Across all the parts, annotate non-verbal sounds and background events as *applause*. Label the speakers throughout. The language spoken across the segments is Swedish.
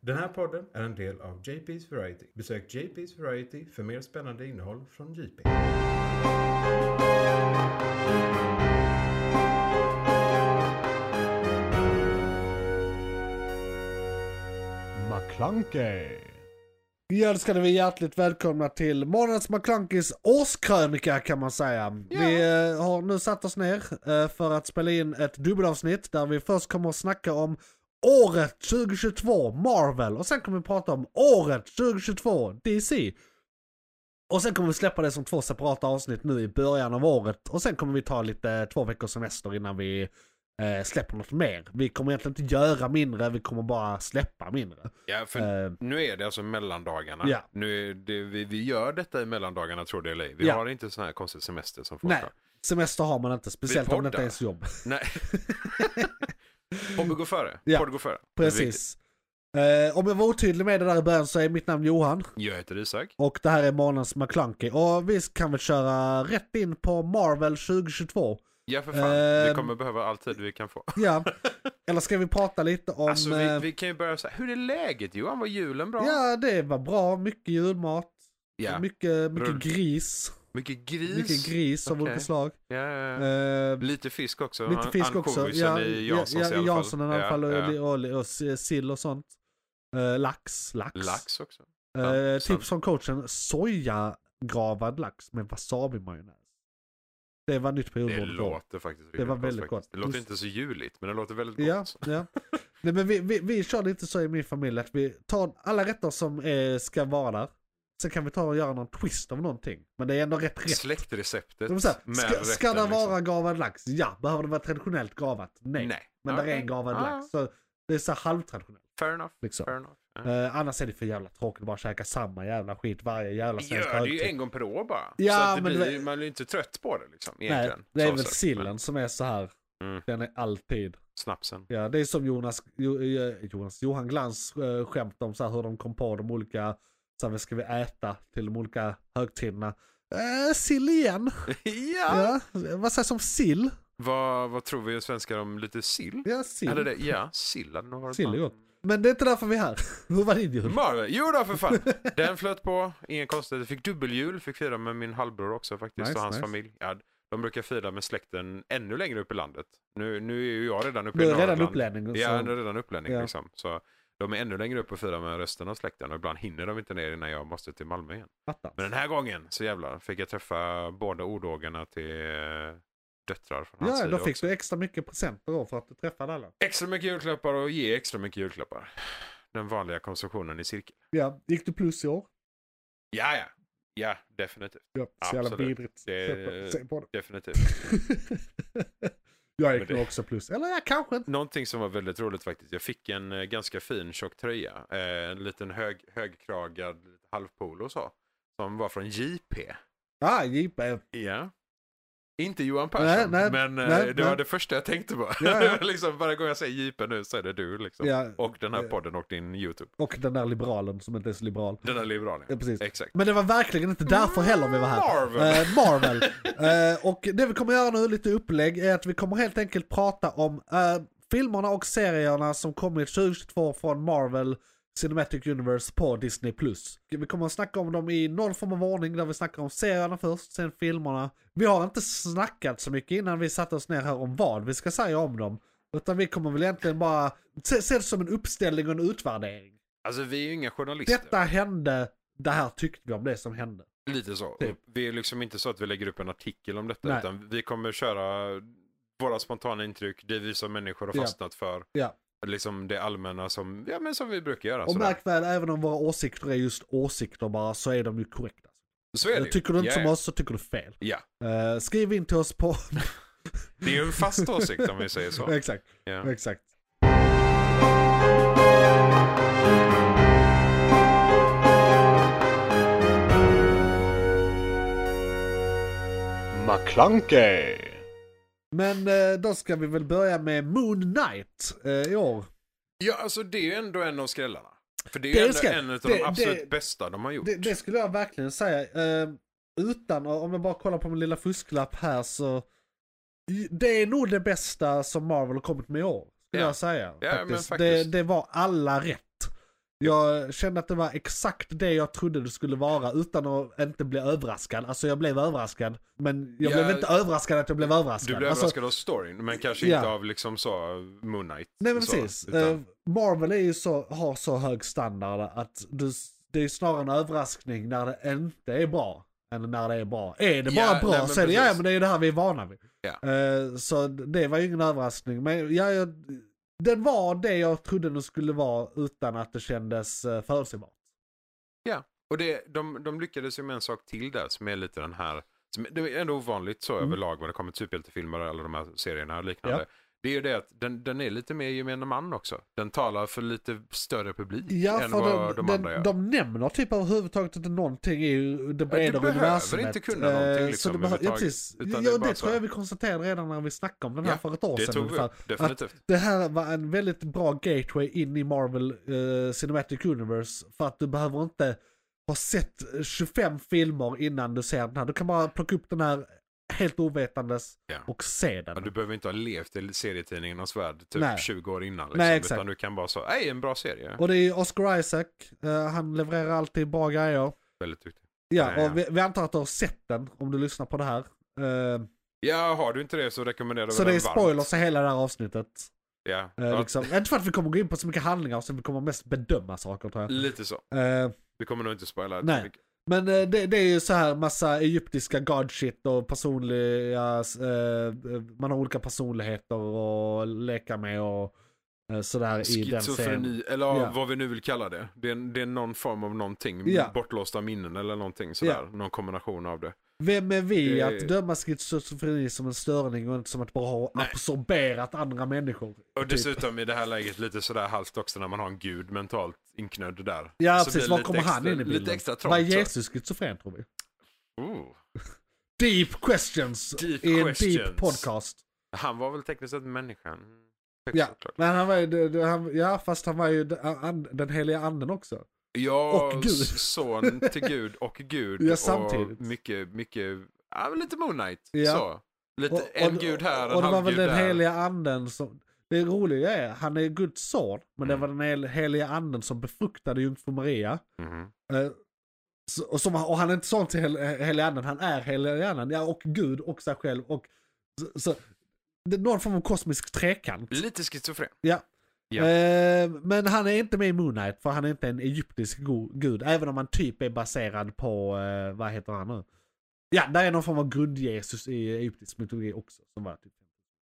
Speaker 1: Den här podden är en del av JP's Variety. Besök JP's Variety för mer spännande innehåll från JP.
Speaker 2: McClunkey.
Speaker 3: Ja, då ska ni vara hjärtligt välkomna till månadens McClunkys årskrönika kan man säga. Vi eh, har nu satt oss ner eh, för att spela in ett dubbelavsnitt där vi först kommer att snacka om året 2022 Marvel och sen kommer vi prata om året 2022 DC. Och sen kommer vi släppa det som två separata avsnitt nu i början av året och sen kommer vi ta lite eh, två veckors semester innan vi eh, släpper något mer. Vi kommer egentligen inte göra mindre, vi kommer bara släppa mindre.
Speaker 4: Ja, för
Speaker 3: Eh,
Speaker 4: nu är det alltså mellandagarna.
Speaker 3: Ja.
Speaker 4: Nu är det, vi, vi gör detta i mellandagarna tror det eller ej. Vi
Speaker 3: Ja.
Speaker 4: har inte sån här konstig semester som folk
Speaker 3: Nej,
Speaker 4: har.
Speaker 3: semester har man inte. Speciellt om det inte
Speaker 4: poddar.
Speaker 3: är ens jobb. *laughs*
Speaker 4: Nej. Hobby går före.
Speaker 3: Ja,
Speaker 4: Podd går före.
Speaker 3: Precis. Eh, om jag var otydlig med det där i början så är mitt namn Johan.
Speaker 4: Jag heter Isak.
Speaker 3: Och det här är månadens McClunky. Och vi kan väl köra rätt in på Marvel 2022.
Speaker 4: Ja, för fan. vi
Speaker 3: Ehm.
Speaker 4: kommer behöva all tid vi kan få. *laughs*
Speaker 3: Ja. Eller ska vi prata lite om...
Speaker 4: Alltså,
Speaker 3: eh,
Speaker 4: vi, vi kan ju börja så här. Hur är läget Johan? Var julen bra?
Speaker 3: Ja, det var bra. Mycket julmat.
Speaker 4: Ja.
Speaker 3: Mycket, mycket
Speaker 4: Rull.
Speaker 3: gris.
Speaker 4: Mycket gris.
Speaker 3: Mycket gris av
Speaker 4: Okej.
Speaker 3: olika slag.
Speaker 4: Ja, ja, ja.
Speaker 3: Eh,
Speaker 4: Lite fisk också.
Speaker 3: Lite fisk också.
Speaker 4: Ankovisen i Janssons i alla fall.
Speaker 3: Janssons i alla fall.
Speaker 4: Ja, ja.
Speaker 3: Och, och, och, sill och sånt. Eh, lax, lax.
Speaker 4: Lax också.
Speaker 3: Eh,
Speaker 4: Sant, sant.
Speaker 3: tips från coachen, sojagravad lax med wasabi-majonnäs. Det var nytt på
Speaker 4: Det
Speaker 3: julbordet. då.
Speaker 4: låter faktiskt riktigt
Speaker 3: var
Speaker 4: gott faktiskt.
Speaker 3: väldigt gott.
Speaker 4: Det låter inte så juligt, men det låter väldigt gott.
Speaker 3: Ja, ja. Nej, men vi, vi, vi kör lite så i min familj att vi tar alla rätter som eh, ska vara där. Sen kan vi ta och göra någon twist av någonting. Men det är ändå rätt rätt.
Speaker 4: Släktreceptet
Speaker 3: De är så här,
Speaker 4: med
Speaker 3: ska, ska
Speaker 4: rätten,
Speaker 3: det
Speaker 4: liksom.
Speaker 3: vara gravad lax? Ja. Behöver det vara traditionellt gravat? Nej.
Speaker 4: Nej.
Speaker 3: Men där är
Speaker 4: Okej.
Speaker 3: en gravad
Speaker 4: Ah,
Speaker 3: lax. Så det är så här halvtraditionellt.
Speaker 4: Fair enough.
Speaker 3: Liksom.
Speaker 4: Fair enough. Ja.
Speaker 3: Eh, annars är det för jävla tråkigt att bara käka samma jävla skit varje jävla
Speaker 4: Vi gör det ju en gång per år bara.
Speaker 3: Ja,
Speaker 4: så att det
Speaker 3: men
Speaker 4: blir,
Speaker 3: det-
Speaker 4: man blir ju inte trött på det liksom.
Speaker 3: Nej,
Speaker 4: Egentligen,
Speaker 3: det är
Speaker 4: så
Speaker 3: väl
Speaker 4: sett.
Speaker 3: sillen
Speaker 4: Men
Speaker 3: som är så här.
Speaker 4: Mm.
Speaker 3: Den är alltid. *laughs*
Speaker 4: Snapsen.
Speaker 3: Ja, det är som Jonas, jo, eh, Jonas Johan Glans eh, skämt om så här, hur de kom på de olika, så här, vad ska vi äta till de olika högtiderna? Eh, sill igen.
Speaker 4: ja.
Speaker 3: Ja. Vad sägs om sill?
Speaker 4: Vad, vad tror vi svenskar om lite sill?
Speaker 3: Ja, sill.
Speaker 4: Eller det, ja, sill hade nog varit
Speaker 3: Sill är
Speaker 4: bra.
Speaker 3: gott. Men det är inte därför vi är här. *laughs* hur var din jul?
Speaker 4: Marvel. Jo då för
Speaker 3: *laughs*
Speaker 4: fan. Den flöt på. Inga konstigheter. Fick dubbelhjul. Fick fira med min halvbror också faktiskt.
Speaker 3: Nice,
Speaker 4: och hans
Speaker 3: nice.
Speaker 4: familj. Ja, de brukar fira med släkten ännu längre upp i landet. Nu, nu är ju jag redan uppe
Speaker 3: Du
Speaker 4: i
Speaker 3: är redan
Speaker 4: Norrland.
Speaker 3: upplänning.
Speaker 4: Ja,
Speaker 3: så-
Speaker 4: han är redan upplänning
Speaker 3: Ja.
Speaker 4: liksom. Så de är ännu längre upp och firar med resten av släkten och ibland hinner de inte ner innan jag måste till Malmö igen.
Speaker 3: fattar.
Speaker 4: Men den här gången så jävlar fick jag träffa båda ordågarna till eh, döttrar från hans
Speaker 3: Ja,
Speaker 4: sida
Speaker 3: då fick
Speaker 4: också.
Speaker 3: du extra mycket presenter då för att du träffade alla.
Speaker 4: Extra mycket julklappar och ge extra mycket julklappar. Den vanliga konsumtionen i cirkeln.
Speaker 3: Ja, gick du plus i år?
Speaker 4: Ja, ja. Ja, definitivt.
Speaker 3: Ja, så jävla
Speaker 4: Absolut.
Speaker 3: vidrigt.
Speaker 4: Det-
Speaker 3: Se på- se på det.
Speaker 4: Definitivt.
Speaker 3: *laughs* jag
Speaker 4: Men
Speaker 3: gick
Speaker 4: det-
Speaker 3: nog också plus. Eller jag kanske inte.
Speaker 4: Någonting som var väldigt roligt faktiskt. Jag fick en eh, ganska fin tjock tröja. Eh, en liten hög, högkragad halvpolo så. Som var från JP.
Speaker 3: Ah, JP.
Speaker 4: Ja. Inte Johan
Speaker 3: Nej,
Speaker 4: Persson,
Speaker 3: nej,
Speaker 4: men eh,
Speaker 3: nej,
Speaker 4: det
Speaker 3: nej.
Speaker 4: var det första jag tänkte på.
Speaker 3: Ja, ja.
Speaker 4: *laughs* liksom, varje gång jag säger JP nu så är det du. Liksom.
Speaker 3: Ja.
Speaker 4: Och den här
Speaker 3: Eh.
Speaker 4: podden och din YouTube.
Speaker 3: Och den där liberalen som inte är så liberal.
Speaker 4: Den här liberalen.
Speaker 3: Ja, precis.
Speaker 4: Exakt.
Speaker 3: Men det var verkligen inte därför heller vi var här.
Speaker 4: Marvel.
Speaker 3: Eh, Marvel. Eh, och det vi kommer göra nu, lite upplägg, är att vi kommer helt enkelt prata om eh, filmerna och serierna som kommit 2022 från Marvel Cinematic Universe på Disney+. Vi kommer att snacka om dem i någon form av ordning, där vi snackar om serierna först, sen filmerna. Vi har inte snackat så mycket innan vi satte oss ner här om vad vi ska säga om dem. Utan vi kommer väl egentligen bara se, se det som en uppställning och en utvärdering.
Speaker 4: Alltså vi är ju inga journalister.
Speaker 3: Detta hände, det här tyckte vi om det som hände.
Speaker 4: Lite så.
Speaker 3: Typ.
Speaker 4: Vi är liksom inte så att vi lägger upp en artikel om detta.
Speaker 3: Nej.
Speaker 4: Utan vi kommer köra våra spontana intryck, det vi som människor har
Speaker 3: Ja.
Speaker 4: fastnat för.
Speaker 3: Ja.
Speaker 4: Liksom det allmänna som, ja, men som vi brukar göra.
Speaker 3: Och
Speaker 4: sådär.
Speaker 3: märk väl, även om våra åsikter är just åsikter bara, så är de ju korrekta.
Speaker 4: Så är det ju.
Speaker 3: Tycker du inte
Speaker 4: ja,
Speaker 3: som
Speaker 4: ja.
Speaker 3: oss så tycker du fel.
Speaker 4: Ja,
Speaker 3: Eh, skriv in till oss på...
Speaker 4: det är ju en fast åsikt om vi säger *laughs*
Speaker 3: *laughs*
Speaker 4: så.
Speaker 3: exakt,
Speaker 4: Ja.
Speaker 3: exakt.
Speaker 2: McClunkey.
Speaker 3: Men eh, då ska vi väl börja med Moon Knight eh, i år.
Speaker 4: Ja, alltså det är ju ändå en av skrällarna. För det är
Speaker 3: Det
Speaker 4: ju
Speaker 3: är
Speaker 4: ändå
Speaker 3: skräll.
Speaker 4: en av
Speaker 3: Det-
Speaker 4: de absolut
Speaker 3: det-
Speaker 4: bästa de har gjort.
Speaker 3: Det, det skulle jag verkligen säga. Eh, utan, om jag bara kollar på min lilla fusklapp här så... Det är nog det bästa som Marvel har kommit med i år. Skulle
Speaker 4: Ja.
Speaker 3: jag säga.
Speaker 4: Ja, men
Speaker 3: faktiskt. Det,
Speaker 4: faktiskt.
Speaker 3: det var alla rätt. Jag kände att det var exakt det jag trodde det skulle vara utan att inte bli överraskad. Alltså jag blev överraskad, men jag
Speaker 4: Ja.
Speaker 3: blev inte överraskad att jag blev överraskad.
Speaker 4: Du blev
Speaker 3: alltså,
Speaker 4: överraskad av storyn, men kanske
Speaker 3: Ja.
Speaker 4: inte av liksom så Moon Knight.
Speaker 3: Nej
Speaker 4: och
Speaker 3: men
Speaker 4: så,
Speaker 3: precis.
Speaker 4: utan-
Speaker 3: Eh, Marvel är ju så, har så hög standard att du, det är snarare en överraskning när det inte är bra. Än när det är bra. Är det bara
Speaker 4: Ja,
Speaker 3: bra
Speaker 4: nej, men
Speaker 3: så är det, ja
Speaker 4: precis.
Speaker 3: men det är det här vi är vana vid.
Speaker 4: Ja.
Speaker 3: Eh, så det var ju ingen överraskning. Men ja, jag, den var det jag trodde den skulle vara utan att det kändes eh, förutsägbart.
Speaker 4: Och det, de, de lyckades ju med en sak till där som är lite den här, som, det är ändå ovanligt
Speaker 3: Mm.
Speaker 4: så överlag när det kommer till superhjältefilmer och alla de här serierna och liknande. Det är ju det att den, den är lite mer gemene man också. Den talar för lite större publik
Speaker 3: Ja,
Speaker 4: än
Speaker 3: för
Speaker 4: vad de,
Speaker 3: de,
Speaker 4: andra
Speaker 3: de,
Speaker 4: gör.
Speaker 3: de nämner typ överhuvudtaget inte någonting i det bredare
Speaker 4: behöver
Speaker 3: universumet.
Speaker 4: inte kunna
Speaker 3: Eh,
Speaker 4: någonting
Speaker 3: så
Speaker 4: liksom
Speaker 3: det behöver- ja,
Speaker 4: överhuvudtaget,
Speaker 3: precis.
Speaker 4: utan
Speaker 3: ja,
Speaker 4: det är
Speaker 3: det
Speaker 4: bara så
Speaker 3: tror
Speaker 4: här.
Speaker 3: jag vi konstaterade redan när vi snackade om den här
Speaker 4: Ja,
Speaker 3: för ett år
Speaker 4: det
Speaker 3: sedan
Speaker 4: tog vi
Speaker 3: ungefär.
Speaker 4: upp, definitivt.
Speaker 3: Att det här var en väldigt bra gateway in i Marvel eh, Cinematic Universe. För att du behöver inte ha sett eh, 25 filmer innan du ser den här. Du kan bara plocka upp den här helt ovetandes
Speaker 4: Ja.
Speaker 3: och se
Speaker 4: Ja,
Speaker 3: den.
Speaker 4: du behöver inte ha levt i serietidningarnas värld typ
Speaker 3: Nej.
Speaker 4: 20 år innan. Liksom,
Speaker 3: Nej, exakt.
Speaker 4: utan du kan bara så, nej en bra serie.
Speaker 3: Och det är ju Oscar Isaac, eh, han levererar alltid bra grejer.
Speaker 4: Väldigt duktig.
Speaker 3: Ja,
Speaker 4: Ja, ja.
Speaker 3: och vi, vi antar att du har sett den om du lyssnar på det här. Eh,
Speaker 4: Ja, har du inte det så rekommenderar vi
Speaker 3: så
Speaker 4: den
Speaker 3: det är
Speaker 4: varmt.
Speaker 3: spoilers i hela det här avsnittet.
Speaker 4: Ja,
Speaker 3: Eh,
Speaker 4: ja,
Speaker 3: liksom. Inte för att vi kommer gå in på så mycket handlingar som vi kommer mest bedöma saker tror jag.
Speaker 4: lite så.
Speaker 3: Eh,
Speaker 4: Vi kommer nog inte spoila.
Speaker 3: Nej. men eh, det, det är ju så här massa egyptiska god shit och personliga, eh, man har olika personligheter och leka med och eh, sådär i den scenen.
Speaker 4: Schizofreni, eller
Speaker 3: Ja.
Speaker 4: ja. vad vi nu vill kalla det. Det är, det är någon form av någonting.
Speaker 3: Ja.
Speaker 4: Bortlåsta minnen eller någonting sådär. Någon kombination av det.
Speaker 3: Vem är vi
Speaker 4: Det-
Speaker 3: att döma schizofreni som en störning och inte som att bara ha
Speaker 4: Nej.
Speaker 3: absorberat andra människor?
Speaker 4: Och
Speaker 3: Typ.
Speaker 4: dessutom i det här läget lite sådär halvt också när man har en gud mentalt inknödd där.
Speaker 3: Ja
Speaker 4: Så
Speaker 3: precis,
Speaker 4: blir
Speaker 3: var
Speaker 4: lite
Speaker 3: kommer han
Speaker 4: extra-
Speaker 3: in i bilden?
Speaker 4: Lite extra trångt.
Speaker 3: Var
Speaker 4: så.
Speaker 3: Jesus schizofren tror vi?
Speaker 4: Oh.
Speaker 3: Deep questions
Speaker 4: Deep
Speaker 3: i en deep
Speaker 4: questions.
Speaker 3: podcast.
Speaker 4: Han var väl tekniskt sett människan. Högst
Speaker 3: Ja,
Speaker 4: oklart.
Speaker 3: men han var ju, det- det- han, ja fast han var ju d- an- den heliga anden också.
Speaker 4: Ja,
Speaker 3: Och Gud.
Speaker 4: son till Gud och Gud.
Speaker 3: Ja, samtidigt.
Speaker 4: Och mycket, mycket, ja men lite Moon Knight.
Speaker 3: Ja.
Speaker 4: Så. Lite,
Speaker 3: Och,
Speaker 4: en
Speaker 3: och-
Speaker 4: gud här, en
Speaker 3: Och det var väl
Speaker 4: halvgud
Speaker 3: den
Speaker 4: där.
Speaker 3: heliga anden som, det roliga är, han är Guds son, men
Speaker 4: Mm.
Speaker 3: det var den hel- heliga anden som befruktade jungfru Maria.
Speaker 4: Mhm.
Speaker 3: Eh, så- och, som, och han är inte sån till hel, heliga anden, han är heliga anden, ja och Gud och sig själv och så, så det är någon form av kosmisk trekant.
Speaker 4: Lite schizofren.
Speaker 3: Ja.
Speaker 4: Ja.
Speaker 3: Eh, men han är inte med i Moon Knight för han är inte en egyptisk go- gud. Även om han typ är baserad på, eh, vad heter han nu? Ja, där är någon form av grund-Jesus i egyptisk mytologi också. Som var typ,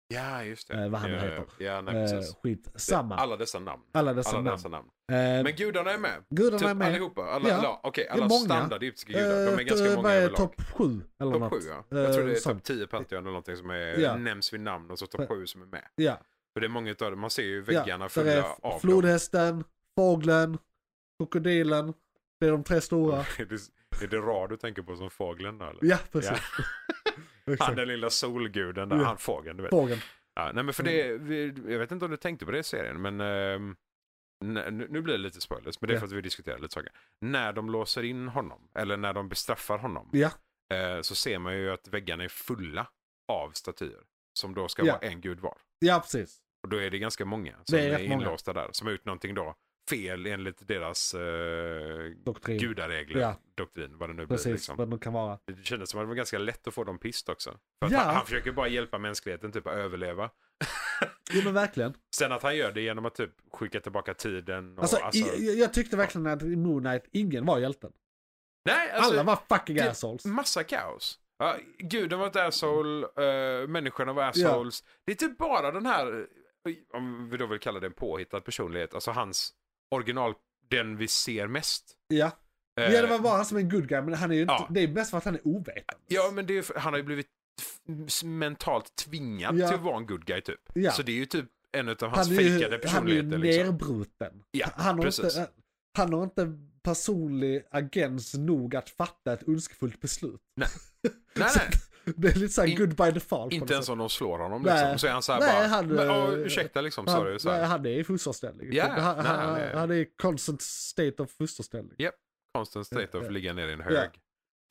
Speaker 4: Ja, just det.
Speaker 3: Eh, vad han
Speaker 4: ja,
Speaker 3: heter.
Speaker 4: Ja, nej,
Speaker 3: eh,
Speaker 4: precis.
Speaker 3: skit samma. Alla,
Speaker 4: Alla dessa namn.
Speaker 3: dessa
Speaker 4: Alla
Speaker 3: namn.
Speaker 4: dessa namn.
Speaker 3: Eh,
Speaker 4: Men gudarna är med.
Speaker 3: gudarna
Speaker 4: Typ
Speaker 3: är med.
Speaker 4: allihopa. Alla,
Speaker 3: Ja.
Speaker 4: alla, okej,
Speaker 3: är
Speaker 4: alla
Speaker 3: många.
Speaker 4: standard egyptiska gudar. De är
Speaker 3: Eh,
Speaker 4: ganska
Speaker 3: vad
Speaker 4: många
Speaker 3: är
Speaker 4: överlag.
Speaker 3: Topp sju eller
Speaker 4: Topp
Speaker 3: något. Eh,
Speaker 4: sju, ja. Jag tror det är
Speaker 3: sånt.
Speaker 4: topp 10 Pantheon eller någonting som är,
Speaker 3: Ja.
Speaker 4: nämns vid namn och så topp 7 som är med.
Speaker 3: Ja,
Speaker 4: För det är många utav dem. Man ser ju väggarna
Speaker 3: ja. Där
Speaker 4: fulla
Speaker 3: är
Speaker 4: av dem.
Speaker 3: flodhästen, fågeln, krokodilen. Det är de tre stora.
Speaker 4: är, *laughs* det, är det Ra du tänker på som fågeln där eller?
Speaker 3: Ja, precis.
Speaker 4: Han
Speaker 3: *laughs* Exakt.
Speaker 4: den lilla solguden, där,
Speaker 3: Ja.
Speaker 4: han fågeln du vet.
Speaker 3: Fågeln.
Speaker 4: Ja, nej men
Speaker 3: Mm.
Speaker 4: för det, vi, jag vet inte om du tänkte på det i serien, men ehm, n- nu nu blir det lite spoilers, men det är
Speaker 3: Ja.
Speaker 4: för att vi diskuterar lite saker. När de låser in honom, eller när de bestraffar honom,
Speaker 3: Ja.
Speaker 4: eh, så ser man ju att väggarna är fulla av statyer. Som då ska
Speaker 3: Ja.
Speaker 4: vara en gud var.
Speaker 3: Ja, precis.
Speaker 4: Och då är det ganska många som
Speaker 3: Det är
Speaker 4: är,
Speaker 3: rätt många.
Speaker 4: inlåsta där, som har gjort någonting då fel enligt deras eh,
Speaker 3: Doktrin.
Speaker 4: gudaregler,
Speaker 3: Mm. Ja.
Speaker 4: doktrin, vad det nu
Speaker 3: Precis,
Speaker 4: blir. Liksom.
Speaker 3: vad de kan vara.
Speaker 4: Det kändes som att det var ganska lätt att få dem pist också. För att
Speaker 3: Ja.
Speaker 4: han, han försöker bara hjälpa mänskligheten typ att överleva.
Speaker 3: Jo men verkligen.
Speaker 4: Sen att han gör det genom att typ skicka tillbaka tiden och
Speaker 3: Alltså,
Speaker 4: alltså...
Speaker 3: i, jag- jag tyckte verkligen att i Moon Knight ingen var hjälten.
Speaker 4: nej, alltså,
Speaker 3: Alla var fucking
Speaker 4: det-
Speaker 3: assholes.
Speaker 4: massa kaos. Ja, guden var ett asshole, eh, människorna var assholes. Det är typ bara den här, eh, om vi då vill kalla det en påhittad personlighet, alltså hans original, den vi ser mest.
Speaker 3: Ja.
Speaker 4: Eh,
Speaker 3: ja, det var bara han som är en good guy, men han är ju inte,
Speaker 4: ja.
Speaker 3: det är mest för att han är ovetande.
Speaker 4: ja, men det är, för- han har ju blivit f- mentalt tvingad
Speaker 3: Ja.
Speaker 4: till att vara en good guy typ.
Speaker 3: Ja.
Speaker 4: Så det är ju typ en av hans
Speaker 3: han, är ju,
Speaker 4: fejkade
Speaker 3: han är ju
Speaker 4: personligheter. liksom.
Speaker 3: nerbruten.
Speaker 4: Ja,
Speaker 3: han, har
Speaker 4: precis.
Speaker 3: inte, han har inte personlig agens nog att fatta ett ondskefullt beslut.
Speaker 4: Nej,
Speaker 3: *laughs*
Speaker 4: nej.
Speaker 3: Det är lite såhär
Speaker 4: In-
Speaker 3: good by default. på något
Speaker 4: Inte ens
Speaker 3: sätt.
Speaker 4: om de slår honom
Speaker 3: Nej.
Speaker 4: liksom. Så är han så här
Speaker 3: Nej,
Speaker 4: bara,
Speaker 3: han,
Speaker 4: men, åh,
Speaker 3: eh,
Speaker 4: ursäkta liksom,
Speaker 3: han,
Speaker 4: sorry. Så här.
Speaker 3: nej, han är i fosterställning.
Speaker 4: Ja,
Speaker 3: han,
Speaker 4: nej,
Speaker 3: han,
Speaker 4: han
Speaker 3: han,
Speaker 4: är-
Speaker 3: är i constant state of fosterställning.
Speaker 4: Constant state
Speaker 3: Ja.
Speaker 4: of ligga ner i en
Speaker 3: Ja.
Speaker 4: hög.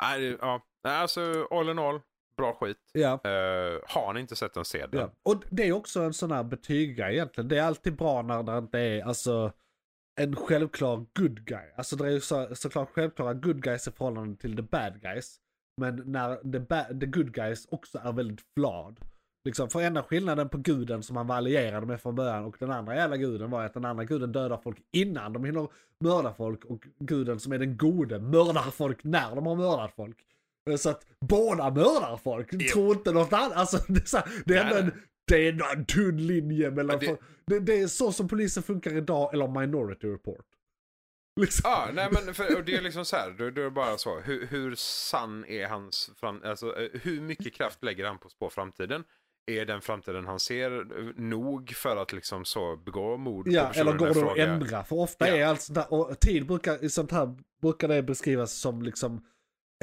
Speaker 4: Nej, det- ja. Nej, alltså all in all, bra skit.
Speaker 3: Ja.
Speaker 4: Eh, har ni inte sett den, se den.
Speaker 3: Ja. Och det är också en sån här betyggrej egentligen. Det är alltid bra när det inte är, alltså, en självklar good guy. Alltså det är ju så, såklart självklara good guys i förhållande till the bad guys. Men när the, ba- the good guys också är väldigt flawed. Liksom, för enda skillnaden på guden som han var allierad med från början och den andra jävla guden var att den andra guden dödar folk innan de hinner mörda folk och guden som är den gode mördar folk när de har mördat folk. Eh, Så att båda mördar folk, tror inte något annat. Alltså, det är, så här, det är ändå en, det är ändå en tunn linje mellan
Speaker 4: Ja, det-
Speaker 3: folk. Det, det är så som polisen funkar idag, eller minority report. Liksom.
Speaker 4: Ja, nej men för, och det är liksom så här, då, då är det bara så. Hur, hur sann är hans, fram, alltså eh, hur mycket kraft lägger han på att spå framtiden? Är den framtiden han ser eh, nog för att liksom så begå mord
Speaker 3: Ja,
Speaker 4: på personen
Speaker 3: eller går
Speaker 4: i
Speaker 3: det att
Speaker 4: fråga?
Speaker 3: ändra? För ofta
Speaker 4: Ja.
Speaker 3: är allt sånt där, och tid brukar i sånt här, brukar det beskrivas som liksom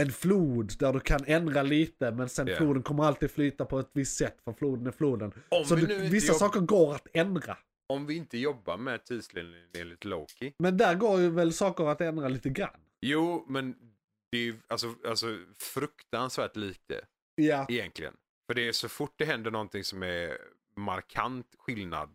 Speaker 3: en flod där du kan ändra lite men sen
Speaker 4: Ja.
Speaker 3: floden kommer alltid flyta på ett visst sätt för floden är floden.
Speaker 4: Om
Speaker 3: så
Speaker 4: vi
Speaker 3: du,
Speaker 4: nu inte
Speaker 3: vissa
Speaker 4: jobb-
Speaker 3: saker går att ändra.
Speaker 4: Om vi inte jobbar med tidslinjen enligt Loki.
Speaker 3: Men där går ju väl saker att ändra lite grann.
Speaker 4: Jo, men det är ju alltså, alltså fruktansvärt likt det
Speaker 3: Ja,
Speaker 4: egentligen. För det är så fort det händer någonting som är markant skillnad,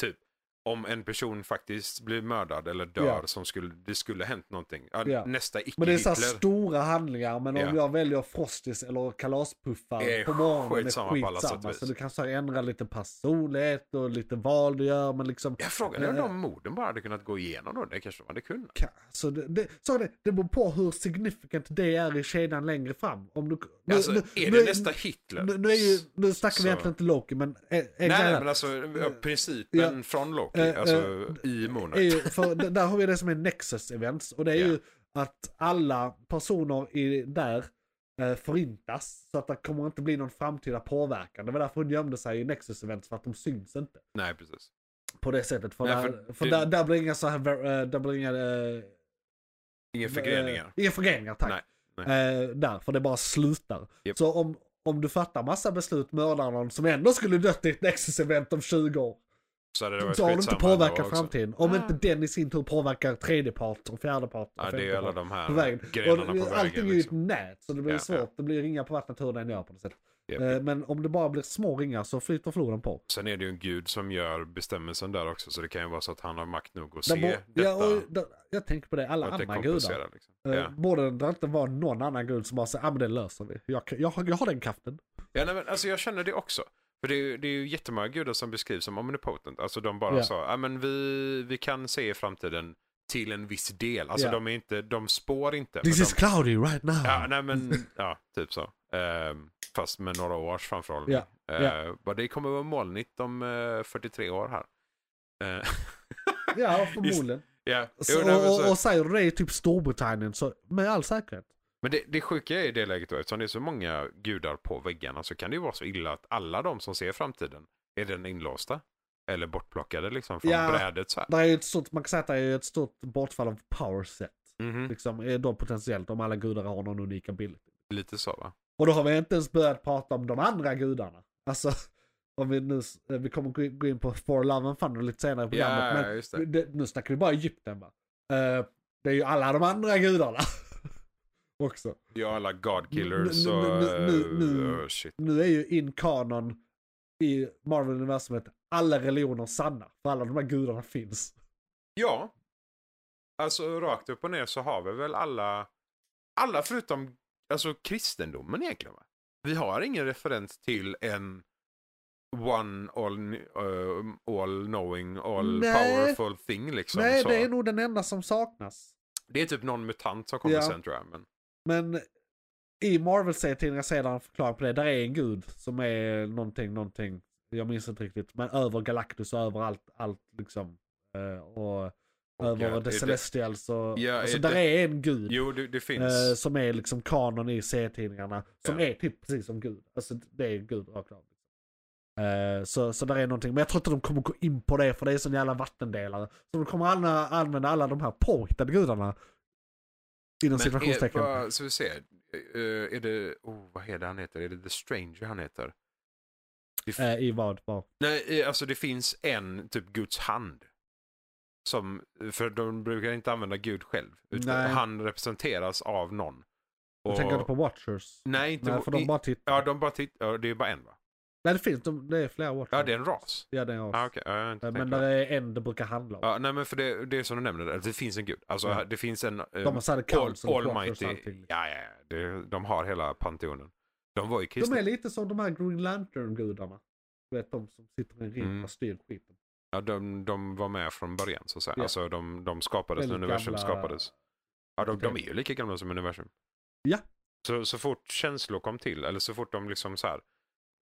Speaker 4: typ om en person faktiskt blir mördad eller dör
Speaker 3: Ja.
Speaker 4: som skulle, det skulle ha hänt någonting. Ja,
Speaker 3: Ja.
Speaker 4: Nästa
Speaker 3: men det är
Speaker 4: icke-Hitler.
Speaker 3: så här stora handlingar men
Speaker 4: Ja.
Speaker 3: om jag väljer frostis eller kalaspuffar
Speaker 4: Det är
Speaker 3: på morgonen
Speaker 4: skitsamma
Speaker 3: är
Speaker 4: på alla sätt och
Speaker 3: skitsamma.
Speaker 4: vis.
Speaker 3: Så du kan så här ändra lite personlighet och lite val du gör men liksom
Speaker 4: Jag frågade om
Speaker 3: Eh.
Speaker 4: de morden bara hade kunnat gå igenom då. Det kanske de hade kunnat.
Speaker 3: Ka- Så det, det, så är det, det beror på hur significant det är i kedjan längre fram. Om du, nu,
Speaker 4: alltså,
Speaker 3: nu-
Speaker 4: är
Speaker 3: nu-
Speaker 4: det nästa Hitler?
Speaker 3: Nu, nu, är ju, nu snackar
Speaker 4: Så-
Speaker 3: vi egentligen inte Loki, men... eh, eh,
Speaker 4: Nej, nej,
Speaker 3: grejen
Speaker 4: men alltså ja, principen
Speaker 3: Ja.
Speaker 4: från Loki,
Speaker 3: Eh,
Speaker 4: alltså i Monet.
Speaker 3: är ju, för d- där har vi det som är Nexus Events, och det är
Speaker 4: Ja.
Speaker 3: ju att alla personer i, där eh, förintas, så att det kommer inte bli någon framtida påverkan. Det var därför hon gömde sig i Nexus Events, för att de syns inte
Speaker 4: Nej, precis.
Speaker 3: på det sättet. För,
Speaker 4: Nej,
Speaker 3: där,
Speaker 4: för
Speaker 3: för
Speaker 4: det-
Speaker 3: där, där blir inga så här, ver- eh, där blir inga... eh,
Speaker 4: Inga förgreningar.
Speaker 3: Eh, Inga förgreningar, tack.
Speaker 4: Nej,
Speaker 3: Eh, där, för det bara slutar.
Speaker 4: Japp.
Speaker 3: Så om, om du fattar massa beslut, mördar någon som ändå skulle dött i ett Nexus-event om 20 år.
Speaker 4: Så hade det varit
Speaker 3: Så har du inte
Speaker 4: skitsamma ändå
Speaker 3: påverkat
Speaker 4: också.
Speaker 3: framtiden. Om
Speaker 4: Ah.
Speaker 3: inte den i sin tur påverkar tredje part och fjärde part och
Speaker 4: Ja, det är ju
Speaker 3: femte
Speaker 4: alla
Speaker 3: part.
Speaker 4: de här
Speaker 3: På vägen.
Speaker 4: grenarna
Speaker 3: och,
Speaker 4: på vägen.
Speaker 3: allting är ju
Speaker 4: liksom.
Speaker 3: ett nät, så det blir
Speaker 4: Ja,
Speaker 3: svårt.
Speaker 4: ja.
Speaker 3: Det blir ringar på vattnet hur den gör på något sätt.
Speaker 4: Japp.
Speaker 3: Eh, Men om det bara blir små ringar så flyter floden på.
Speaker 4: Sen är det ju en gud som gör bestämmelsen där också, så det kan ju vara så att han har makt nog att
Speaker 3: Där
Speaker 4: se
Speaker 3: bo-
Speaker 4: detta.
Speaker 3: ja, och, där, jag tänker på det, alla
Speaker 4: och att det
Speaker 3: andra gudar.
Speaker 4: kompenserar. Liksom.
Speaker 3: Eh,
Speaker 4: Ja.
Speaker 3: Borde det inte vara någon annan gud som bara säger ah, men det löser vi. Jag, kan- jag, har- jag har den kraften.
Speaker 4: Ja, nej, men, alltså, jag känner det också. För det är, ju- det är ju jättemånga gudar som beskrivs som omnipotent. Alltså de bara
Speaker 3: Ja.
Speaker 4: sa, ja men vi, vi kan se i framtiden till en viss del. Alltså
Speaker 3: Ja.
Speaker 4: de är inte, de spår inte.
Speaker 3: This
Speaker 4: men
Speaker 3: is
Speaker 4: de,
Speaker 3: cloudy right now.
Speaker 4: ja, nej
Speaker 3: *laughs*
Speaker 4: men, ja, typ så. Ehm, fast med några års framförhållning.
Speaker 3: Ja, ja.
Speaker 4: Ehm, bara, det kommer vara molnigt om eh, 43 år här. Ehm, *laughs*
Speaker 3: Ja, förmodligen.
Speaker 4: ja.
Speaker 3: Så,
Speaker 4: Jo, nej, men
Speaker 3: och,
Speaker 4: så-
Speaker 3: och, och säger du det i typ Storbritannien så med all säkerhet.
Speaker 4: Men det, det sjuka är i det läget då, eftersom det är så många gudar på väggarna så kan det ju vara så illa att alla de som ser framtiden är den inlåsta. Eller bortplockade liksom från
Speaker 3: Ja.
Speaker 4: brädet så här.
Speaker 3: Det är ju ett stort, man kan säga att det är ett stort bortfall av power set.
Speaker 4: Mhm,
Speaker 3: Liksom, är då potentiellt om alla gudar har någon unik ability.
Speaker 4: Lite så va?
Speaker 3: Och då har vi inte ens börjat prata om de andra gudarna. Alltså, om vi nu, s- eh, vi kommer gå in- gå in på For Love and Thunder lite senare i programmet.
Speaker 4: Ja,
Speaker 3: men
Speaker 4: just det.
Speaker 3: Det, nu snackar vi bara Egypten va? Eh, det är ju alla de andra gudarna. *laughs* Också.
Speaker 4: Ja, alla God killers
Speaker 3: Nu-
Speaker 4: och...
Speaker 3: nu- nu- nu-
Speaker 4: oh, shit.
Speaker 3: nu är ju in kanon i Marvel-universumet alla religioner sanna. För alla de här gudarna finns.
Speaker 4: Ja. Alltså rakt upp och ner så har vi väl alla... Alla förutom alltså, kristendomen egentligen va? Vi har ingen referens till en one all, eh, all knowing, all
Speaker 3: Nej.
Speaker 4: powerful thing liksom.
Speaker 3: Nej,
Speaker 4: så.
Speaker 3: det är nog den enda som saknas.
Speaker 4: Det är typ någon mutant som kommer
Speaker 3: Ja.
Speaker 4: sen tror jag. Men...
Speaker 3: Men i Marvel-serietidningar ser jag en förklaring på det. Där är en gud som är någonting, någonting. Jag minns inte riktigt. Men över Galactus och över allt, allt liksom. Eh, Och, över
Speaker 4: ja,
Speaker 3: The
Speaker 4: är det-
Speaker 3: Celestials och...
Speaker 4: Ja,
Speaker 3: alltså
Speaker 4: är
Speaker 3: där
Speaker 4: det-
Speaker 3: är en gud.
Speaker 4: Jo, det, det finns.
Speaker 3: eh, som är liksom kanon i serietidningarna. Som
Speaker 4: Ja.
Speaker 3: är typ precis som Gud. Alltså det är Gud rakt av. Eh, så, så där är någonting. Men jag tror inte de kommer gå in på det för det är sån jävla vattendelare. Så de kommer alla, använda alla de här påhittade gudarna. Inom
Speaker 4: Men är,
Speaker 3: situationstecken.
Speaker 4: vad, så vi ser. eh, är det, oh, vad är det han heter? Är det The Stranger han heter? Det f-
Speaker 3: Eh, I vad? Var?
Speaker 4: Nej, eh, alltså det finns en typ Guds hand. Som, eh, för de brukar inte använda Gud själv. Utan
Speaker 3: Nej.
Speaker 4: han representeras av någon.
Speaker 3: Jag tänker inte på Watchers.
Speaker 4: Nej, inte
Speaker 3: Nej,
Speaker 4: på-
Speaker 3: för de
Speaker 4: i-
Speaker 3: bara tittar.
Speaker 4: Ja, de bara titt... ja, det är bara en va?
Speaker 3: Nej det finns, de, det är flera Watchmen.
Speaker 4: Ja, det är en ras.
Speaker 3: Ja det är en ras.
Speaker 4: Ah, okej. Ja, jag har inte
Speaker 3: Eh,
Speaker 4: tänkt
Speaker 3: Men
Speaker 4: på
Speaker 3: där
Speaker 4: det.
Speaker 3: är en det brukar handla om.
Speaker 4: Ja, nej men för det, det är som du nämnde, där, det finns en gud. Alltså
Speaker 3: Ja.
Speaker 4: det finns en... eh,
Speaker 3: de har såhär
Speaker 4: all,
Speaker 3: council och
Speaker 4: almighty.
Speaker 3: och allting.
Speaker 4: Ja, ja, ja. Det, de har hela panteonen. De var ju
Speaker 3: De
Speaker 4: kristna.
Speaker 3: är lite som de här Green Lantern-gudarna. Du vet de som sitter i en ring
Speaker 4: Mm.
Speaker 3: och styr skiten.
Speaker 4: Ja, de, de var med från början så att säga.
Speaker 3: Ja.
Speaker 4: Alltså de, de skapades när
Speaker 3: Väldigt
Speaker 4: universum
Speaker 3: gamla-
Speaker 4: skapades. Ja, de, de är ju lika gamla som universum.
Speaker 3: Ja.
Speaker 4: Så, så fort känslor kom till, eller så fort de liksom så här.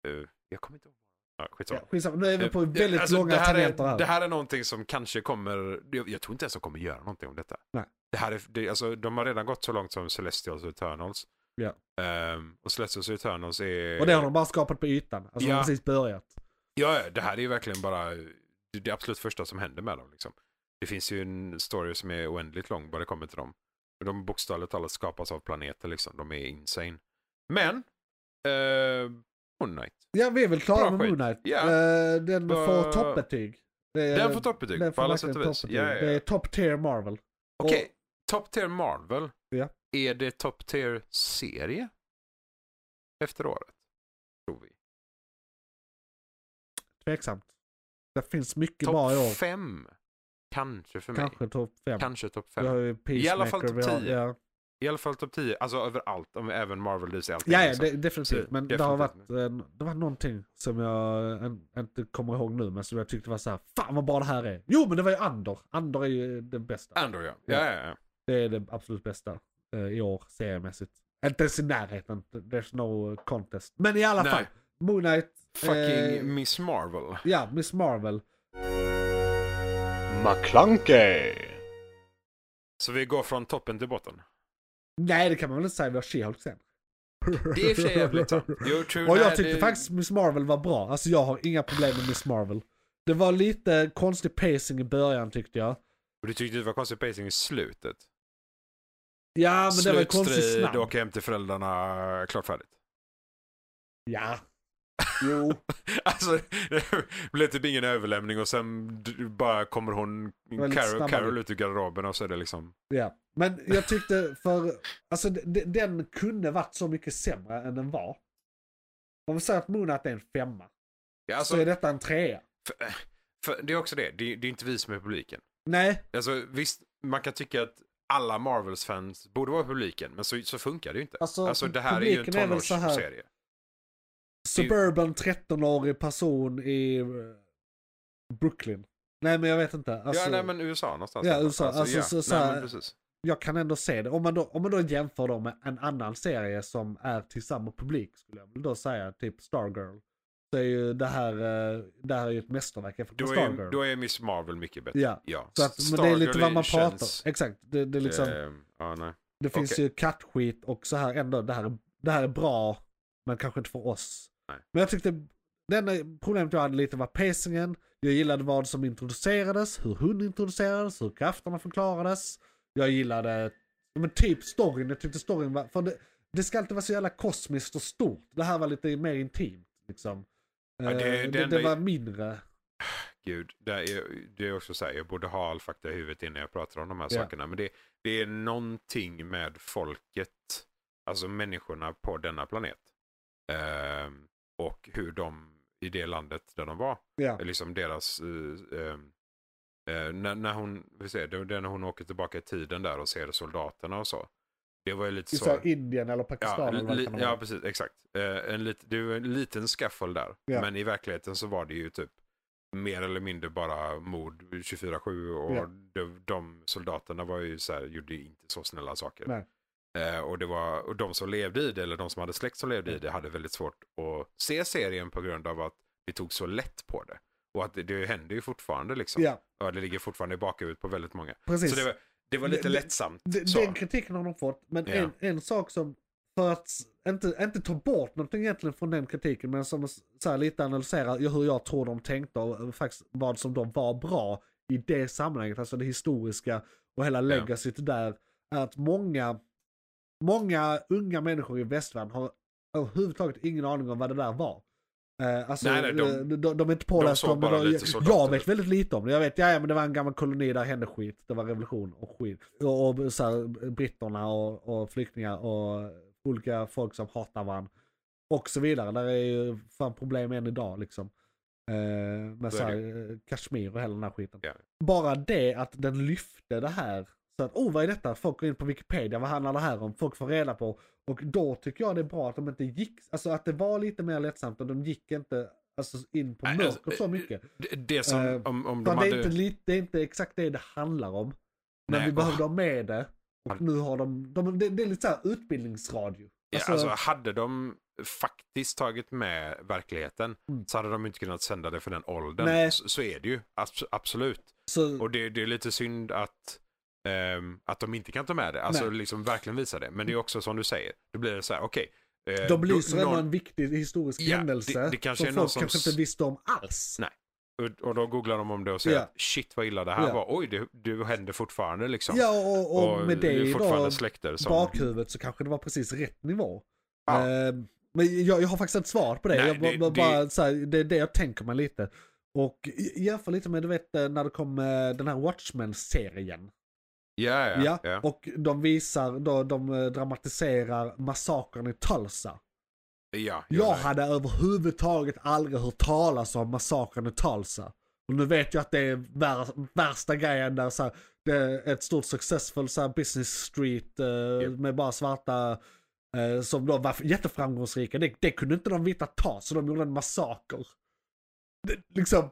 Speaker 4: eh, jag kommer inte ihåg. Ja, skitsamma.
Speaker 3: Ja, skitsamma, nu är vi på väldigt
Speaker 4: Alltså,
Speaker 3: långa
Speaker 4: det här
Speaker 3: tangenter
Speaker 4: är,
Speaker 3: här.
Speaker 4: Det här är någonting som kanske kommer, jag, jag tror inte ens de kommer göra någonting om detta.
Speaker 3: Nej.
Speaker 4: Det här är, det, alltså, de har redan gått så långt som Celestials och Eternals.
Speaker 3: Ja.
Speaker 4: Ehm, och Celestials och Eternals är...
Speaker 3: Och det har de bara skapat på ytan. Alltså de
Speaker 4: Ja.
Speaker 3: har precis börjat.
Speaker 4: Ja, ja, det här är ju verkligen bara det, det absolut första som händer med dem. Liksom. Det finns ju en story som är oändligt lång vad det kommer till dem. De bokstavligt talat skapas av planeter liksom. De är insane. Men, eh, Moon Knight.
Speaker 3: Ja, vi är väl klara
Speaker 4: Bra
Speaker 3: med
Speaker 4: skit.
Speaker 3: Moon Knight.
Speaker 4: Ja.
Speaker 3: Eh, den
Speaker 4: Bra.
Speaker 3: får toppbetyg. Det är-
Speaker 4: Den får toppbetyg
Speaker 3: den
Speaker 4: på
Speaker 3: får
Speaker 4: alla sätt
Speaker 3: verkligen
Speaker 4: och vis.
Speaker 3: toppbetyg.
Speaker 4: Ja, ja, ja.
Speaker 3: Det är top tier Marvel.
Speaker 4: Okej,
Speaker 3: Och-
Speaker 4: Top Tier Marvel.
Speaker 3: Ja.
Speaker 4: Är det Top Tier-serie? Efter året? Tror vi.
Speaker 3: Tveksamt. Det finns mycket bra i
Speaker 4: Topp
Speaker 3: år.
Speaker 4: 5? Kanske för mig.
Speaker 3: Kanske topp fem.
Speaker 4: Kanske topp
Speaker 3: Vi
Speaker 4: 5.
Speaker 3: har ju Peacemaker.
Speaker 4: I alla fall topp
Speaker 3: vi har-
Speaker 4: 10.
Speaker 3: Ja,
Speaker 4: I alla fall topp 10. Alltså överallt. Om även Marvel DC. allting,
Speaker 3: ja, ja
Speaker 4: liksom.
Speaker 3: det, definitivt.
Speaker 4: Så,
Speaker 3: Men det har
Speaker 4: definitivt.
Speaker 3: varit eh, det var någonting som jag eh, inte kommer ihåg nu, men som jag tyckte var så här: fan vad bra det här är. Jo, men det var ju Andor. Andor är ju det bästa.
Speaker 4: Andor ja. Ja, ja, ja.
Speaker 3: Det är det absolut bästa eh, i år seriemässigt. Inte ens i närheten. There's no contest. Men i alla
Speaker 4: Nej.
Speaker 3: fall. Moon Knight.
Speaker 4: Fucking
Speaker 3: eh,
Speaker 4: Miss Marvel.
Speaker 3: Ja, Miss Marvel.
Speaker 2: McClunkey.
Speaker 4: Så vi går från toppen till botten.
Speaker 3: Nej, det kan man väl inte säga. Vi har She-Hulk sen.
Speaker 4: Det är i och för sig
Speaker 3: *laughs*
Speaker 4: jävligt sant. Jo, true,
Speaker 3: Och jag
Speaker 4: nej,
Speaker 3: tyckte
Speaker 4: det-
Speaker 3: faktiskt Miss Marvel var bra. Alltså jag har inga problem med Miss Marvel. Det var lite konstig pacing i början tyckte jag.
Speaker 4: Och du tyckte det var konstig pacing i slutet.
Speaker 3: Ja, men det var konstigt
Speaker 4: Slutstrid,
Speaker 3: snabb.
Speaker 4: åka hem till föräldrarna, klart färdigt. *laughs*
Speaker 3: Ja. Jo.
Speaker 4: Alltså, det blir typ ingen överlämning och sen d- bara kommer hon,
Speaker 3: Väldigt
Speaker 4: Carol,
Speaker 3: snabbare.
Speaker 4: Carol ut ur garderoben och så är det liksom.
Speaker 3: Ja. Men jag tyckte för, alltså d- d- den kunde varit så mycket sämre än den var. Om vi säger att Moon Knight är en femma,
Speaker 4: Ja,
Speaker 3: så är
Speaker 4: alltså,
Speaker 3: detta en trea.
Speaker 4: för, för, det är också det, det, är- det är inte vi som är publiken.
Speaker 3: Nej,
Speaker 4: Alltså visst, man kan tycka att alla Marvels-fans borde vara publiken, men så, så funkar det ju inte.
Speaker 3: Alltså,
Speaker 4: Alltså, det här är ju en
Speaker 3: publiken är väl så här-
Speaker 4: tonårsserie.
Speaker 3: suburban 13-årig person i eh, Brooklyn. Nej men jag vet inte. Alltså,
Speaker 4: ja, nej men USA någonstans.
Speaker 3: Ja,
Speaker 4: Alltså,
Speaker 3: USA, alltså, så- så
Speaker 4: nej,
Speaker 3: här-
Speaker 4: men precis.
Speaker 3: Jag kan ändå se det. Om man, då, om man då jämför dem med en annan serie som är till samma publik skulle jag väl då säga, typ Stargirl. Så är ju det här, eh, det här är ju ett mästerverk jämfört med
Speaker 4: Då är,
Speaker 3: Stargirl.
Speaker 4: då är Miss Marvel mycket bättre.
Speaker 3: Ja.
Speaker 4: ja.
Speaker 3: Så att, men det är lite vad man pratar Exakt, det, det, är liksom,
Speaker 4: Ehm, ja, nej.
Speaker 3: det finns
Speaker 4: okej.
Speaker 3: ju kattskit och så här ändå, det här, är- det här är bra, men kanske inte för oss.
Speaker 4: Nej.
Speaker 3: Men jag tyckte, det enda problemet jag hade lite var pacingen, jag gillade vad som introducerades, hur hon introducerades, hur krafterna förklarades. Jag gillade, ja, men typ storyn, jag tyckte storyn var, för det, det ska inte vara så jävla kosmiskt och stort. Det här var lite mer intimt liksom.
Speaker 4: Ja, det-
Speaker 3: Eh,
Speaker 4: det
Speaker 3: det, det,
Speaker 4: enda-
Speaker 3: var mindre.
Speaker 4: Gud, det är, det är också så här, jag borde ha all fakta i huvudet innan jag pratar om de här
Speaker 3: Ja.
Speaker 4: sakerna. Men det, det är någonting med folket, alltså människorna på denna planet. Ehm, och hur de i det landet där de var,
Speaker 3: Ja.
Speaker 4: liksom deras... eh, ehm, eh, när, när hon, vi ser, det, det är när hon åker tillbaka i tiden där och ser soldaterna och så. Det var ju lite
Speaker 3: I
Speaker 4: så.
Speaker 3: så här Indien eller
Speaker 4: Ja,
Speaker 3: Pakistan eller vad det
Speaker 4: li,
Speaker 3: kan vara.
Speaker 4: ja precis, exakt. Eh, en lit, det var en liten scuffle där.
Speaker 3: Ja.
Speaker 4: Men i verkligheten så var det ju typ mer eller mindre bara mord 24-7 och
Speaker 3: Ja.
Speaker 4: de, de soldaterna var ju så här, gjorde ju inte så snälla saker.
Speaker 3: Nej.
Speaker 4: Eh, och, det var, och de som levde i det, eller de som hade släkt som levde i det, hade väldigt svårt att se serien på grund av att vi tog så lätt på det. Och att det, det händer ju fortfarande liksom.
Speaker 3: Ja,
Speaker 4: Och det ligger fortfarande i bakhuvudet på väldigt många.
Speaker 3: precis.
Speaker 4: Så det var, det var lite
Speaker 3: Det- det-
Speaker 4: lättsamt.
Speaker 3: D-
Speaker 4: så.
Speaker 3: Den kritiken har de fått, men
Speaker 4: Ja.
Speaker 3: en, en sak som, för att s- inte, inte ta bort någonting egentligen från den kritiken, men som s- så här, lite analysera hur jag tror de tänkte och eh, faktiskt vad som de var bra i det sammanhanget, alltså det historiska och hela legacyt där, är att många, många unga människor i västvärlden har överhuvudtaget ingen aning om vad det där var. Eh, alltså,
Speaker 4: Nej, nej, de-
Speaker 3: eh, de, de, de är inte pålästa
Speaker 4: såg
Speaker 3: om det.
Speaker 4: bara
Speaker 3: De,
Speaker 4: lite
Speaker 3: jag,
Speaker 4: soldater.
Speaker 3: jag vet väldigt lite om det. Jag vet, ja, ja men det var en gammal koloni där hände skit. Det var revolution och skit. Och, och så här, britterna och, och flyktingar och olika folk som hatar varandra. och så vidare. Där är ju fan problem än idag liksom. Eh, med
Speaker 4: Så
Speaker 3: så
Speaker 4: är
Speaker 3: här, eh, Kashmir och hela den här skiten.
Speaker 4: Ja.
Speaker 3: Bara det att den lyfte det här. Så att, oh vad är detta? Folk går in på Wikipedia, vad handlar det här om? Folk får reda på. Och då tycker jag det är bra att de inte gick, alltså att det var lite mer lättsamt och de gick inte alltså, in på
Speaker 4: Nej,
Speaker 3: mörkret
Speaker 4: alltså,
Speaker 3: så mycket.
Speaker 4: Det, det som,
Speaker 3: Eh,
Speaker 4: om, om de
Speaker 3: Utan det, är
Speaker 4: hade...
Speaker 3: inte, li- det är inte exakt det det handlar om. Men
Speaker 4: Nej,
Speaker 3: vi
Speaker 4: och-
Speaker 3: behövde ha med det. Och
Speaker 4: Han-
Speaker 3: nu har de, de det, det är lite såhär utbildningsradio.
Speaker 4: Ja, alltså, hade de faktiskt tagit med verkligheten
Speaker 3: Mm.
Speaker 4: så hade de inte kunnat sända det för den åldern.
Speaker 3: Nej. Mm.
Speaker 4: Så, så är det ju, Abs- absolut.
Speaker 3: så,
Speaker 4: Och det, det är lite synd att, ehm, att de inte kan ta med det. Alltså
Speaker 3: Nej. Mm.
Speaker 4: liksom verkligen visa det. Men det är också som du säger, då blir det så här, okej. eh,
Speaker 3: de belyser
Speaker 4: då-
Speaker 3: ändå
Speaker 4: någon-
Speaker 3: en viktig historisk
Speaker 4: Ja, det-
Speaker 3: händelse
Speaker 4: det kanske
Speaker 3: som
Speaker 4: är någon
Speaker 3: folk
Speaker 4: som
Speaker 3: kanske
Speaker 4: s-
Speaker 3: inte visste om alls.
Speaker 4: Nej. och- Och då googlar de om det och säger
Speaker 3: Ja.
Speaker 4: att shit vad illa det här
Speaker 3: Ja.
Speaker 4: var. Oj, det, det händer fortfarande liksom.
Speaker 3: Ja, och, och, med det
Speaker 4: är
Speaker 3: i
Speaker 4: fortfarande
Speaker 3: då
Speaker 4: släkter som...
Speaker 3: bakhuvudet så kanske det var precis rätt nivå.
Speaker 4: Ja.
Speaker 3: Eh, men jag, jag har faktiskt inte svar på det.
Speaker 4: Nej,
Speaker 3: jag,
Speaker 4: det-
Speaker 3: bara,
Speaker 4: det-
Speaker 3: bara, så här, det är det jag tänker mig lite. Och j- jämför lite med, du vet, eh, när det kom eh, den här Watchmen-serien.
Speaker 4: Ja, ja,
Speaker 3: Ja,
Speaker 4: ja.
Speaker 3: och de visar, då, de eh, dramatiserar massakern i Tulsa.
Speaker 4: ja,
Speaker 3: Jag
Speaker 4: ja.
Speaker 3: hade överhuvudtaget aldrig hört talas om massakern i Tulsa. Och nu vet jag att det är vär, värsta grejen där så här, det är ett stort successful så här, business street eh,
Speaker 4: Japp.
Speaker 3: med bara svarta eh, som då var jätteframgångsrika. Det, det kunde inte de vita ta så de gjorde en massaker. Det, liksom,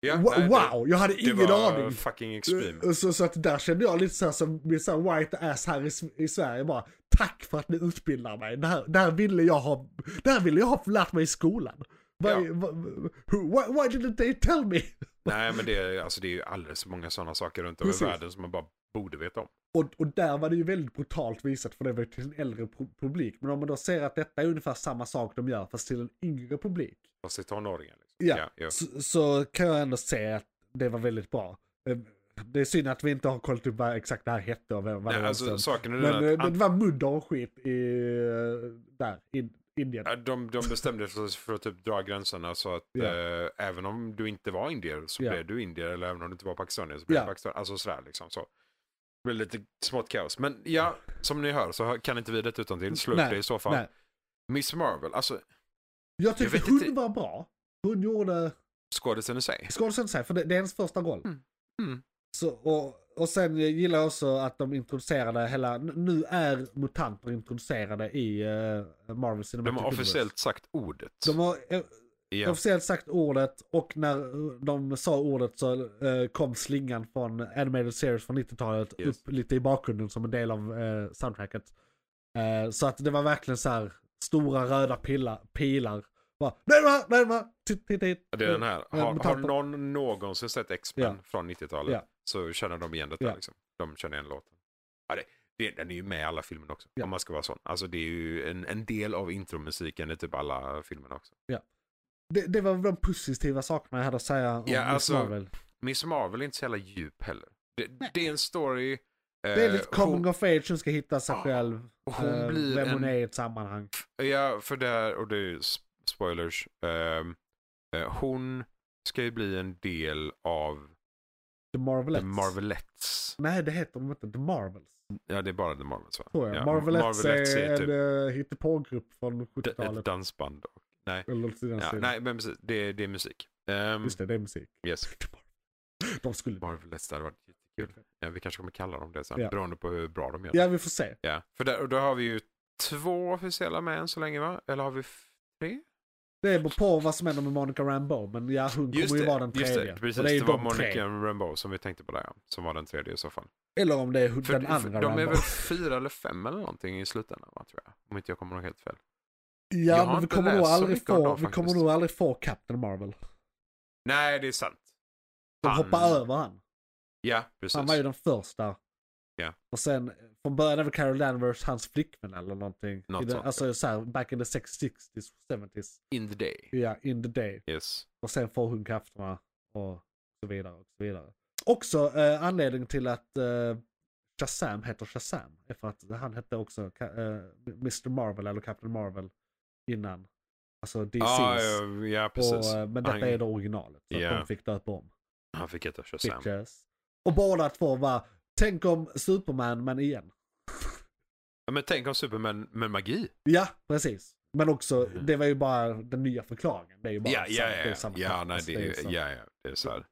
Speaker 4: ja,
Speaker 3: wa-
Speaker 4: nej, det-
Speaker 3: wow, jag hade
Speaker 4: Det
Speaker 3: ingen
Speaker 4: var
Speaker 3: aning.
Speaker 4: fucking extreme.
Speaker 3: Eh, Så, så att där kände jag lite så här som min så här white ass här i, S- i Sverige bara. Tack för att ni utbildar mig. Det här, det här ville jag ha, det här ville jag ha lärt mig i skolan. Why,
Speaker 4: Ja.
Speaker 3: why, why didn't they tell me?
Speaker 4: Nej, men det är, alltså, det är ju alldeles för många sådana saker runt om i
Speaker 3: Precis.
Speaker 4: världen som man bara borde veta om.
Speaker 3: Och, och där var det ju väldigt brutalt visat för det var ju till en äldre pro- publik. Men om man då ser att detta är ungefär samma sak de gör fast till en yngre publik.
Speaker 4: Fast det är tonåringar. Liksom.
Speaker 3: Ja,
Speaker 4: ja.
Speaker 3: Så, så kan jag ändå säga att det var väldigt bra. Eh, Det är synd att vi inte har kollat upp vad exakt det här hette och vad vad det
Speaker 4: Nej,
Speaker 3: var
Speaker 4: alltså,
Speaker 3: för-
Speaker 4: saken är
Speaker 3: Men
Speaker 4: den
Speaker 3: eh,
Speaker 4: att
Speaker 3: det var mudder och skit i, eh, där, i Indien.
Speaker 4: Ja, De, de bestämde sig för att typ dra gränserna så att
Speaker 3: Ja.
Speaker 4: eh, även om du inte var indier så
Speaker 3: Ja.
Speaker 4: blev du indier eller även om du inte var pakistanier så blev
Speaker 3: Ja.
Speaker 4: du pakistanier. Alltså sådär liksom. Så. Det blev lite smått kaos. Men ja, som ni hör så kan inte vi det utan till. Slå upp
Speaker 3: Nej,
Speaker 4: det i så fall.
Speaker 3: Nej.
Speaker 4: Miss Marvel, alltså
Speaker 3: Jag tyckte
Speaker 4: Jag vet
Speaker 3: hon
Speaker 4: inte-
Speaker 3: var bra. Hon gjorde
Speaker 4: skådisen i sig.
Speaker 3: skådisen sig, för det, det är hennes första roll.
Speaker 4: Mm. Mm.
Speaker 3: Så, och, och sen gillar jag också att de introducerade hela, n- nu är mutanter introducerade i eh, Marvel
Speaker 4: De
Speaker 3: Cinematic
Speaker 4: har officiellt
Speaker 3: Universe.
Speaker 4: sagt ordet.
Speaker 3: De har eh,
Speaker 4: igen.
Speaker 3: officiellt sagt ordet och när eh, de sa ordet så eh, kom slingan från Animated Series från 90-talet
Speaker 4: Yes.
Speaker 3: upp lite i bakgrunden som en del av eh, soundtracket. Eh, så att det var verkligen så här stora röda pilla, pilar. Bara, nej, nej, nej, nej, titt, titt, titt.
Speaker 4: Det är den här.
Speaker 3: Eh,
Speaker 4: Har, har
Speaker 3: mutanter.
Speaker 4: någon någonsin sett X-Men
Speaker 3: Ja.
Speaker 4: från 90-talet
Speaker 3: Ja.
Speaker 4: så känner de igen detta.
Speaker 3: Ja.
Speaker 4: Liksom. De känner igen låten. Ja, det, det, den är ju med i alla filmer också,
Speaker 3: Ja.
Speaker 4: om man ska vara sån. Alltså det är ju en, en del av intromusiken i typ alla filmer också.
Speaker 3: Det, det var de positiva sakerna jag hade att säga om
Speaker 4: Ja,
Speaker 3: Miss
Speaker 4: alltså,
Speaker 3: Marvel.
Speaker 4: Miss Marvel är inte så jävla djup heller. Det, det är en story. eh,
Speaker 3: Det är lite coming
Speaker 4: hon,
Speaker 3: of age, hon ska hitta sig
Speaker 4: Ja,
Speaker 3: själv.
Speaker 4: hon
Speaker 3: eh,
Speaker 4: blir
Speaker 3: vem
Speaker 4: en...
Speaker 3: hon är i ett sammanhang.
Speaker 4: Ja, för det här, och det är ju s- spoilers. ehm, eh, hon ska ju bli en del av
Speaker 3: The Marvelettes.
Speaker 4: The Marvelettes.
Speaker 3: Nej, det heter de inte. The Marvels.
Speaker 4: Ja, det är bara The Marvels va?
Speaker 3: Tror jag.
Speaker 4: Ja,
Speaker 3: Marvelettes,
Speaker 4: Marvelettes
Speaker 3: är,
Speaker 4: är typ-
Speaker 3: en uh, hittepågrupp från
Speaker 4: D- ett
Speaker 3: 70-talet.
Speaker 4: dansband. Och, nej.
Speaker 3: Eller något i den
Speaker 4: Ja,
Speaker 3: stilen.
Speaker 4: nej, men precis. Det, det är musik. Um,
Speaker 3: Just det, det är musik.
Speaker 4: yes.
Speaker 3: De skulle...
Speaker 4: Marvelets, det hade varit jättekul. Ja, vi kanske kommer kalla dem det sen,
Speaker 3: Ja.
Speaker 4: beroende på hur bra de gör.
Speaker 3: Ja, vi får se.
Speaker 4: Ja. För där, och då har vi ju två officiella med än så länge, va? Eller har vi f- tre?
Speaker 3: Det beror på vad som händer med Monica Rambeau, men ja, hon kommer ju vara den
Speaker 4: just
Speaker 3: tredje.
Speaker 4: det. Precis,
Speaker 3: Och
Speaker 4: det,
Speaker 3: är ju
Speaker 4: var
Speaker 3: de tre.
Speaker 4: Monica Rambeau som vi tänkte på där, ja. Som var den tredje i så fall.
Speaker 3: Eller om det är
Speaker 4: För,
Speaker 3: den andra
Speaker 4: för, de
Speaker 3: Rambeau.
Speaker 4: är väl fyra eller fem eller någonting i slutändan, va, tror jag. Om inte jag kommer ihåg helt fel. Jag
Speaker 3: Ja,
Speaker 4: har
Speaker 3: men vi
Speaker 4: inte
Speaker 3: kommer, nog
Speaker 4: läst så
Speaker 3: aldrig
Speaker 4: mycket om
Speaker 3: få,
Speaker 4: dem
Speaker 3: vi kommer
Speaker 4: faktiskt.
Speaker 3: nog aldrig få Captain Marvel.
Speaker 4: Nej, det är sant.
Speaker 3: De
Speaker 4: Han-
Speaker 3: hoppar över han.
Speaker 4: Ja, precis.
Speaker 3: Han var ju den första.
Speaker 4: Ja.
Speaker 3: Och sen från början är väl Carol Danvers hans flickvän eller någonting.
Speaker 4: Något
Speaker 3: I det,
Speaker 4: sånt,
Speaker 3: alltså så här, back in the 60s, 70s.
Speaker 4: In the day.
Speaker 3: Ja, in the day.
Speaker 4: Yes.
Speaker 3: Och sen får hon krafterna och så vidare. och så vidare. Också eh, anledningen till att eh, Shazam heter Shazam är för att han hette också Ka- eh, Mr. Marvel eller Captain Marvel innan. Alltså DC's.
Speaker 4: Ah, ja, ja, precis.
Speaker 3: och, eh, men detta
Speaker 4: Han-
Speaker 3: är det originalet. Så
Speaker 4: Ja.
Speaker 3: att de fick döpa om.
Speaker 4: Han fick heta Shazam.
Speaker 3: Bitches. Och båda två var, tänk om Superman men igen.
Speaker 4: Ja, men tänk om Superman med magi.
Speaker 3: Ja, precis. Men också, det var ju bara den nya förklaringen. Det är ju bara
Speaker 4: Mm. Ja, ja,
Speaker 3: samma- det är
Speaker 4: ja.
Speaker 3: samma
Speaker 4: Ja,
Speaker 3: pappas,
Speaker 4: nej, det är, ju-
Speaker 3: så.
Speaker 4: ja, ja, det är så här.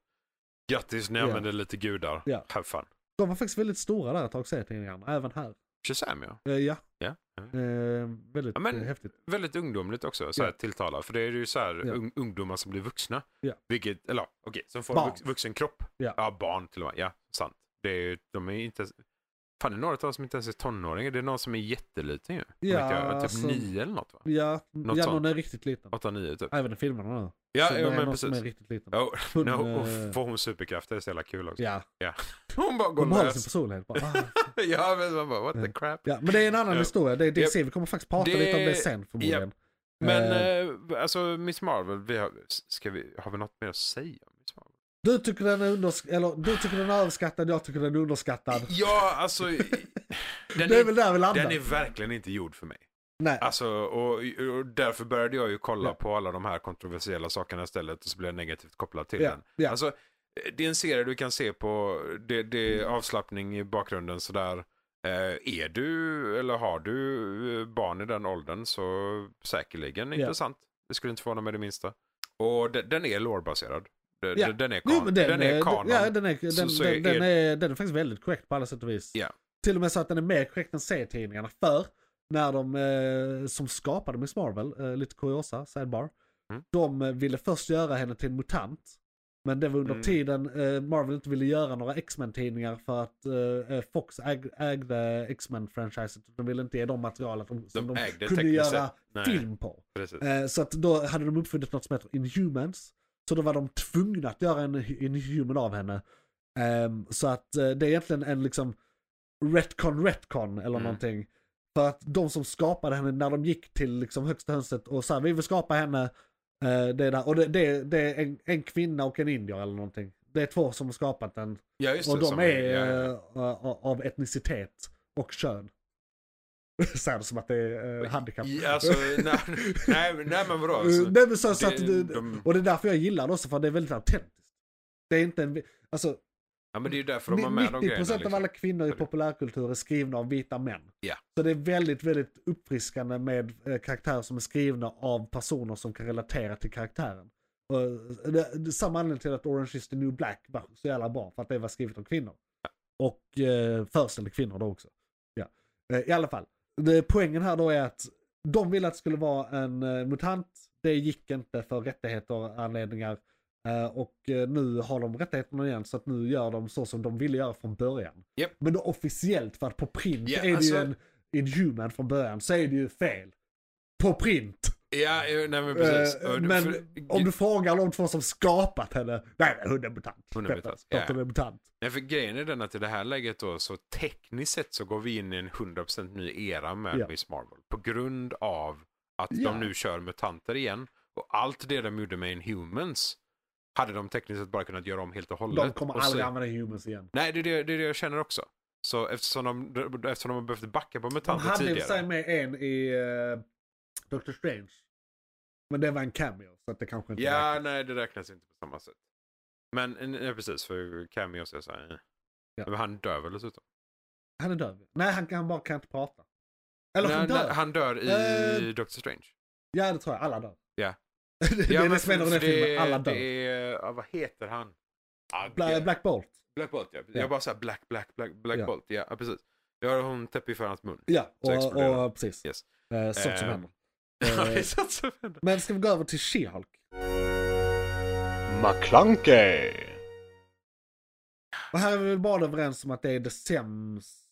Speaker 4: Grattis, ni
Speaker 3: Ja.
Speaker 4: använder lite gudar.
Speaker 3: Ja.
Speaker 4: Have fun.
Speaker 3: De var faktiskt väldigt stora där ett tag sedan, tidningarna, även här.
Speaker 4: Shazam, ja.
Speaker 3: Eh, ja.
Speaker 4: Ja.
Speaker 3: Eh, väldigt
Speaker 4: Ja, men-
Speaker 3: eh, häftigt.
Speaker 4: Väldigt ungdomligt också, så här
Speaker 3: Ja.
Speaker 4: tilltala. För det är ju så här
Speaker 3: Ja.
Speaker 4: ung, ungdomar som blir vuxna.
Speaker 3: Ja.
Speaker 4: Vilket, eller ja, okej, som får
Speaker 3: Barn.
Speaker 4: vux, vuxen kropp.
Speaker 3: Ja.
Speaker 4: barn till och med. Ja, sant. Det är, ju- de är ju inte ens, Fan, det är några av dem som inte ens är tonåringar. Det är någon som är jätteliten ju. Om
Speaker 3: Ja,
Speaker 4: inte jag- typ
Speaker 3: alltså-
Speaker 4: nio eller något va?
Speaker 3: Ja,
Speaker 4: Något
Speaker 3: ja
Speaker 4: sånt.
Speaker 3: någon är riktigt liten.
Speaker 4: åtta nio typ.
Speaker 3: Även i filmerna nu.
Speaker 4: Ja,
Speaker 3: Så det
Speaker 4: ja
Speaker 3: är
Speaker 4: men
Speaker 3: någon som
Speaker 4: precis.
Speaker 3: Är riktigt liten.
Speaker 4: Oh,
Speaker 3: Hon,
Speaker 4: no, och
Speaker 3: eh,
Speaker 4: får *laughs* hon superkrafter det är så jävla kul också.
Speaker 3: Ja,
Speaker 4: Hon bara går
Speaker 3: de har sin
Speaker 4: lös. *laughs*
Speaker 3: personlighet. Bara, ah.
Speaker 4: ja, men man bara what the
Speaker 3: Ja.
Speaker 4: crap.
Speaker 3: ja, men det är en annan
Speaker 4: Ja.
Speaker 3: historia. Det är DC. Vi kommer faktiskt prata
Speaker 4: Det-
Speaker 3: lite om det sen förmodligen.
Speaker 4: Men
Speaker 3: Eh,
Speaker 4: eh, alltså Miss Marvel, vi har, ska vi, har vi något mer att säga om Miss Marvel?
Speaker 3: du, tycker den är undersk- eller, du tycker den är överskattad, jag tycker den är underskattad.
Speaker 4: Ja, alltså
Speaker 3: *laughs*
Speaker 4: i- den,
Speaker 3: det är
Speaker 4: är,
Speaker 3: väl där vi landar.
Speaker 4: den är verkligen inte gjord för mig.
Speaker 3: Nej.
Speaker 4: Alltså, och, och därför började jag ju kolla
Speaker 3: Ja.
Speaker 4: på alla de här kontroversiella sakerna istället och så blev jag negativt kopplad till
Speaker 3: ja,
Speaker 4: den.
Speaker 3: ja.
Speaker 4: Alltså, eh, det är en serie du kan se på, det, det är avslappning i bakgrunden sådär. Eh, är du eller har du eh, barn i den åldern så säkerligen
Speaker 3: Ja.
Speaker 4: intressant. Det skulle inte förvåna mig det minsta. Och de, den är lårbaserad. De,
Speaker 3: Ja.
Speaker 4: de, den är
Speaker 3: Jo,
Speaker 4: kanon.
Speaker 3: men eh,
Speaker 4: Den, är kanon.
Speaker 3: Ja, den är, den,
Speaker 4: Så- så
Speaker 3: den,
Speaker 4: är-
Speaker 3: den, är, den är faktiskt väldigt korrekt på alla sätt och vis.
Speaker 4: Ja.
Speaker 3: Till och med så att den är mer korrekt än serietidningarna. För när de eh, som skapade Miss Marvel, eh, lite kuriosa, sidebar,
Speaker 4: Mm.
Speaker 3: de eh, ville först göra henne till en mutant. Men det var under
Speaker 4: Mm.
Speaker 3: tiden eh, Marvel inte ville göra några X-Men-tidningar för att eh, eh, Fox äg, ägde X-Men-franchiset. De ville inte ge dem material att de, som
Speaker 4: De
Speaker 3: de,
Speaker 4: ägde
Speaker 3: kunde
Speaker 4: tekniskt
Speaker 3: göra
Speaker 4: sett. Nej.
Speaker 3: film på.
Speaker 4: Precis.
Speaker 3: Eh, Så att då hade de uppfunnit något som heter Inhumans. Så då var de tvungna att göra en Inhuman av henne. Ehm, Så att eh, det är egentligen en liksom retcon retcon eller
Speaker 4: Mm.
Speaker 3: någonting. För att de som skapade henne när de gick till liksom högsta hönset och sa vi vill skapa henne. eh, Det är där. Och det, det, det är en, en kvinna och en indier eller någonting. Det är två som har skapat den.
Speaker 4: Ja, just
Speaker 3: Och
Speaker 4: det, som
Speaker 3: de är
Speaker 4: ja, ja, ja.
Speaker 3: eh, a- av etnicitet och kön. *laughs* Säger det som att det är eh, handikapp.
Speaker 4: Ja,
Speaker 3: *laughs*
Speaker 4: alltså, nej, nej, men- nej, men vadå?
Speaker 3: Eh,
Speaker 4: Alltså,
Speaker 3: Nej men så, så
Speaker 4: det-
Speaker 3: att, det-
Speaker 4: de-
Speaker 3: och det är därför jag gillar det också, för det är väldigt autentiskt. Det är inte en, vi- alltså,
Speaker 4: ja, men det är ju därför de har med de
Speaker 3: 90%
Speaker 4: grejerna. liksom.
Speaker 3: av alla kvinnor i
Speaker 4: Eller-
Speaker 3: populärkultur är skrivna av vita män.
Speaker 4: Ja.
Speaker 3: Så det är väldigt, väldigt uppfriskande med eh, karaktärer som är skrivna av personer som kan relatera till karaktären. Och eh, det, det är samma anledning till att Orange is the new black var så jävla bra, för att det var skrivet av kvinnor. Och eh, föreställde kvinnor då också. Ja. Eh, I alla fall, det, poängen här då är att de ville att det skulle vara en eh, mutant. Det gick inte för rättigheter, anledningar. Eh, och eh, nu har de rättigheterna igen så att nu gör de så som de ville göra från början.
Speaker 4: Japp.
Speaker 3: Men då officiellt för att på print
Speaker 4: Ja,
Speaker 3: är det
Speaker 4: alltså-
Speaker 3: ju en inhuman från början så är det ju fel. På print!
Speaker 4: Ja, eh, nej men precis.
Speaker 3: Eh,
Speaker 4: Och-
Speaker 3: men
Speaker 4: för-
Speaker 3: om du frågar de två som skapat henne, nej nej, hon är mutant.
Speaker 4: Hon är mutant,
Speaker 3: Klart
Speaker 4: ja.
Speaker 3: hon är mutant.
Speaker 4: Nej, för grejen är den att i det här läget då, så tekniskt sett så går vi in i en 100% ny era med
Speaker 3: Ja.
Speaker 4: Miss Marvel. På grund av att
Speaker 3: Ja.
Speaker 4: de nu kör mutanter igen. Och allt det de gjorde med Inhumans hade de tekniskt sett bara kunnat göra om helt och hållet.
Speaker 3: De kommer
Speaker 4: Och så-
Speaker 3: aldrig använda humans igen.
Speaker 4: Nej, det är det, det är det jag känner också. Så eftersom de, eftersom de har behövt backa på
Speaker 3: De
Speaker 4: mutanter
Speaker 3: hade i och för
Speaker 4: tidigare.
Speaker 3: sig med en i eh, Doctor Strange. Men det var en cameo, så att det kanske inte
Speaker 4: Ja,
Speaker 3: räknas.
Speaker 4: nej det räknas inte på samma sätt. Men eh, nej, precis, för cameos är så här. eh.
Speaker 3: Ja.
Speaker 4: Men han dör väl dessutom?
Speaker 3: Han är död. Nej, han, han bara kan inte prata. Eller
Speaker 4: nej,
Speaker 3: han dör. Eh.
Speaker 4: Nej, han dör i Doctor Strange.
Speaker 3: Ja, det tror jag. Alla dör.
Speaker 4: Ja.
Speaker 3: *laughs* det är det som händer i
Speaker 4: för
Speaker 3: den filmen. Alla dör.
Speaker 4: Det är, ja, vad heter han? Ah,
Speaker 3: Bla,
Speaker 4: ja,
Speaker 3: Black Bolt.
Speaker 4: Black Bolt ja.
Speaker 3: Ja.
Speaker 4: Jag bara sa Black, Black, Black, Black
Speaker 3: Ja.
Speaker 4: Bolt. Ja, ja, precis. Jag har hon täpper för hans mun.
Speaker 3: Ja,
Speaker 4: Så
Speaker 3: och,
Speaker 4: exploderar
Speaker 3: och,
Speaker 4: han.
Speaker 3: precis.
Speaker 4: Yes.
Speaker 3: Eh, sånt som
Speaker 4: Eh,
Speaker 3: händer.
Speaker 4: *laughs* Ja,
Speaker 3: Eh,
Speaker 4: det är så att-
Speaker 3: Men ska vi gå över till She-Hulk?
Speaker 2: McClunkey!
Speaker 3: Och här är vi väl bara överens om att det är det sämsta.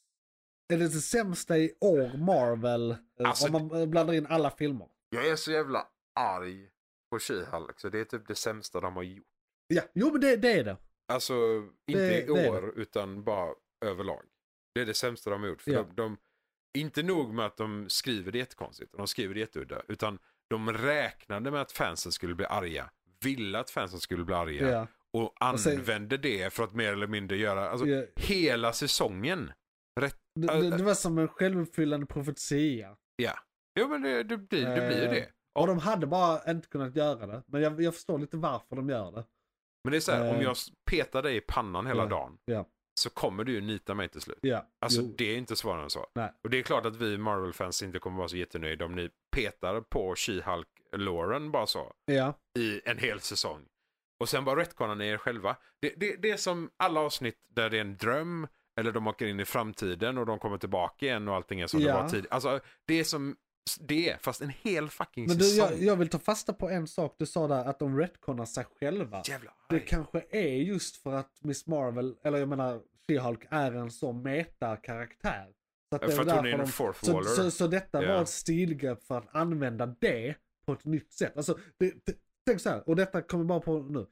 Speaker 3: Är det det sämsta i år Marvel? eh,
Speaker 4: Alltså-
Speaker 3: om man eh, blandar in alla filmer.
Speaker 4: Jag är så jävla arg på She-Hulk så det är typ det sämsta de har gjort.
Speaker 3: Ja, jo men det, det är det.
Speaker 4: Alltså inte
Speaker 3: Det-
Speaker 4: i
Speaker 3: det är
Speaker 4: år utan bara överlag. Det är det sämsta de har gjort. För
Speaker 3: Ja.
Speaker 4: de, de, inte nog med att de skriver det jättekonstigt och de skriver det jätteudda utan de räknade med att fansen skulle bli arga. Ville att fansen skulle bli arga.
Speaker 3: Ja.
Speaker 4: och
Speaker 3: Och sen-
Speaker 4: använde det för att mer eller mindre göra, alltså
Speaker 3: Ja.
Speaker 4: hela säsongen.
Speaker 3: Det,
Speaker 4: Äh,
Speaker 3: det, det var som en självuppfyllande profetia.
Speaker 4: Ja, ja men det, det, blir, det blir ju
Speaker 3: Eh,
Speaker 4: det.
Speaker 3: Och de hade bara inte kunnat göra det. Men jag, jag förstår lite varför de gör det.
Speaker 4: Men det är så här, om
Speaker 3: eh,
Speaker 4: jag s- petar dig i pannan hela
Speaker 3: ja,
Speaker 4: dagen
Speaker 3: ja.
Speaker 4: så kommer du ju nita mig till slut.
Speaker 3: Ja.
Speaker 4: Alltså
Speaker 3: jo.
Speaker 4: det är inte svårare än så.
Speaker 3: Nej.
Speaker 4: Och det är klart att vi Marvel-fans inte kommer vara så jättenöjda om ni petar på She-Hulk-Lauren bara så
Speaker 3: Ja.
Speaker 4: i en hel säsong. Och sen bara retconar ni er själva. Det, det, det är som alla avsnitt där det är en dröm eller de åker in i framtiden och de kommer tillbaka igen och allting är som
Speaker 3: Ja.
Speaker 4: det var tidigare. Alltså det är som det, fast en hel fucking
Speaker 3: Men du,
Speaker 4: säsong.
Speaker 3: jag, jag vill ta fasta på en sak du sa där, att de retconar sig själva.
Speaker 4: Jävlar.
Speaker 3: Det kanske är just för att Miss Marvel, eller jag menar She-Hulk, är en sån meta-karaktär. Så att
Speaker 4: Ja,
Speaker 3: det
Speaker 4: för
Speaker 3: var
Speaker 4: att hon
Speaker 3: därför
Speaker 4: är en
Speaker 3: de-
Speaker 4: fourth
Speaker 3: så,
Speaker 4: waller.
Speaker 3: så, så detta
Speaker 4: Ja.
Speaker 3: var ett stilgrepp för att använda det på ett nytt sätt. Alltså, det, det, tänk så här, och detta kommer bara på nu.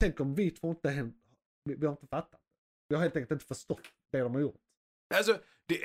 Speaker 3: Tänk om vi två inte hänt, vi, vi har inte fattat. Vi har helt enkelt inte förstått det de har gjort.
Speaker 4: Alltså, det...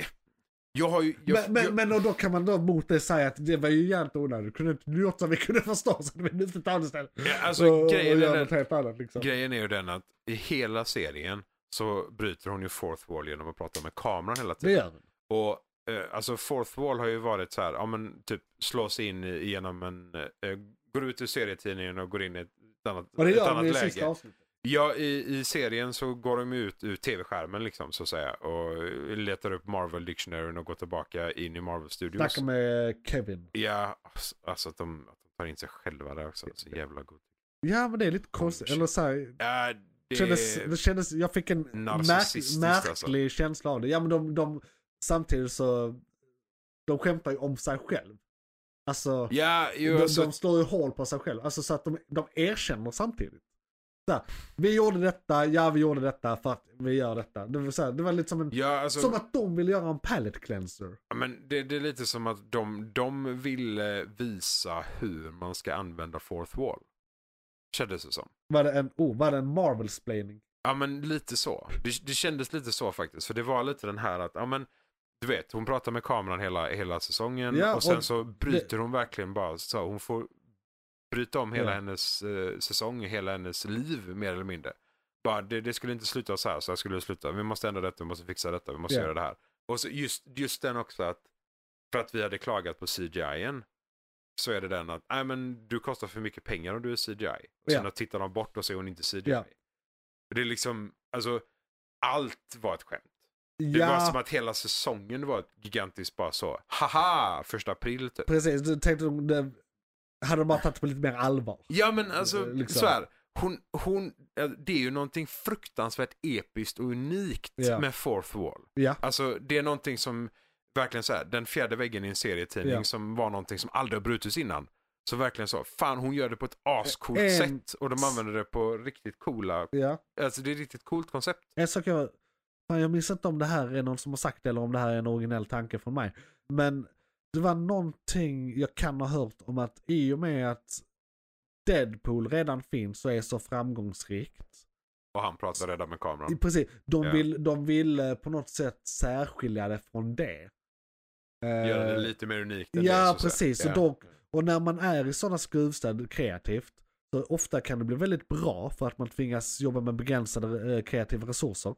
Speaker 4: Jag har ju... Jag,
Speaker 3: men men,
Speaker 4: jag,
Speaker 3: men och då kan man då mot det säga att det var ju jävligt onödigt. Kunde inte du gjort så vi kunde förstå så hade vi inte tagit det istället.
Speaker 4: Ja, alltså,
Speaker 3: Och- och
Speaker 4: grejen är
Speaker 3: göra
Speaker 4: den-
Speaker 3: något helt annat liksom.
Speaker 4: Grejen är ju den att i hela serien så bryter hon ju fourth wall genom att prata med kameran hela
Speaker 3: Det
Speaker 4: tiden.
Speaker 3: gör den.
Speaker 4: Och eh, alltså fourth wall har ju varit så här, ja men typ slå sig in i- genom en, eh, går ut ur serietidningen och går in i ett annat,
Speaker 3: Och det
Speaker 4: ett
Speaker 3: gör
Speaker 4: annat
Speaker 3: den i
Speaker 4: läge.
Speaker 3: sista avsnittet.
Speaker 4: Ja, i, i serien så går de ut ur tv-skärmen liksom så att säga och letar upp Marvel Dictionary och går tillbaka in i Marvel Studios.
Speaker 3: Snacka med Kevin.
Speaker 4: Ja, alltså- alltså att de, att de tar in sig själva där också. Så jävla gott.
Speaker 3: Ja men det är lite konstigt. Eller så här,
Speaker 4: Ja, Oh, det...
Speaker 3: kändes, det kändes, jag fick en märk,
Speaker 4: narcissistiskt,
Speaker 3: märklig
Speaker 4: alltså.
Speaker 3: känsla av det. Ja men de, de, samtidigt så, de skämtar ju om sig själv. Alltså,
Speaker 4: Ja, ju,
Speaker 3: de,
Speaker 4: alltså,
Speaker 3: de slår ju hål på sig själv. Alltså så att de, de erkänner samtidigt. Så här, vi gjorde detta, ja vi gjorde detta för att vi gör detta. Det var, så här, det var lite som en,
Speaker 4: ja, alltså
Speaker 3: som att de ville göra en palette cleanser.
Speaker 4: ja, men det, det är lite som att de, de ville visa hur man ska använda fourth wall. Kändes det som.
Speaker 3: Var det en, oh, var det en Marvel-splaining?
Speaker 4: Ja, men lite så. Det, det kändes lite så faktiskt. För det var lite den här att, ja men, du vet, hon pratar med kameran hela, hela säsongen
Speaker 3: Ja,
Speaker 4: och sen
Speaker 3: och
Speaker 4: så bryter hon verkligen bara så. Hon får bryta om hela
Speaker 3: Ja.
Speaker 4: hennes eh, säsong, hela hennes liv mer eller mindre. Bara, det, det skulle inte sluta så här, så här skulle det sluta. Vi måste ändra detta, vi måste fixa detta, vi måste
Speaker 3: Ja.
Speaker 4: göra det här. Och så just, just den också att, för att vi hade klagat på CGI-en, så är det den att, nej men du kostar för mycket pengar om du är CGI. Och sen
Speaker 3: Ja.
Speaker 4: att tittar de bort och ser hon inte CGI.
Speaker 3: Ja.
Speaker 4: Det är liksom, alltså, allt var ett skämt. Det var
Speaker 3: Ja,
Speaker 4: som att hela säsongen var ett gigantiskt bara så, haha, första april typ.
Speaker 3: precis. Du tänkte de, det, hade de bara tagit på lite mer allvar.
Speaker 4: Ja men alltså,
Speaker 3: Eh, liksom.
Speaker 4: så här. Hon, hon, eh, det är ju någonting fruktansvärt episkt och unikt
Speaker 3: Ja.
Speaker 4: med Fourth Wall.
Speaker 3: Ja.
Speaker 4: Alltså det är någonting som, verkligen så här, den fjärde väggen i en serietidning
Speaker 3: Ja.
Speaker 4: som var någonting som aldrig har brutits innan. Så verkligen så, fan hon gör det på ett ascoolt
Speaker 3: En-
Speaker 4: sätt och de använder det på riktigt coola,
Speaker 3: Ja.
Speaker 4: alltså det är ett riktigt coolt koncept.
Speaker 3: En sak jag, fan jag minns inte om det här är någon som har sagt det eller om det här är en originell tanke från mig. Men det var någonting jag kan ha hört om att i och med att Deadpool redan finns och är så framgångsrikt.
Speaker 4: Och han pratar redan med kameran.
Speaker 3: I- Precis, de,
Speaker 4: Ja.
Speaker 3: vill, de vill eh, på något sätt särskilja det från det.
Speaker 4: Gör det
Speaker 3: Eh,
Speaker 4: lite mer unikt. än det,
Speaker 3: Ja,
Speaker 4: så att
Speaker 3: precis.
Speaker 4: säga.
Speaker 3: Och, dock, och när man är i sådana skruvstäd kreativt, så ofta kan det bli väldigt bra för att man tvingas jobba med begränsade eh, kreativa resurser.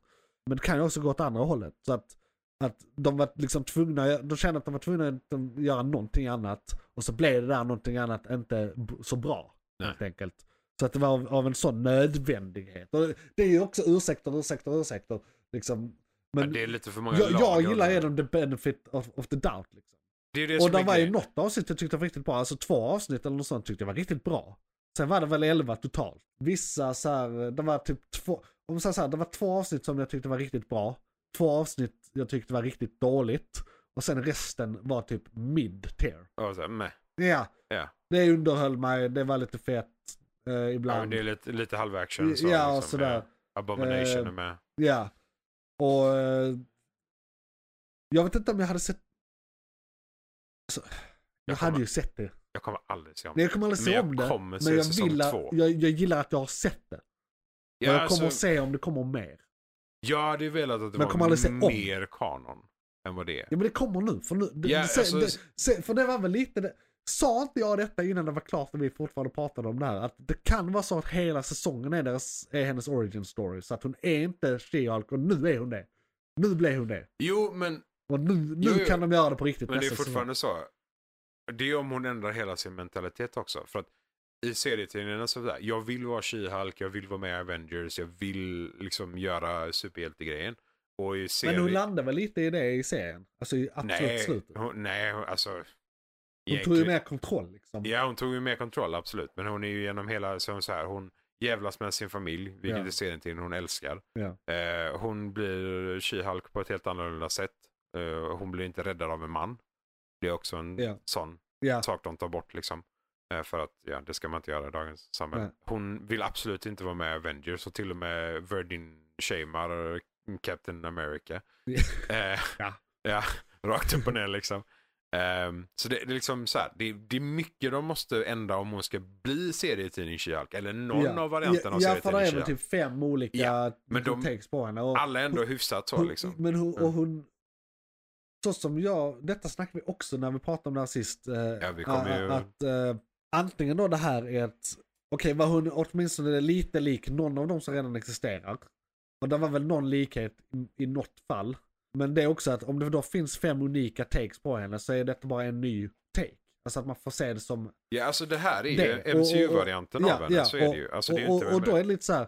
Speaker 3: Men det kan ju också gå åt andra hållet. Så att, att de var liksom tvungna, de kände att de var tvungna att göra någonting annat. Och så blev det där någonting annat inte b- så bra.
Speaker 4: Nej.
Speaker 3: Helt enkelt. Så att det var av, av en sån nödvändighet. Och det är ju också ursäkter, ursäkter, ursäkter. Liksom.
Speaker 4: Ja,
Speaker 3: Men
Speaker 4: det är lite för många
Speaker 3: jag, jag
Speaker 4: lager.
Speaker 3: gillar redan the benefit of, of the doubt. Liksom.
Speaker 4: Det är det
Speaker 3: Och
Speaker 4: som
Speaker 3: det
Speaker 4: är
Speaker 3: var ju
Speaker 4: grejen.
Speaker 3: något avsnitt jag tyckte var riktigt bra, alltså två avsnitt eller något sånt tyckte jag var riktigt bra. Sen var det väl elva totalt. Vissa så här, det var typ två, om så här, det var två avsnitt som jag tyckte var riktigt bra, två avsnitt jag tyckte var riktigt dåligt och sen resten var typ mid-tier.
Speaker 4: Ja, så här, meh.
Speaker 3: Ja,
Speaker 4: Ja.
Speaker 3: det underhöll mig, det var lite fett eh,
Speaker 4: ja, men
Speaker 3: ibland.
Speaker 4: det är lite, lite halvaction. Så,
Speaker 3: ja, och
Speaker 4: liksom,
Speaker 3: sådär.
Speaker 4: ja. Abomination
Speaker 3: Eh,
Speaker 4: är med.
Speaker 3: Ja. Och... eh, jag vet inte om jag hade sett... Alltså, jag,
Speaker 4: Jag
Speaker 3: hade
Speaker 4: kommer-
Speaker 3: ju sett det.
Speaker 4: Jag kommer aldrig se om
Speaker 3: Nej, jag kommer aldrig se
Speaker 4: Men jag
Speaker 3: om det.
Speaker 4: kommer se
Speaker 3: men jag,
Speaker 4: säsong
Speaker 3: vill, att-
Speaker 4: två.
Speaker 3: Jag, jag gillar att jag har sett det.
Speaker 4: Ja,
Speaker 3: och jag kommer
Speaker 4: alltså,
Speaker 3: se om det kommer mer.
Speaker 4: jag hade ju velat att det
Speaker 3: Men jag kommer aldrig se
Speaker 4: var
Speaker 3: om.
Speaker 4: mer kanon än vad det är.
Speaker 3: Ja men det kommer nu. För, nu, det,
Speaker 4: Ja,
Speaker 3: det, se-
Speaker 4: alltså-
Speaker 3: det, se, för det var väl lite det. Sa inte jag detta innan det var klart när vi fortfarande pratade om det här? Att det kan vara så att hela säsongen är, deras, är hennes origin story. Så att hon är inte She-Hulk och nu är hon det. Nu blev hon det.
Speaker 4: Jo, men,
Speaker 3: Och nu, nu
Speaker 4: Jo, jo.
Speaker 3: kan de göra det på riktigt
Speaker 4: men det är
Speaker 3: nästa säsong.
Speaker 4: fortfarande så. Det är om hon ändrar hela sin mentalitet också. För att i serietidningarna så där, jag vill vara She-Hulk, jag vill vara med i Avengers, jag vill liksom göra superhjältegrejen. Och i
Speaker 3: Men hon
Speaker 4: serien...
Speaker 3: landar väl lite i det i serien? Alltså i absolut
Speaker 4: Nej,
Speaker 3: slutet. Hon
Speaker 4: hon, nej, alltså... Hon
Speaker 3: tog ju mer kontroll liksom.
Speaker 4: Ja, hon tog ju mer kontroll, absolut. Men hon är ju genom hela, så hon, så här, hon jävlas med sin familj, vilket
Speaker 3: Ja.
Speaker 4: i serietidningen hon älskar.
Speaker 3: Ja.
Speaker 4: Eh, hon blir She-Hulk på ett helt annorlunda sätt. Eh, hon blir inte räddad av en man. Det är också en
Speaker 3: Ja.
Speaker 4: sån
Speaker 3: Ja.
Speaker 4: sak de tar bort liksom. Eh, för att, ja, det ska man inte göra i dagens samhälle.
Speaker 3: Nej.
Speaker 4: Hon vill absolut inte vara med i Avengers och till och med Verdin shamear Captain America. *laughs* Eh,
Speaker 3: Ja.
Speaker 4: ja, rakt upp och ner liksom. Ehm, så det, det är liksom så här, det, det är mycket de måste ändra om hon ska bli serietidning She-Hulk eller någon
Speaker 3: Ja.
Speaker 4: av varianterna av
Speaker 3: Ja, för det är
Speaker 4: serietidning she
Speaker 3: väl typ fem olika liksom,
Speaker 4: Ja, men de-
Speaker 3: takes på henne. Och
Speaker 4: Alla är ändå hyfsat så
Speaker 3: hon,
Speaker 4: liksom.
Speaker 3: Men hon, och
Speaker 4: Mm.
Speaker 3: hon... Så som jag, detta snackade vi också när vi pratade om det här sist. eh,
Speaker 4: Ja, vi kommer ju-
Speaker 3: Att eh, antingen då det här är ett... Okej, var hon åtminstone lite lik någon av dem som redan existerar. Och det var väl någon likhet i, i något fall. Men det är också att om det då finns fem unika takes på henne så är detta bara en ny take. Alltså att man får se det som
Speaker 4: Ja, alltså det här är
Speaker 3: Det, och-
Speaker 4: ju MCU-varianten
Speaker 3: och- och-
Speaker 4: av henne,
Speaker 3: ja,
Speaker 4: så är
Speaker 3: och-
Speaker 4: det ju. Alltså det är ju
Speaker 3: och,
Speaker 4: inte
Speaker 3: och, och då är det lite så här.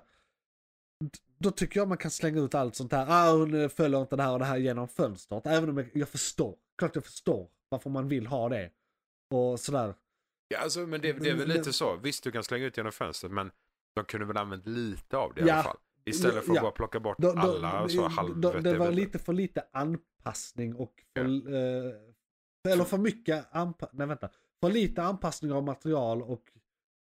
Speaker 3: d- Då tycker jag man kan slänga ut allt sånt här. Ah, hon eh, följer inte det här och det här genom fönstret. Även om jag, jag förstår. Klart jag förstår varför man vill ha det. Och sådär.
Speaker 4: Ja, alltså, men det, det är väl
Speaker 3: Men-
Speaker 4: lite så. Visst, du kan slänga ut genom fönstret, men de kunde väl använt lite av det i
Speaker 3: Ja.
Speaker 4: alla fall. Istället för att
Speaker 3: Ja.
Speaker 4: bara plocka bort
Speaker 3: Då, då,
Speaker 4: alla så
Speaker 3: då-
Speaker 4: halvvettiga
Speaker 3: då, det var
Speaker 4: bitar.
Speaker 3: lite för lite anpassning och för, eh, Eller för mycket anpassning. Nej vänta. För lite anpassning av material och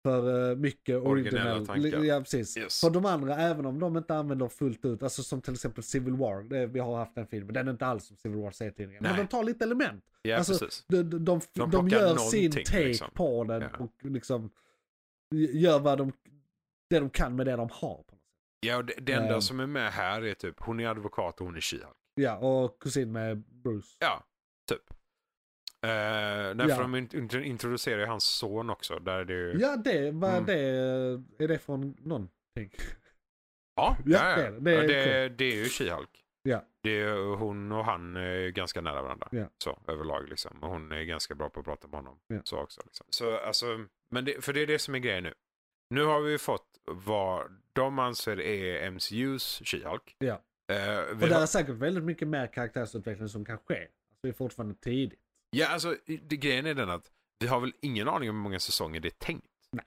Speaker 3: för eh, mycket
Speaker 4: Originella
Speaker 3: original.
Speaker 4: tankar.
Speaker 3: Ja, precis.
Speaker 4: Yes.
Speaker 3: För de andra, även om de inte använder fullt ut, alltså som till exempel Civil War, det, vi har haft den filmen, den är inte alls som Civil War säger tidningen. Men
Speaker 4: Nej.
Speaker 3: de tar lite element.
Speaker 4: Ja,
Speaker 3: alltså,
Speaker 4: precis.
Speaker 3: De, de, de,
Speaker 4: De
Speaker 3: de
Speaker 4: plockar
Speaker 3: gör sin
Speaker 4: någonting,
Speaker 3: take
Speaker 4: liksom.
Speaker 3: på den
Speaker 4: Ja.
Speaker 3: och liksom gör vad de, det de kan med det de har. På något sätt.
Speaker 4: Ja, och det, det enda
Speaker 3: Ehm.
Speaker 4: som är med här är typ, hon är advokat och hon är Eh, she
Speaker 3: Ja, och kusin med Bruce.
Speaker 4: Ja, typ. Uh, nej,
Speaker 3: Ja.
Speaker 4: för de int- int- introducerar ju hans son också. Där det ju...
Speaker 3: Ja, det, vad
Speaker 4: Mm.
Speaker 3: det, är det från någonting? *laughs*
Speaker 4: Ja,
Speaker 3: Ja,
Speaker 4: ja,
Speaker 3: det
Speaker 4: ja.
Speaker 3: är det. Det är
Speaker 4: Ja, det, det är ju She-Hulk.
Speaker 3: Ja.
Speaker 4: Det är, ju- hon och han är ganska nära varandra.
Speaker 3: Ja.
Speaker 4: Så överlag liksom. Och hon är ganska bra på att prata med honom.
Speaker 3: Ja.
Speaker 4: Så också. Liksom. Så alltså, men det, för det är det som är grejen nu. Nu har vi fått vad de anser är MCUs She-Hulk.
Speaker 3: Ja.
Speaker 4: Eh, vi
Speaker 3: Och där
Speaker 4: har-
Speaker 3: är säkert väldigt mycket mer karaktärsutveckling som kan ske. Alltså, det är fortfarande tidigt.
Speaker 4: Ja, alltså det, grejen är den att vi har väl ingen aning om hur många säsonger det är tänkt.
Speaker 3: Nej,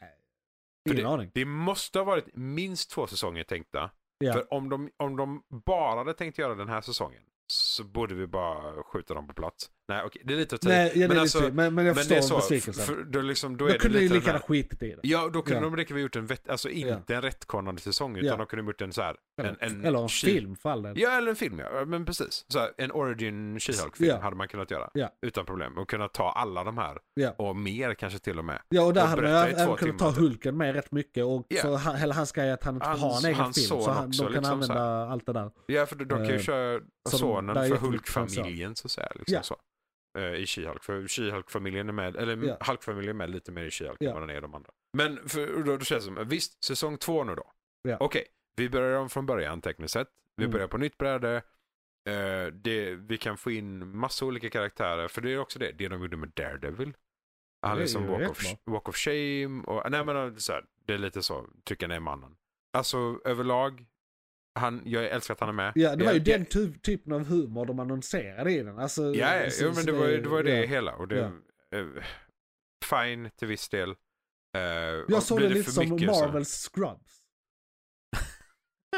Speaker 4: För
Speaker 3: ingen aning.
Speaker 4: Det måste ha varit minst två säsonger tänkta.
Speaker 3: Ja.
Speaker 4: För om de, om de bara hade tänkt göra den här säsongen så borde vi bara skjuta dem på plats. Nej, okej, det är lite att ta i.
Speaker 3: Nej, ja, det
Speaker 4: men
Speaker 3: är
Speaker 4: alltså,
Speaker 3: lite, synd, men, men jag
Speaker 4: men det är
Speaker 3: förstår
Speaker 4: så.
Speaker 3: besvikelsen.
Speaker 4: För, då liksom, då
Speaker 3: Då,
Speaker 4: är det
Speaker 3: kunde ju
Speaker 4: lite
Speaker 3: lika
Speaker 4: den här-
Speaker 3: gärna skitit i det.
Speaker 4: Ja, då kunde
Speaker 3: Ja.
Speaker 4: de lika väl gjort en vett, alltså inte en rättkonande säsong utan
Speaker 3: Ja.
Speaker 4: de kunde ha gjort en så här.
Speaker 3: eller
Speaker 4: en,
Speaker 3: eller en
Speaker 4: She-
Speaker 3: film för all del.
Speaker 4: Ja, eller en film ja. Men precis. Så här, en Origin She-Hulk-film
Speaker 3: Ja.
Speaker 4: hade man kunnat göra.
Speaker 3: Ja.
Speaker 4: Utan problem. Och kunna ta alla de här.
Speaker 3: Ja.
Speaker 4: Och mer kanske till och med.
Speaker 3: Ja, och där
Speaker 4: Och
Speaker 3: hade man
Speaker 4: berätta i
Speaker 3: ju även
Speaker 4: två
Speaker 3: kunnat ta
Speaker 4: timmar, typ.
Speaker 3: Hulken med rätt mycket. Och
Speaker 4: Ja.
Speaker 3: så han, hela hans grej är att han inte
Speaker 4: Hans-
Speaker 3: har en egen
Speaker 4: hans
Speaker 3: film. Så
Speaker 4: son
Speaker 3: han,
Speaker 4: också,
Speaker 3: de kan
Speaker 4: liksom så här.
Speaker 3: använda allt det där.
Speaker 4: Ja, för de, de kan ju
Speaker 3: Eh,
Speaker 4: köra
Speaker 3: så de-
Speaker 4: sonen
Speaker 3: där är
Speaker 4: för
Speaker 3: jättemycket
Speaker 4: Hulk-familjen så att säga. Liksom
Speaker 3: Ja.
Speaker 4: så. Eh, I She-Hulk. För She-Hulk-familjen är med, eller
Speaker 3: Ja.
Speaker 4: Hulk-familjen är med lite mer i She-Hulk
Speaker 3: Ja.
Speaker 4: än vad den är i de andra. Men för, då, då känns det som, eh, visst, säsong två nu då.
Speaker 3: Ja.
Speaker 4: Okej, vi börjar om från början tekniskt sett. Vi
Speaker 3: Mm.
Speaker 4: börjar på nytt bräde. Eh, det, vi kan få in massa olika karaktärer, för det är också det, det de gjorde med Daredevil. Han
Speaker 3: Det är
Speaker 4: liksom
Speaker 3: ju
Speaker 4: walk
Speaker 3: rätt
Speaker 4: of,
Speaker 3: bra.
Speaker 4: walk of shame och, nej men eh, så här, det är lite så, tycker ner mannen. Alltså överlag, han, jag älskar att han är med. Eh,
Speaker 3: Ja, det var ju
Speaker 4: jag,
Speaker 3: den ty- typen av humor de annonserade i den. Alltså,
Speaker 4: Ja, ja,
Speaker 3: så-
Speaker 4: jo, men
Speaker 3: så
Speaker 4: det var ju det, var ju det hela. Och det,
Speaker 3: Ja.
Speaker 4: eh, fine till viss del. Eh,
Speaker 3: Jag
Speaker 4: och
Speaker 3: såg
Speaker 4: blir
Speaker 3: det lite
Speaker 4: för
Speaker 3: som
Speaker 4: mycket så-
Speaker 3: Marvels Scrubs.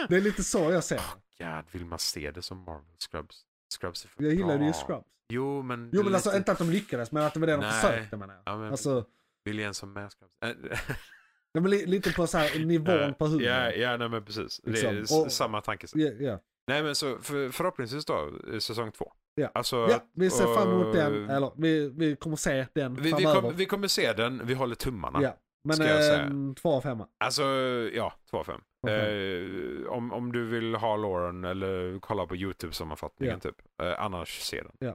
Speaker 3: det är lite så jag ser det.
Speaker 4: God, vill man se det som Marvel Scrubs? Scrubs är för
Speaker 3: Jag gillade ju
Speaker 4: bra.
Speaker 3: Scrubs.
Speaker 4: Jo, men... det
Speaker 3: Jo
Speaker 4: är
Speaker 3: men alltså
Speaker 4: lite-
Speaker 3: inte att de lyckades men att det var det de
Speaker 4: Nej.
Speaker 3: försökte menar jag.
Speaker 4: Ja, men-
Speaker 3: Alltså,
Speaker 4: Vill jag ens ha med Scrubs? Eh,
Speaker 3: *laughs* nej, men li- lite på
Speaker 4: *laughs*
Speaker 3: så här nivån på humorn.
Speaker 4: ja, ja, nej men precis. Det är
Speaker 3: Liksom, och-
Speaker 4: s- samma tankesätt.
Speaker 3: Ja, ja.
Speaker 4: Nej men så för, förhoppningsvis då, eh, säsong två.
Speaker 3: Ja.
Speaker 4: Alltså,
Speaker 3: ja, vi ser
Speaker 4: och-
Speaker 3: fram emot den, eller vi, vi kommer se den
Speaker 4: eh, Vi, vi,
Speaker 3: framöver.
Speaker 4: kommer- vi kommer se den, vi håller tummarna.
Speaker 3: ja. Men
Speaker 4: ska jag säga.
Speaker 3: en två av femma.
Speaker 4: Alltså, ja, 2 av 5.
Speaker 3: Två av
Speaker 4: Eh, om, om du vill ha Lauren eller kolla på YouTube-sammanfattningen
Speaker 3: Ja.
Speaker 4: typ. Eh, annars se den.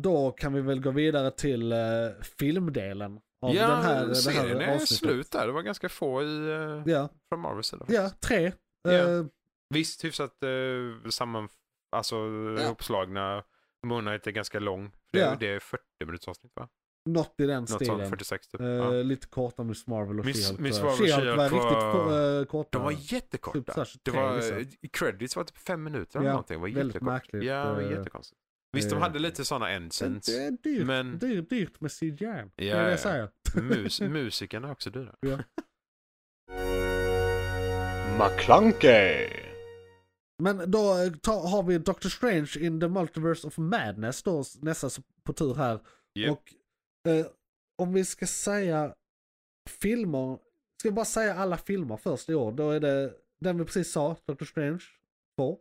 Speaker 3: Då kan vi väl gå vidare till eh, filmdelen av
Speaker 4: ja,
Speaker 3: den här, det här
Speaker 4: serien är
Speaker 3: avsnittet.
Speaker 4: slut där. Det var ganska få i, eh,
Speaker 3: Ja,
Speaker 4: från Marvels sida.
Speaker 3: ja
Speaker 4: faktiskt.
Speaker 3: tre.
Speaker 4: Ja.
Speaker 3: Eh,
Speaker 4: Visst, hyfsat eh, samman, alltså, ihopslagna. Moon Knight är ganska lång. För det,
Speaker 3: Ja.
Speaker 4: det är 40 minuters avsnitt va?
Speaker 3: Något i den
Speaker 4: Något sånt,
Speaker 3: stilen.
Speaker 4: 46 typ.
Speaker 3: Eh,
Speaker 4: ja.
Speaker 3: Lite kortare Miss Marvel och
Speaker 4: Miss-
Speaker 3: She-Hulk.
Speaker 4: Miss
Speaker 3: tror jag.
Speaker 4: Marvel och
Speaker 3: She-Hulk
Speaker 4: She-Hulk var-
Speaker 3: var riktigt eh, kortare.
Speaker 4: De var jättekorta.
Speaker 3: Typ såhär 23
Speaker 4: det var,
Speaker 3: vissa.
Speaker 4: i credits var typ fem minuter eller
Speaker 3: Ja,
Speaker 4: någonting. Det var
Speaker 3: väldigt
Speaker 4: jättekort.
Speaker 3: märkligt.
Speaker 4: Ja, det var
Speaker 3: Eh,
Speaker 4: jättekonstigt. Visst, de
Speaker 3: eh,
Speaker 4: hade lite sådana
Speaker 3: Men
Speaker 4: ensigns.
Speaker 3: Det är dyrt,
Speaker 4: Men-
Speaker 3: dyrt, dyrt med CGI. det
Speaker 4: Ja,
Speaker 3: är det
Speaker 4: ja.
Speaker 3: jag säger.
Speaker 4: Mus, musikerna är också dyra.
Speaker 2: McClunkey!
Speaker 3: Men då eh, ta, har vi Doctor Strange in the Multiverse of Madness då nästa s- på tur här.
Speaker 4: Japp.
Speaker 3: Och eh, om vi ska säga filmer, ska vi bara säga alla filmer först i år. Då är det den vi precis sa, Doctor Strange 2.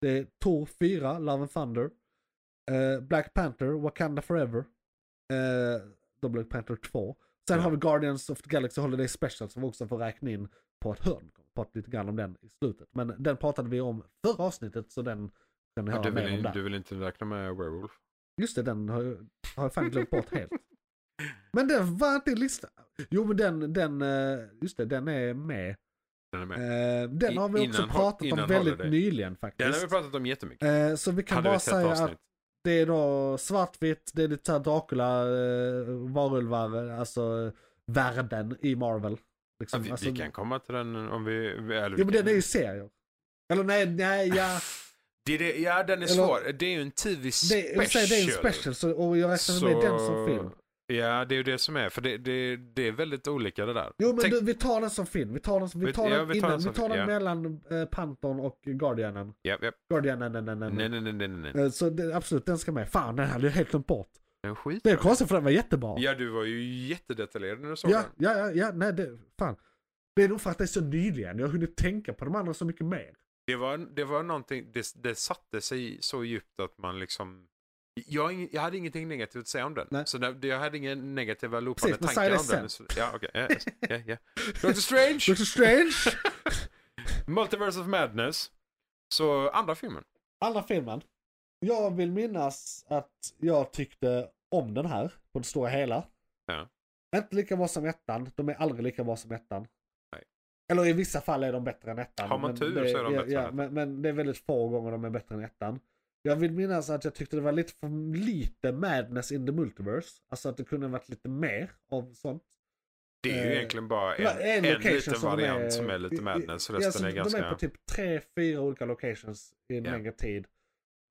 Speaker 3: Det är Thor 4, Love and Thunder. Eh, Black Panther, Wakanda Forever. Eh, då Black Panther 2. Sen
Speaker 4: Ja.
Speaker 3: har vi Guardians of the Galaxy Holiday Special som vi också får räkna in på ett hörn. Prata lite grann om den i slutet. Men den pratade vi om förra avsnittet så den kan ni
Speaker 4: Ja,
Speaker 3: höra
Speaker 4: du,
Speaker 3: mer om
Speaker 4: vill,
Speaker 3: där.
Speaker 4: du vill inte räkna med Werewolf?
Speaker 3: Just det, den har, jag- har jag fan glömt
Speaker 4: *laughs*
Speaker 3: bort helt. Men den var inte i listan. Jo men den, den, eh, just det, den är med.
Speaker 4: Den är med.
Speaker 3: Eh, Den
Speaker 4: I-
Speaker 3: har vi också
Speaker 4: innan ho-
Speaker 3: pratat om
Speaker 4: innan
Speaker 3: väldigt
Speaker 4: Holiday.
Speaker 3: nyligen
Speaker 4: Den
Speaker 3: faktiskt.
Speaker 4: har vi pratat om jättemycket.
Speaker 3: Eh, Så vi kan
Speaker 4: hade vi
Speaker 3: bara
Speaker 4: ett
Speaker 3: säga
Speaker 4: helt
Speaker 3: att
Speaker 4: avsnitt.
Speaker 3: det är då svartvitt, det är lite såhär Dracula, eh, varulvar, alltså eh, världen i Marvel. Liksom.
Speaker 4: Ja, vi,
Speaker 3: alltså,
Speaker 4: vi kan komma till den om vi... Eller,
Speaker 3: Jo men den är ju serier. Eller nej, nej, ja.
Speaker 4: det, är det, ja, den är
Speaker 3: Eller-
Speaker 4: svår. Det är ju en TV-special.
Speaker 3: Det, jag vill säga, det är en special, så, och jag räknar med den som film.
Speaker 4: Ja, det är ju det som är. För det, det, det är väldigt olika det där.
Speaker 3: Jo men
Speaker 4: Tänk-
Speaker 3: du, vi tar den som film. Vi tar den, som, vi
Speaker 4: Vi-
Speaker 3: tar den
Speaker 4: ja, vi tar
Speaker 3: innan,
Speaker 4: den som
Speaker 3: vi tar den
Speaker 4: film, ja.
Speaker 3: mellan eh, Panton och Guardianen.
Speaker 4: Ja, ja.
Speaker 3: Guardianen, nej, nej, nej.
Speaker 4: Nej, nej, nej, nej, nej.
Speaker 3: Eh, Så det, absolut, den ska med. Fan, den hade jag helt glömt bort.
Speaker 4: Den skit.
Speaker 3: Det är konstigt för den var jättebra.
Speaker 4: Ja, du var ju jättedetaljerad när du såg
Speaker 3: ja,
Speaker 4: den.
Speaker 3: ja, ja, ja, nej det, fan. Det är nog för att det är så nyligen, jag har hunnit tänka på de andra så mycket mer.
Speaker 4: Det var, det var någonting, det, det satte sig så djupt att man liksom... Jag, har ing- jag hade ingenting negativt att säga om den.
Speaker 3: Nej.
Speaker 4: Så det, jag hade inga negativa loopande
Speaker 3: Precis, men
Speaker 4: tankar om
Speaker 3: säg det
Speaker 4: den. Så, ja, okej. Ja, ja,
Speaker 3: *laughs*
Speaker 4: ja. Doctor Strange,
Speaker 3: Doctor Strange!
Speaker 4: *laughs* Multiverse of Madness. Så andra filmen.
Speaker 3: Andra filmen. Jag vill minnas att jag tyckte om den här, på det stora hela.
Speaker 4: Ja.
Speaker 3: Inte lika bra som ettan, de är aldrig lika bra som ettan.
Speaker 4: Nej.
Speaker 3: Eller i vissa fall är de bättre än ettan.
Speaker 4: Har man
Speaker 3: men
Speaker 4: tur
Speaker 3: det,
Speaker 4: så är de
Speaker 3: ja,
Speaker 4: bättre
Speaker 3: ja,
Speaker 4: än ettan.
Speaker 3: men, men det är väldigt få gånger de är bättre än ettan. Jag vill minnas att jag tyckte det var lite för lite Madness in the Multiverse. Alltså att det kunde ha varit lite mer av sånt.
Speaker 4: Det är ju
Speaker 3: Eh,
Speaker 4: egentligen bara
Speaker 3: Det var
Speaker 4: en, en,
Speaker 3: location
Speaker 4: liten
Speaker 3: de
Speaker 4: variant som är lite madness. Resten
Speaker 3: ja, så
Speaker 4: är ganska...
Speaker 3: De är på typ tre, fyra olika locations i en
Speaker 4: Ja.
Speaker 3: längre tid.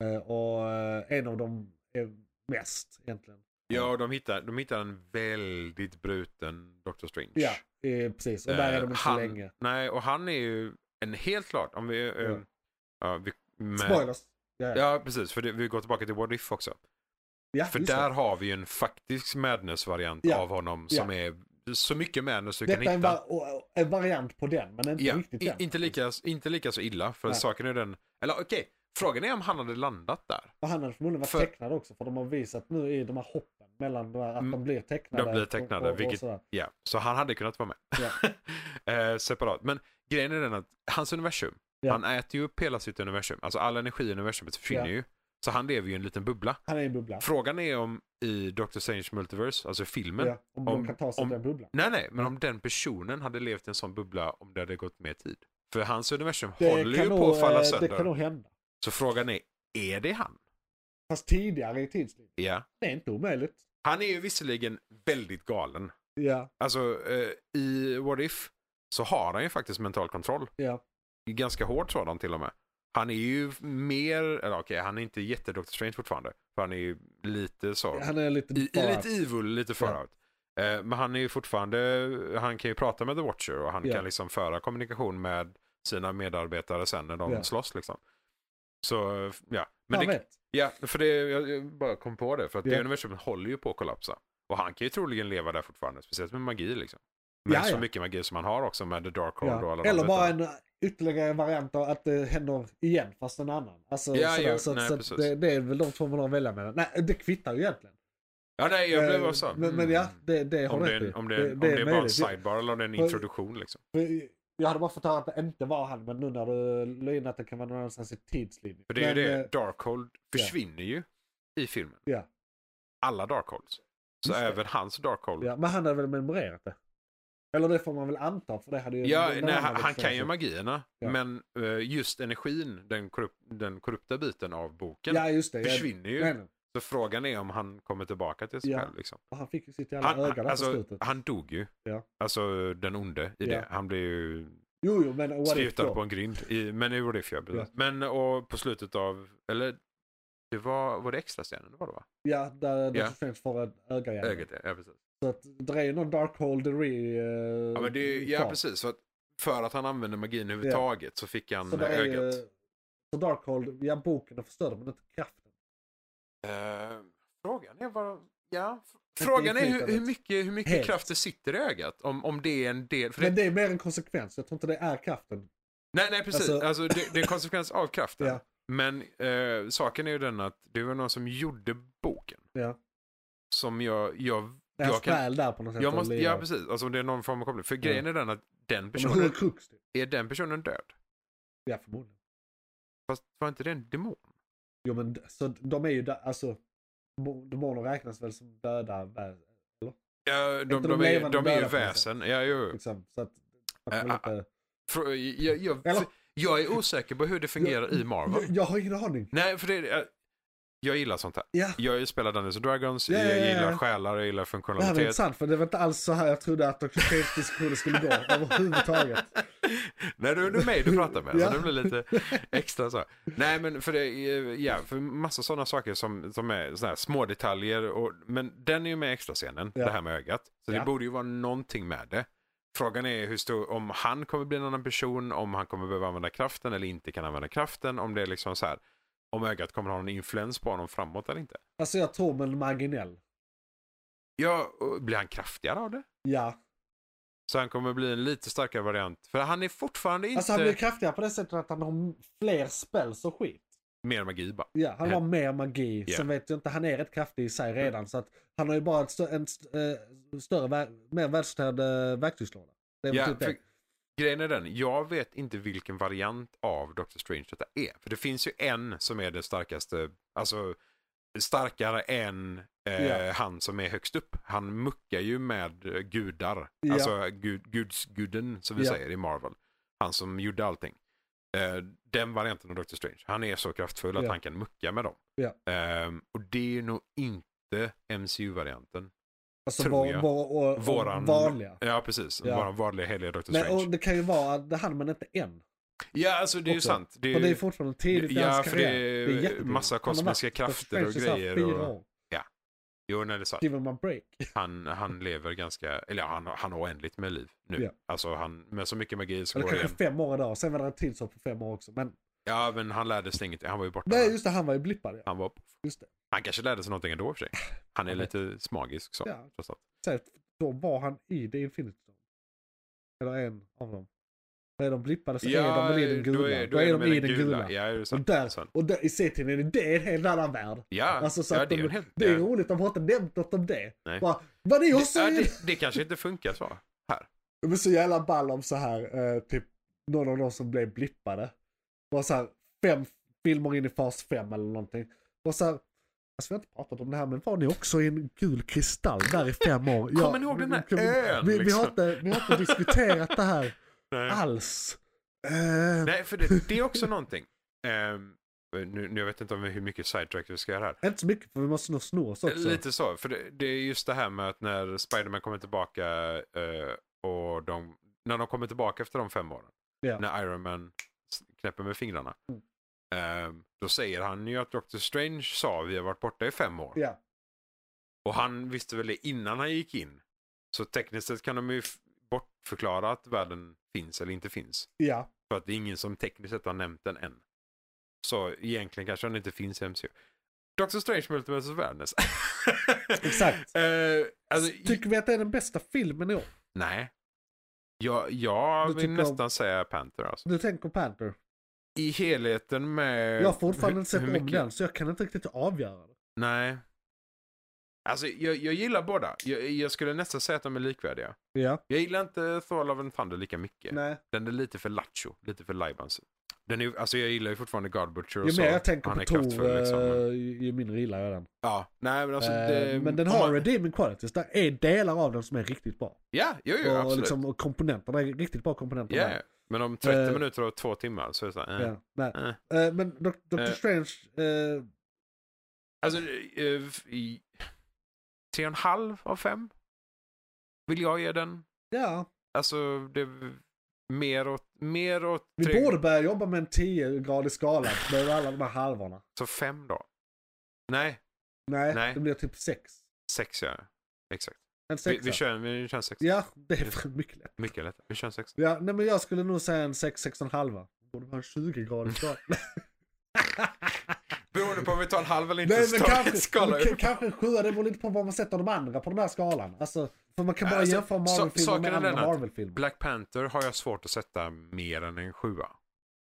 Speaker 3: Eh, och eh, en av dem är mest egentligen.
Speaker 4: Ja, och de hittar, de hittar en väldigt bruten Dr. Strange.
Speaker 3: Ja, eh, precis. Och där är de inte så
Speaker 4: han,
Speaker 3: länge.
Speaker 4: Nej, och han är ju en helt klart, om vi... eh,
Speaker 3: Ja.
Speaker 4: ja, vi med,
Speaker 3: Spoilers. Ja,
Speaker 4: Ja, precis. För det, vi går tillbaka till What If också.
Speaker 3: ja,
Speaker 4: För
Speaker 3: just det.
Speaker 4: där har vi ju en faktisk madness-variant
Speaker 3: Ja.
Speaker 4: av honom som är så mycket madness du
Speaker 3: Detta
Speaker 4: kan
Speaker 3: är en,
Speaker 4: hitta.
Speaker 3: var- och- och- en variant på den, men inte
Speaker 4: Ja,
Speaker 3: riktigt
Speaker 4: i-
Speaker 3: den.
Speaker 4: inte, lika, inte lika så illa, för
Speaker 3: Nej.
Speaker 4: saken är den... Eller okej, frågan är om han hade landat där.
Speaker 3: Och han hade förmodligen varit
Speaker 4: För-
Speaker 3: tecknad också, för de har visat nu i de här hoppen mellan de här, att de
Speaker 4: Mm,
Speaker 3: blir tecknade.
Speaker 4: de blir tecknade, vilket-
Speaker 3: sådär.
Speaker 4: Ja, så han hade kunnat vara med. *laughs* eh, separat. Men grejen är den att hans universum,
Speaker 3: Ja.
Speaker 4: han äter ju upp hela sitt universum. Alltså all energi i universumet försvinner
Speaker 3: Ja.
Speaker 4: ju. Så han lever ju i en liten bubbla.
Speaker 3: Han är i en bubbla.
Speaker 4: Frågan är om i Doctor Strange Multiverse, alltså filmen.
Speaker 3: ja, om, de
Speaker 4: om-
Speaker 3: kan ta sig
Speaker 4: om-
Speaker 3: ur den bubblan.
Speaker 4: Nej, nej, men om den personen hade levt i en sån bubbla om det hade gått mer tid. För hans universum håller ju
Speaker 3: kan
Speaker 4: på
Speaker 3: nog,
Speaker 4: att falla
Speaker 3: eh,
Speaker 4: sönder.
Speaker 3: Det kan nog hända.
Speaker 4: Så frågan är, är det han?
Speaker 3: Fast tidigare i tidslinjen.
Speaker 4: Ja.
Speaker 3: Det är inte omöjligt.
Speaker 4: Han är ju visserligen väldigt galen.
Speaker 3: Ja,
Speaker 4: Alltså eh, i What If så har han ju faktiskt mental kontroll.
Speaker 3: ja.
Speaker 4: ganska hård sådan till och med. Han är ju mer, eller okej, han är inte jätte Dr. Strange fortfarande. För han är ju lite så.
Speaker 3: Han är lite...
Speaker 4: I, i
Speaker 3: bara-
Speaker 4: lite evil, lite far
Speaker 3: Ja.
Speaker 4: out. Eh, men han är ju fortfarande, han kan ju prata med The Watcher och han
Speaker 3: Ja.
Speaker 4: kan liksom föra kommunikation med sina medarbetare sen när de
Speaker 3: Ja.
Speaker 4: slåss liksom. Så ja, men
Speaker 3: Fan
Speaker 4: det,
Speaker 3: vet.
Speaker 4: ja för det, jag, jag bara kom på det, för att
Speaker 3: Ja.
Speaker 4: det universumet håller ju på att kollapsa. Och han kan ju troligen leva där fortfarande, speciellt med magi liksom. Men
Speaker 3: Ja,
Speaker 4: så
Speaker 3: ja.
Speaker 4: mycket magi som han har också med The Dark Hold och alla
Speaker 3: Ja.
Speaker 4: de
Speaker 3: Eller
Speaker 4: bitarna.
Speaker 3: bara en eh, ytterligare variant av att det händer igen fast en annan. Alltså,
Speaker 4: Ja,
Speaker 3: sådär,
Speaker 4: jo,
Speaker 3: så,
Speaker 4: nej,
Speaker 3: så att
Speaker 4: precis.
Speaker 3: det, det är väl de två man har att välja mellan. Nej, det kvittar ju egentligen.
Speaker 4: Ja, nej, jag blev
Speaker 3: Eh,
Speaker 4: bara så. här,
Speaker 3: Men, men
Speaker 4: mm.
Speaker 3: ja, det, det har
Speaker 4: om, det
Speaker 3: du
Speaker 4: är,
Speaker 3: rätt i.
Speaker 4: en- om det, är- om det är bara en sidebar eller om det är en
Speaker 3: För-
Speaker 4: introduktion liksom.
Speaker 3: För Jag hade bara fått höra att det inte var han, men nu när du la in att det kan vara någon annanstans i tidslinjen.
Speaker 4: För det är
Speaker 3: Men,
Speaker 4: ju
Speaker 3: eh,
Speaker 4: det, Darkhold försvinner ju i filmen.
Speaker 3: Ja.
Speaker 4: Alla Darkholds. Så
Speaker 3: Just det.
Speaker 4: även hans Darkhold. Ja,
Speaker 3: Ja, men han hade väl memorerat det? Eller det får man väl anta, för det hade ju... den
Speaker 4: nej,
Speaker 3: andra
Speaker 4: han, han
Speaker 3: växeln
Speaker 4: kan ju
Speaker 3: också.
Speaker 4: magierna.
Speaker 3: Ja.
Speaker 4: Men eh, just energin, den, korrup- den korrupta biten av boken,
Speaker 3: Ja, just det. ja.
Speaker 4: försvinner ju.
Speaker 3: Nej, nej.
Speaker 4: Så frågan är om han kommer tillbaka till sig
Speaker 3: Ja.
Speaker 4: själv. Liksom.
Speaker 3: Och han fick ju sitt jävla
Speaker 4: Han,
Speaker 3: öga
Speaker 4: han,
Speaker 3: där på
Speaker 4: alltså,
Speaker 3: slutet.
Speaker 4: han dog ju.
Speaker 3: Ja.
Speaker 4: Alltså den onde i
Speaker 3: Ja.
Speaker 4: det. Han blev ju
Speaker 3: Jo, jo, men what if
Speaker 4: slutad
Speaker 3: då?
Speaker 4: på en grind. I, men nu gjorde det för
Speaker 3: Ja.
Speaker 4: Men och på slutet av, eller det var, var det extra scenen? Det var det va?
Speaker 3: Ja, där Dr.
Speaker 4: Ja.
Speaker 3: Strange får ett öga igen.
Speaker 4: Ögat, ja. ja precis.
Speaker 3: Så att det är ju någon dark holdery. Uh,
Speaker 4: Ja, men det, är ju- ja precis. För att, för att han använde magin överhuvudtaget så fick han
Speaker 3: Så det är ju...
Speaker 4: ögat.
Speaker 3: Så Darkhold, ja boken är förstörd men inte kraften.
Speaker 4: Eh, frågan är vad... Ja, fr-
Speaker 3: Inte
Speaker 4: frågan är hur,
Speaker 3: inflytandet.
Speaker 4: hur mycket, hur mycket
Speaker 3: Helt.
Speaker 4: kraft det sitter i ögat. Om, om det är en del... För det,
Speaker 3: Men det är mer en konsekvens, jag tror inte det är kraften.
Speaker 4: nej, nej, precis.
Speaker 3: alltså-
Speaker 4: Alltså, det, det är en konsekvens av kraften.
Speaker 3: *laughs* Ja.
Speaker 4: Men eh, saken är ju den att det var någon som gjorde boken.
Speaker 3: Ja.
Speaker 4: Som jag... jag
Speaker 3: Det är
Speaker 4: Jag
Speaker 3: hans
Speaker 4: kan-
Speaker 3: själ där på något sätt.
Speaker 4: jag
Speaker 3: och
Speaker 4: måste,
Speaker 3: lirar.
Speaker 4: ja precis, alltså det är någon form av koppling. För grejen är den att den
Speaker 3: Ja, Men hur
Speaker 4: personen,
Speaker 3: är krux det?
Speaker 4: är den personen död?
Speaker 3: Ja förmodligen.
Speaker 4: Fast var inte det en demon?
Speaker 3: Jo men d- så de är ju där, alltså. mo- Demoner räknas väl som döda vä-
Speaker 4: Ja, de, de,
Speaker 3: de
Speaker 4: är,
Speaker 3: levande
Speaker 4: de är ju
Speaker 3: döda på något
Speaker 4: väsen. Ja, jo. jo.
Speaker 3: liksom. Så att man kan
Speaker 4: Äh,
Speaker 3: väl inte...
Speaker 4: Frå- Jag, jag,
Speaker 3: Eller-
Speaker 4: jag är osäker på hur det fungerar i Marvel.
Speaker 3: Jag, jag har ingen aning.
Speaker 4: Nej, för det är... jag- Jag gillar sånt här.
Speaker 3: Ja.
Speaker 4: Jag spelar Dungeons and Dragons,
Speaker 3: Ja, ja, ja,
Speaker 4: jag
Speaker 3: ja.
Speaker 4: gillar själar, jag gillar
Speaker 3: Det här var
Speaker 4: funktionalitet.
Speaker 3: intressant för det var inte alls så här jag trodde att Dr. Strange diskussioner skulle
Speaker 4: *laughs*
Speaker 3: gå överhuvudtaget.
Speaker 4: Nej, du är det mig du pratar med,
Speaker 3: Ja.
Speaker 4: så det blir lite extra så. Nej, men för det är- ja, för massa sådana saker som, som är såna här små detaljer och, men den är ju med i extrascenen,
Speaker 3: Ja.
Speaker 4: det här med ögat. Så
Speaker 3: Ja.
Speaker 4: det borde ju vara någonting med det. Frågan är hur stor, om han kommer bli en annan person, om han kommer behöva använda kraften eller inte kan använda kraften, om det är liksom så här, om ögat kommer ha någon influens på honom framåt eller inte.
Speaker 3: Alltså jag tror men marginell.
Speaker 4: Ja, och blir han kraftigare av det?
Speaker 3: Ja.
Speaker 4: Så han kommer bli en lite starkare variant. För han är fortfarande inte
Speaker 3: Alltså han blir kraftigare på det sättet att han har fler spells och skit.
Speaker 4: mer magi bara.
Speaker 3: Ja, han har mer magi.
Speaker 4: Ja.
Speaker 3: Sen vet jag inte, han är rätt kraftig i sig redan. Så att han har ju bara ett stö- en st- eh, större, vä- mer välsorterad eh, verktygslåda. Det är väl
Speaker 4: Ja,
Speaker 3: typ
Speaker 4: för
Speaker 3: det.
Speaker 4: grejen är den, jag vet inte vilken variant av Doctor Strange detta är. För det finns ju en som är det starkaste, alltså starkare än eh,
Speaker 3: Ja.
Speaker 4: han som är högst upp. Han muckar ju med eh, gudar,
Speaker 3: Ja.
Speaker 4: alltså gud, gudsguden som vi
Speaker 3: Ja.
Speaker 4: säger i Marvel. Han som gjorde allting. Eh, den varianten av Doctor Strange, han är så kraftfull att
Speaker 3: Ja.
Speaker 4: han kan mucka med dem.
Speaker 3: Ja.
Speaker 4: Ehm, och det är nog inte MCU-varianten.
Speaker 3: Alltså
Speaker 4: tror
Speaker 3: vår,
Speaker 4: jag.
Speaker 3: vår, vår,
Speaker 4: Våran-
Speaker 3: vanliga.
Speaker 4: Ja, precis.
Speaker 3: Ja.
Speaker 4: Våran vanliga heliga Doctor
Speaker 3: Men,
Speaker 4: Strange.
Speaker 3: och det kan ju vara att det hann man inte än.
Speaker 4: Ja, alltså det är ju
Speaker 3: också.
Speaker 4: sant. Det är,
Speaker 3: För det är fortfarande tidigt i
Speaker 4: Ja,
Speaker 3: hans
Speaker 4: för det
Speaker 3: karriär.
Speaker 4: är
Speaker 3: jättetidigt.
Speaker 4: massa
Speaker 3: Han har varit
Speaker 4: kosmiska
Speaker 3: Dr.
Speaker 4: krafter och
Speaker 3: Strange i så här
Speaker 4: grejer
Speaker 3: fyra
Speaker 4: och-
Speaker 3: år.
Speaker 4: Jo, nej, det är sant.
Speaker 3: Give him a break.
Speaker 4: Han, han lever ganska, eller ja, han, han har oändligt med liv nu.
Speaker 3: Ja.
Speaker 4: Alltså han, med så mycket magi så
Speaker 3: Eller
Speaker 4: går det
Speaker 3: kanske
Speaker 4: igen.
Speaker 3: fem år idag. Sen var det en tidshopp på fem år också. Men
Speaker 4: Ja, men han lärde sig inget. Han var ju borta.
Speaker 3: nej, just det, han var ju blippad. Ja.
Speaker 4: Han var
Speaker 3: Just det.
Speaker 4: Han kanske lärde sig någonting ändå i och för sig. Han är
Speaker 3: Han vet.
Speaker 4: lite smagisk så.
Speaker 3: Ja.
Speaker 4: trots allt.
Speaker 3: Sen, då var han i The Infinity Stone. Eller en av dem. Är de blippade så är de väl i den gula. Då är, de i den gula.
Speaker 4: Ja, det är
Speaker 3: och
Speaker 4: sant. det är
Speaker 3: där,
Speaker 4: sant.
Speaker 3: och där, i C-tidningen, det är en helt annan värld.
Speaker 4: Ja,
Speaker 3: Alltså, så
Speaker 4: ja
Speaker 3: att
Speaker 4: det är ju
Speaker 3: de-
Speaker 4: en helt...
Speaker 3: Det är
Speaker 4: ja.
Speaker 3: roligt, de har inte nämnt något om det.
Speaker 4: Nej.
Speaker 3: Bara, vad det jag
Speaker 4: det, ja,
Speaker 3: säger!
Speaker 4: det, det kanske inte funkar så.
Speaker 3: Men så jävla ball om så här, eh, typ någon av de som blev blippade. Var så här, fem filmer in i fas fem eller någonting. Var så här, alltså vi har inte pratat om det här men var ni också i en gul kristall där i fem år?
Speaker 4: *laughs* Kommer ni ihåg den här
Speaker 3: vi,
Speaker 4: ön,
Speaker 3: Vi, vi, har
Speaker 4: liksom?
Speaker 3: inte, vi har inte diskuterat
Speaker 4: *laughs*
Speaker 3: det här
Speaker 4: Nej.
Speaker 3: Ah. alls. Eh,
Speaker 4: Nej, för det, det är också någonting. Ehm, nu, nu jag vet inte om hur mycket sidetrack vi ska göra här.
Speaker 3: Inte så mycket för vi måste nog sno oss också.
Speaker 4: Lite så, för det, det är just det här med att när Spiderman kommer tillbaka eh, och de, när de kommer tillbaka efter de fem åren,
Speaker 3: Ja. Mm.
Speaker 4: när Iron Man s- knäpper med fingrarna, ehm, då säger han ju att Doctor Strange sa vi har varit borta i fem år.
Speaker 3: Ja,
Speaker 4: Och han visste väl det innan han gick in. Så tekniskt sett kan de ju f- bortförklara att världen finns eller inte finns.
Speaker 3: ja,
Speaker 4: För att det är ingen som tekniskt sett har nämnt den än. Så egentligen kanske den inte finns i MCU. Doctor Strange Multiverse of Madness. *laughs*
Speaker 3: Exakt.
Speaker 4: Eh, alltså,
Speaker 3: Tycker vi att det är den bästa filmen i år?
Speaker 4: nej. Jag, jag
Speaker 3: Du
Speaker 4: vill
Speaker 3: tycker om-
Speaker 4: nästan säga Panther alltså.
Speaker 3: Du tänker Panther.
Speaker 4: I helheten med...
Speaker 3: Jag har fortfarande
Speaker 4: hur-
Speaker 3: inte sett
Speaker 4: hur
Speaker 3: om
Speaker 4: mycket-
Speaker 3: den så jag kan inte riktigt avgöra det.
Speaker 4: Nej. Alltså jag, jag gillar båda. Jag, jag skulle nästan säga att de är likvärdiga.
Speaker 3: Ja,
Speaker 4: Jag gillar inte Thor Love and Thunder lika mycket.
Speaker 3: nej.
Speaker 4: Den är lite för lattjo, lite för lajbans. Den är, alltså jag gillar ju fortfarande God Butcher och
Speaker 3: Ju
Speaker 4: så.
Speaker 3: mer jag tänker
Speaker 4: Han
Speaker 3: på
Speaker 4: är
Speaker 3: Tor,
Speaker 4: kraftfull, liksom, men-
Speaker 3: eh, ju ju mindre gillar jag den.
Speaker 4: Ja, nej men alltså
Speaker 3: Eh,
Speaker 4: det,
Speaker 3: men den
Speaker 4: om
Speaker 3: har
Speaker 4: man-
Speaker 3: redeeming qualities. Där är delar av den som är riktigt bra.
Speaker 4: Ja, jo, jo,
Speaker 3: och,
Speaker 4: absolut.
Speaker 3: liksom, och komponenterna är riktigt bra komponenter.
Speaker 4: ja,
Speaker 3: där.
Speaker 4: ja. Men om 30
Speaker 3: Eh,
Speaker 4: minuter och två timmar så är det så här, eh,
Speaker 3: Ja, nej.
Speaker 4: eh.
Speaker 3: Eh, men Dr.
Speaker 4: Eh.
Speaker 3: Strange, eh,
Speaker 4: Alltså, eh, f- i- tre och en halv av fem vill jag ge den.
Speaker 3: Ja,
Speaker 4: Alltså, det mer åt, mer åt
Speaker 3: vi
Speaker 4: tre,
Speaker 3: borde börja jobba med en 10-gradig skala med alla de här halvorna.
Speaker 4: så fem då. Nej,
Speaker 3: Nej,
Speaker 4: Nej.
Speaker 3: det blir typ 6.
Speaker 4: sex gör jag. Exakt.
Speaker 3: En
Speaker 4: Vi,
Speaker 3: sexa.
Speaker 4: vi kör, vi kör en sex.
Speaker 3: Ja, det är *laughs* fan mycket lätt.
Speaker 4: Mycket lätt. Vi kör en sex.
Speaker 3: Ja, nej, men jag skulle nog säga en 6, 6,5. Borde vara en 20-gradig skala.
Speaker 4: *laughs* Beroende på om vi tar en halv eller inte
Speaker 3: Nej
Speaker 4: så
Speaker 3: men
Speaker 4: tar vi en
Speaker 3: kanske,
Speaker 4: skala
Speaker 3: men
Speaker 4: upp.
Speaker 3: k- kanske en sjua, det beror lite på vad man sätter de andra på den här skalan. Alltså, för man kan bara
Speaker 4: Alltså,
Speaker 3: jämföra
Speaker 4: sa-
Speaker 3: Marvel-filmer
Speaker 4: saken
Speaker 3: med
Speaker 4: är
Speaker 3: andra
Speaker 4: den att-
Speaker 3: Marvel-filmer.
Speaker 4: Black Panther har jag svårt att sätta mer än en sjua.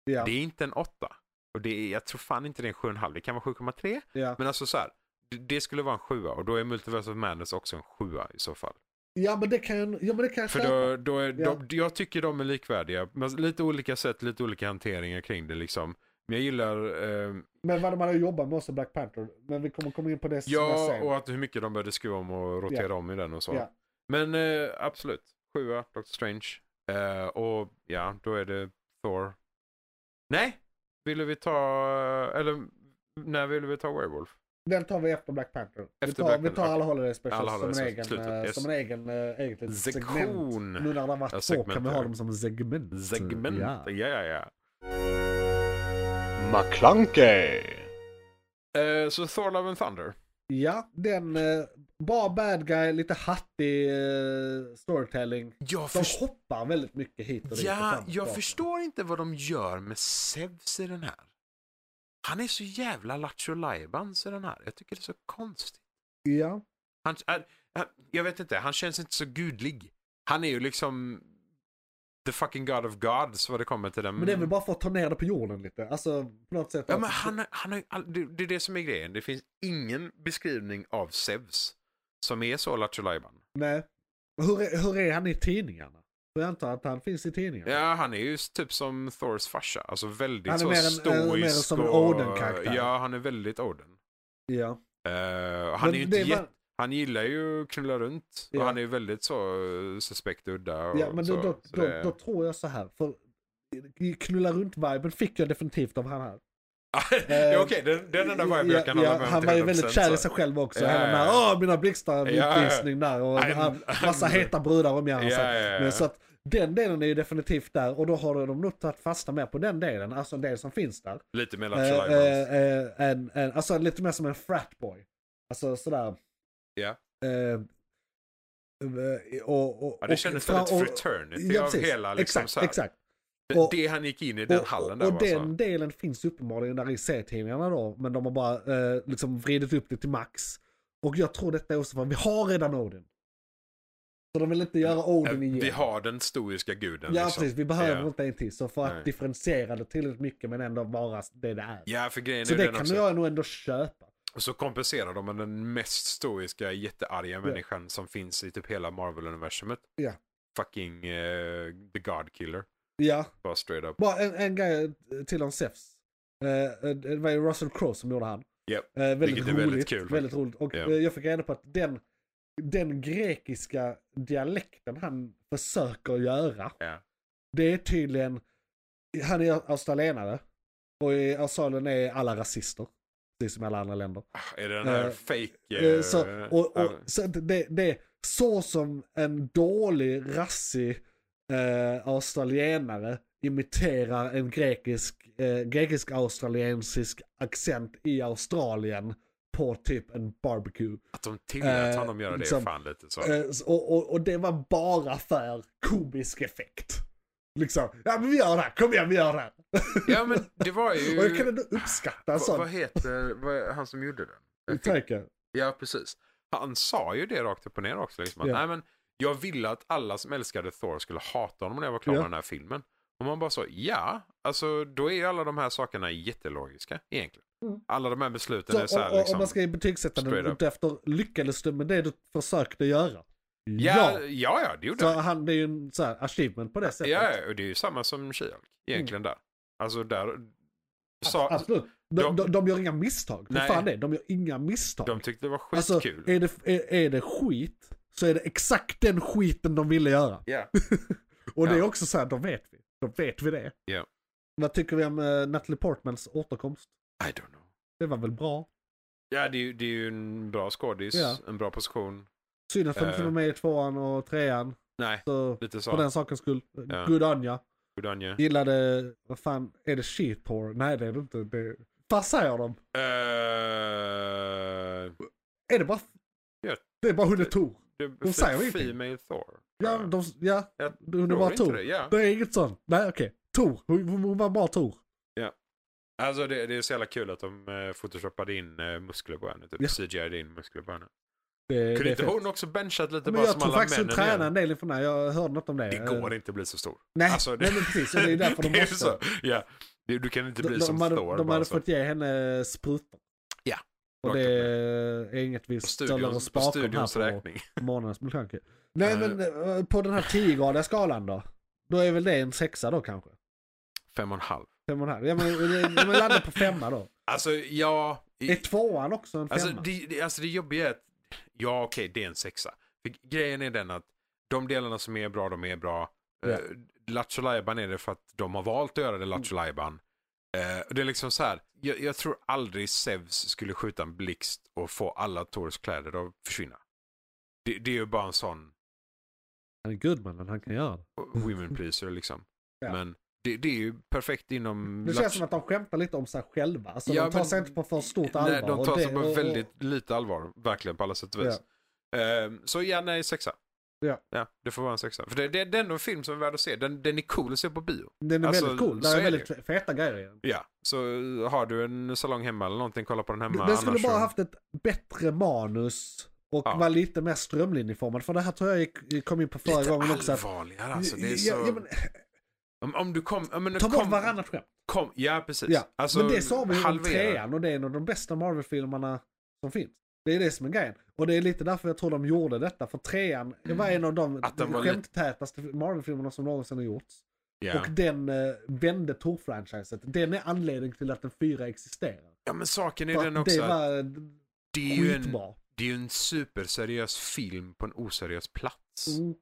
Speaker 3: Ja,
Speaker 4: Det är inte en åtta. Och det är, jag tror fan inte det är en sju och en halv. Det kan vara 7,3.
Speaker 3: ja.
Speaker 4: Men alltså så här. det- Det skulle vara en sjua och då är Multiverse of Madness också en sjua i så fall.
Speaker 3: ja, men det kan jag, ja, men det kan jag
Speaker 4: För
Speaker 3: köpa.
Speaker 4: då, då är,
Speaker 3: Ja.
Speaker 4: de, jag tycker de är likvärdiga. Men lite olika sätt, lite olika hanteringar kring det liksom. Men jag gillar, eh,
Speaker 3: Men vad man har jobbat med också Black Panther. Men vi kommer komma in på det
Speaker 4: ja
Speaker 3: sen.
Speaker 4: och att hur mycket de började skruva om och rotera om i den och så.
Speaker 3: Ja.
Speaker 4: Men eh, absolut, sjua, Doctor Strange. Eh, och ja, då är det Thor. Nej, ville vi ta, eh, eller när ville vi ta Werewolf?
Speaker 3: Den tar vi efter Black Panther. vi
Speaker 4: Efter
Speaker 3: tar,
Speaker 4: Black
Speaker 3: vi
Speaker 4: Panther,
Speaker 3: tar alla
Speaker 4: okej.
Speaker 3: Holiday Specials
Speaker 4: Alla
Speaker 3: som,
Speaker 4: Holiday
Speaker 3: en
Speaker 4: Specials,
Speaker 3: egen,
Speaker 4: slutet,
Speaker 3: eh,
Speaker 4: yes.
Speaker 3: som en egen, eh, eget litet segment.
Speaker 4: Sektion.
Speaker 3: Nu när det har varit
Speaker 4: Ja,
Speaker 3: två kan
Speaker 4: segment,
Speaker 3: vi ha
Speaker 4: ja.
Speaker 3: dem som segment.
Speaker 4: Segment,
Speaker 3: Ja.
Speaker 4: ja ja ja.
Speaker 2: McClunkey.
Speaker 4: Eh, så Thor Love and Thunder.
Speaker 3: Ja, den eh, bara bad guy, lite hattig eh, storytelling.
Speaker 4: Jag,
Speaker 3: De hoppar väldigt mycket hit och dit. och fram
Speaker 4: ja,
Speaker 3: och
Speaker 4: jag
Speaker 3: tillbaka.
Speaker 4: förstår inte vad de gör med Zeus i den här. Han är så jävla lattjo lajbans i den här. Jag tycker det är så konstigt.
Speaker 3: Ja,
Speaker 4: Han, är, han, jag vet inte, han känns inte så gudlig. Han är ju liksom the fucking god of gods vad det kommer till den.
Speaker 3: men det är väl bara för att ta ner det på jorden lite. Alltså på något sätt.
Speaker 4: Mm. Ja men han, har- han har ju all, det, det är det som är grejen. Det finns ingen beskrivning av Zeus som är så lattjo lajban.
Speaker 3: Nej. Hur, är- hur är han i tidningarna? För jag antar att han finns i tidningarna.
Speaker 4: Ja, han är ju typ som Thors farsa. Alltså väldigt
Speaker 3: Han är
Speaker 4: så
Speaker 3: mer en-
Speaker 4: stoisk.
Speaker 3: mer som en
Speaker 4: och-
Speaker 3: Odin-karaktär.
Speaker 4: Ja, han är väldigt Oden.
Speaker 3: Ja.
Speaker 4: Eh, han, är
Speaker 3: Men
Speaker 4: ju
Speaker 3: det
Speaker 4: inte
Speaker 3: är
Speaker 4: jätte...
Speaker 3: bara-
Speaker 4: han gillar ju att knulla runt
Speaker 3: Ja.
Speaker 4: och han är ju väldigt så eh, suspekt udda. Och
Speaker 3: ja men
Speaker 4: så,
Speaker 3: då, då,
Speaker 4: så
Speaker 3: då,
Speaker 4: det...
Speaker 3: då tror jag så här. För i knulla runt-viben fick jag definitivt av han här.
Speaker 4: ja, Okej, den, den enda vibe jag kan
Speaker 3: Eh, ja,
Speaker 4: hålla med om
Speaker 3: Han
Speaker 4: till
Speaker 3: var ju
Speaker 4: 100%,
Speaker 3: väldigt kär i
Speaker 4: så.
Speaker 3: sig själv också.
Speaker 4: Ja,
Speaker 3: Hela den här,
Speaker 4: ja, ja.
Speaker 3: åh mina blixtar, min
Speaker 4: Ja, ja.
Speaker 3: kissning där och den här
Speaker 4: I'm-
Speaker 3: massa
Speaker 4: I'm-
Speaker 3: heta brudar omgärdar
Speaker 4: Ja, ja,
Speaker 3: sig.
Speaker 4: ja.
Speaker 3: Men Så att den delen är ju definitivt där och då har de nog tagit fasta mer på den delen, alltså en del som finns där.
Speaker 4: Lite mer
Speaker 3: Eh,
Speaker 4: lattjo
Speaker 3: eh, eh, en, en, alltså lite mer som en fratboy. Alltså sådär.
Speaker 4: Ja.
Speaker 3: Eh, eh, och, och,
Speaker 4: Ja,
Speaker 3: och-
Speaker 4: det kändes
Speaker 3: fra-
Speaker 4: väldigt
Speaker 3: och-
Speaker 4: fraternity
Speaker 3: ja,
Speaker 4: av
Speaker 3: precis.
Speaker 4: hela liksom
Speaker 3: Exakt,
Speaker 4: så här.
Speaker 3: exakt.
Speaker 4: Det-
Speaker 3: och-
Speaker 4: Det han gick in i den hallen där
Speaker 3: och
Speaker 4: var
Speaker 3: den
Speaker 4: så.
Speaker 3: delen finns uppenbarligen där i serietidningarna då, men de har bara eh, liksom vridit upp det till max. Och jag tror detta är också för vi har redan Odin. Så de vill inte göra Odin
Speaker 4: Eh,
Speaker 3: igen.
Speaker 4: Vi har den stoiska guden
Speaker 3: ja,
Speaker 4: liksom.
Speaker 3: precis. Vi behöver
Speaker 4: Ja.
Speaker 3: inte en till. Så för att
Speaker 4: Nej.
Speaker 3: differentiera det tillräckligt mycket men ändå vara det det är.
Speaker 4: Ja, för grejen är
Speaker 3: så
Speaker 4: ju
Speaker 3: det
Speaker 4: den
Speaker 3: kan
Speaker 4: också.
Speaker 3: jag nog ändå köpa.
Speaker 4: Och så kompenserar de med den mest stoiska, jättearga människan som finns i typ hela Marvel-universumet.
Speaker 3: Ja.
Speaker 4: Fucking eh, the God Killer.
Speaker 3: Ja,
Speaker 4: Bara straight up.
Speaker 3: bara en, en grej till om Zeus. Eh, eh, det var ju Russell Crowe som gjorde han.
Speaker 4: Japp.
Speaker 3: Eh, väldigt
Speaker 4: Vilket är
Speaker 3: roligt.
Speaker 4: väldigt
Speaker 3: Väldigt,
Speaker 4: kul,
Speaker 3: roligt. Och
Speaker 4: Ja.
Speaker 3: eh, jag fick reda på att den, den grekiska dialekten han försöker göra,
Speaker 4: Ja.
Speaker 3: det är tydligen, han är australienare och i Australien är alla rasister. Precis som i alla andra länder.
Speaker 4: Ah, Är det den här
Speaker 3: Eh,
Speaker 4: fake...
Speaker 3: Eh,
Speaker 4: eh,
Speaker 3: så, och, och,
Speaker 4: ah,
Speaker 3: så att det, det är så som en dålig, rassig eh, australienare imiterar en grekisk, eh, grekisk australiensisk accent i Australien på typ en barbecue.
Speaker 4: att de tillät
Speaker 3: eh,
Speaker 4: honom göra det
Speaker 3: liksom,
Speaker 4: är fan lite så.
Speaker 3: Eh, s- och, och, och det var bara för komisk effekt. Liksom, ja men vi gör det här, kom igen vi gör det här.
Speaker 4: ja men det var ju...
Speaker 3: *laughs* och jag kan ändå uppskatta en
Speaker 4: Va- vad
Speaker 3: sån.
Speaker 4: heter vad är han som gjorde den? Jag fick-
Speaker 3: Tänker.
Speaker 4: Ja precis. Han sa ju det rakt upp och ner också. Liksom, att,
Speaker 3: Ja.
Speaker 4: Nej, men jag ville att alla som älskade Thor skulle hata honom när jag var klar
Speaker 3: Ja.
Speaker 4: med den här filmen. Och man bara så, ja, alltså då är ju alla de här sakerna jättelogiska egentligen. Alla de här besluten
Speaker 3: Så,
Speaker 4: är så här
Speaker 3: och, och,
Speaker 4: liksom.
Speaker 3: Om man ska betygsätta
Speaker 4: straight
Speaker 3: den
Speaker 4: up.
Speaker 3: utefter lyckades du med det du försökte göra?
Speaker 4: ja, ja, ja, det gjorde
Speaker 3: Så
Speaker 4: han.
Speaker 3: han, det är ju en så här achievement på det sättet.
Speaker 4: Ja, ja, och det är ju samma som She-Hulk
Speaker 3: Mm.
Speaker 4: egentligen där. Alltså där. Sa,
Speaker 3: Absolut. De,
Speaker 4: De-
Speaker 3: de, de gör inga misstag. För
Speaker 4: Nej.
Speaker 3: fan det, de gör inga misstag.
Speaker 4: de tyckte det var
Speaker 3: alltså,
Speaker 4: skitkul.
Speaker 3: är det, är, är det skit så är det exakt den skiten de ville göra.
Speaker 4: Ja.
Speaker 3: Och det är
Speaker 4: Ja.
Speaker 3: också så här, de vet vi. De vet vi det.
Speaker 4: Ja.
Speaker 3: Vad tycker vi om eh, Natalie Portmans återkomst?
Speaker 4: I don't know.
Speaker 3: Det var väl bra?
Speaker 4: Ja, det är, ju- det är ju en bra skådis,
Speaker 3: Ja.
Speaker 4: en bra position.
Speaker 3: Synd att de inte
Speaker 4: Eh.
Speaker 3: var med i tvåan och trean.
Speaker 4: Nej,
Speaker 3: Så
Speaker 4: lite
Speaker 3: för
Speaker 4: så.
Speaker 3: den sakens skull.
Speaker 4: Ja.
Speaker 3: Good on ya.
Speaker 4: Good on you.
Speaker 3: Gillade, vad fan, är det shit porn? Nej det är det inte. Det är... Vad säger de?
Speaker 4: Eh,
Speaker 3: Är det bara...
Speaker 4: Ja.
Speaker 3: Det är bara hunden Tor.
Speaker 4: det-
Speaker 3: De säger ju ingenting.
Speaker 4: Female Thor.
Speaker 3: Ja, de, ja.
Speaker 4: Jag
Speaker 3: hon är
Speaker 4: Tror
Speaker 3: bara
Speaker 4: inte
Speaker 3: Tor.
Speaker 4: det,
Speaker 3: Det.
Speaker 4: Ja.
Speaker 3: är inget sånt. Nej okej. Tor. Hon, hon hon var bara Tor.
Speaker 4: Alltså det, det är så jävla kul att de eh, photoshoppade in eh, muskler på henne. Typ
Speaker 3: Ja.
Speaker 4: CGI in muskler på henne.
Speaker 3: Det, det
Speaker 4: Kunde
Speaker 3: är
Speaker 4: inte
Speaker 3: fett.
Speaker 4: hon också benchat lite
Speaker 3: Men
Speaker 4: bara
Speaker 3: jag
Speaker 4: som
Speaker 3: tror
Speaker 4: alla
Speaker 3: faktiskt hon
Speaker 4: männen
Speaker 3: tränar en
Speaker 4: igen?
Speaker 3: del ifrån det. Jag hörde något om det.
Speaker 4: Det går
Speaker 3: Eh,
Speaker 4: inte att bli så stor.
Speaker 3: Nej,
Speaker 4: Alltså, det-
Speaker 3: nej men precis. Och det
Speaker 4: *laughs*
Speaker 3: är därför de
Speaker 4: det är
Speaker 3: måste.
Speaker 4: ju så. Ja. Du, du kan inte bli
Speaker 3: de,
Speaker 4: som
Speaker 3: de hade,
Speaker 4: Thor.
Speaker 3: de
Speaker 4: bara
Speaker 3: hade
Speaker 4: så.
Speaker 3: fått ge henne sprutor.
Speaker 4: Ja,
Speaker 3: Och
Speaker 4: rakt
Speaker 3: det
Speaker 4: upp
Speaker 3: är inget vi
Speaker 4: På
Speaker 3: ställer
Speaker 4: studions,
Speaker 3: oss
Speaker 4: på
Speaker 3: bakom
Speaker 4: studions
Speaker 3: här på
Speaker 4: räkning.
Speaker 3: månadens McClunky. Nej
Speaker 4: Eh.
Speaker 3: men eh, på den här 10-gradiga skalan då? Då är väl det en sexa då kanske?
Speaker 4: Fem och en halv.
Speaker 3: Fem och en halv. Ja men, ja, men landar på femma då.
Speaker 4: Alltså, ja. i-
Speaker 3: Är tvåan också en femma?
Speaker 4: Alltså det, det, alltså det jobbiga är att, ja okej det är en sexa. För grejen är den att de delarna som är bra, de är bra.
Speaker 3: Ja. Mm.
Speaker 4: Yeah. Lattjo Lajban är det för att de har valt att göra det Lattjo Lajban. Eh, och det är liksom så här, jag, jag tror aldrig Zeus skulle skjuta en blixt och få alla Tors kläder att försvinna. Det, det är ju bara en sån
Speaker 3: Han är Goodman, han kan göra det.
Speaker 4: women pleaser liksom.
Speaker 3: *laughs* Ja.
Speaker 4: Men det, det är ju perfekt inom...
Speaker 3: Det
Speaker 4: Lattjo-
Speaker 3: känns som att de skämtar lite om sig själva. Alltså
Speaker 4: Mm. Ja,
Speaker 3: de tar
Speaker 4: men-
Speaker 3: sig inte på för stort allvar.
Speaker 4: Nej, de
Speaker 3: och
Speaker 4: tar sig
Speaker 3: det-
Speaker 4: på
Speaker 3: och- och-
Speaker 4: väldigt lite allvar, verkligen på alla sätt och vis. Ehm, så ja, nej, sexa.
Speaker 3: Ja.
Speaker 4: det får vara en sexa. För det, det, det är ändå en film som är värd att se. Den, den är cool att se på bio.
Speaker 3: Den är
Speaker 4: Alltså,
Speaker 3: väldigt cool.
Speaker 4: så
Speaker 3: Där är
Speaker 4: är det
Speaker 3: väldigt feta grejer i den.
Speaker 4: Ja, så eh, har du en salong hemma eller någonting, kolla på den hemma.
Speaker 3: Den skulle
Speaker 4: annars
Speaker 3: bara
Speaker 4: så-
Speaker 3: haft ett bättre manus och
Speaker 4: Ja.
Speaker 3: vara lite mer strömlinjeformad. För det här tror jag gick- kom in på förra
Speaker 4: Lite
Speaker 3: gången också. Att,
Speaker 4: allvarligare alltså. Det är så...
Speaker 3: Ja, ja, men,
Speaker 4: om, om du kom... Ja, men du
Speaker 3: ta
Speaker 4: kom,
Speaker 3: bort varannat skämt.
Speaker 4: Kom, ja, precis.
Speaker 3: Ja.
Speaker 4: Alltså,
Speaker 3: men det sa vi ju om
Speaker 4: halvera.
Speaker 3: trean och det är en av de bästa Marvel-filmerna som finns. Det är det som är grejen. Och det är lite därför jag tror de gjorde detta. För trean det var en av de
Speaker 4: Mm. Att den var lite-
Speaker 3: skämttätaste Marvel-filmerna som någonsin har gjorts.
Speaker 4: Ja.
Speaker 3: Och den eh, vände Tor-franchiset. Den är anledningen till att den fyra existerar.
Speaker 4: ja, men saken är
Speaker 3: För
Speaker 4: den
Speaker 3: att
Speaker 4: också.
Speaker 3: det
Speaker 4: att
Speaker 3: var
Speaker 4: det är ju en,
Speaker 3: skitbra.
Speaker 4: det är ju en superseriös film på en oseriös plats.
Speaker 3: Mm.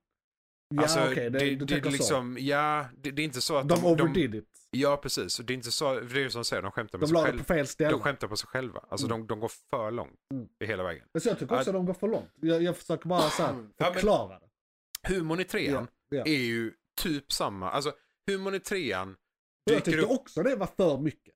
Speaker 3: Ja,
Speaker 4: alltså,
Speaker 3: okej. det,
Speaker 4: det,
Speaker 3: du
Speaker 4: det,
Speaker 3: tänker
Speaker 4: är
Speaker 3: så.
Speaker 4: liksom, Ja, det, det är inte så att
Speaker 3: De overdid it.
Speaker 4: Ja, precis. Det är inte så, för det är ju som du säger, de skämtar med
Speaker 3: De
Speaker 4: sig
Speaker 3: la det
Speaker 4: själva.
Speaker 3: på fel ställe.
Speaker 4: Alltså, De skämtar på sig själva. Alltså de, de går för långt
Speaker 3: Mm.
Speaker 4: i hela vägen.
Speaker 3: Men så jag tycker också att de går för långt. Jag, jag försöker bara så här,
Speaker 4: men-
Speaker 3: förklara det.
Speaker 4: Humorn i trean
Speaker 3: Ja, ja.
Speaker 4: är ju typ samma. Alltså humorn i trean
Speaker 3: Och Jag
Speaker 4: dyker upp.
Speaker 3: tyckte också det var för mycket.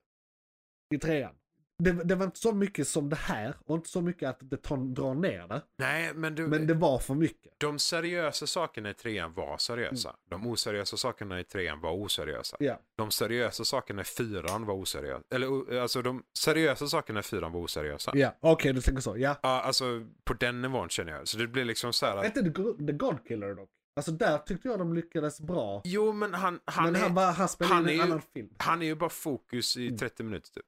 Speaker 3: I trean. Det, det var inte så mycket som det här och inte så mycket att det tar, drar ner det.
Speaker 4: Nej, men, du,
Speaker 3: Men det var för mycket.
Speaker 4: de seriösa sakerna i trean var seriösa. De oseriösa sakerna i trean var oseriösa.
Speaker 3: Mm. Ja.
Speaker 4: De seriösa sakerna i fyran var oseriösa. Eller o- alltså de seriösa sakerna i fyran var oseriösa. Ja.
Speaker 3: Ja, okej du tänker så. Ja.
Speaker 4: alltså på den nivån känner jag. Så det blir liksom så här
Speaker 3: Är
Speaker 4: att,
Speaker 3: inte The, the Godkiller dock? Alltså där tyckte jag de lyckades bra.
Speaker 4: Jo, men han, han
Speaker 3: men
Speaker 4: är...
Speaker 3: han, bara, han spelade
Speaker 4: han
Speaker 3: in
Speaker 4: är
Speaker 3: en
Speaker 4: ju-
Speaker 3: annan film.
Speaker 4: Han är ju bara fokus i 30 minuter typ.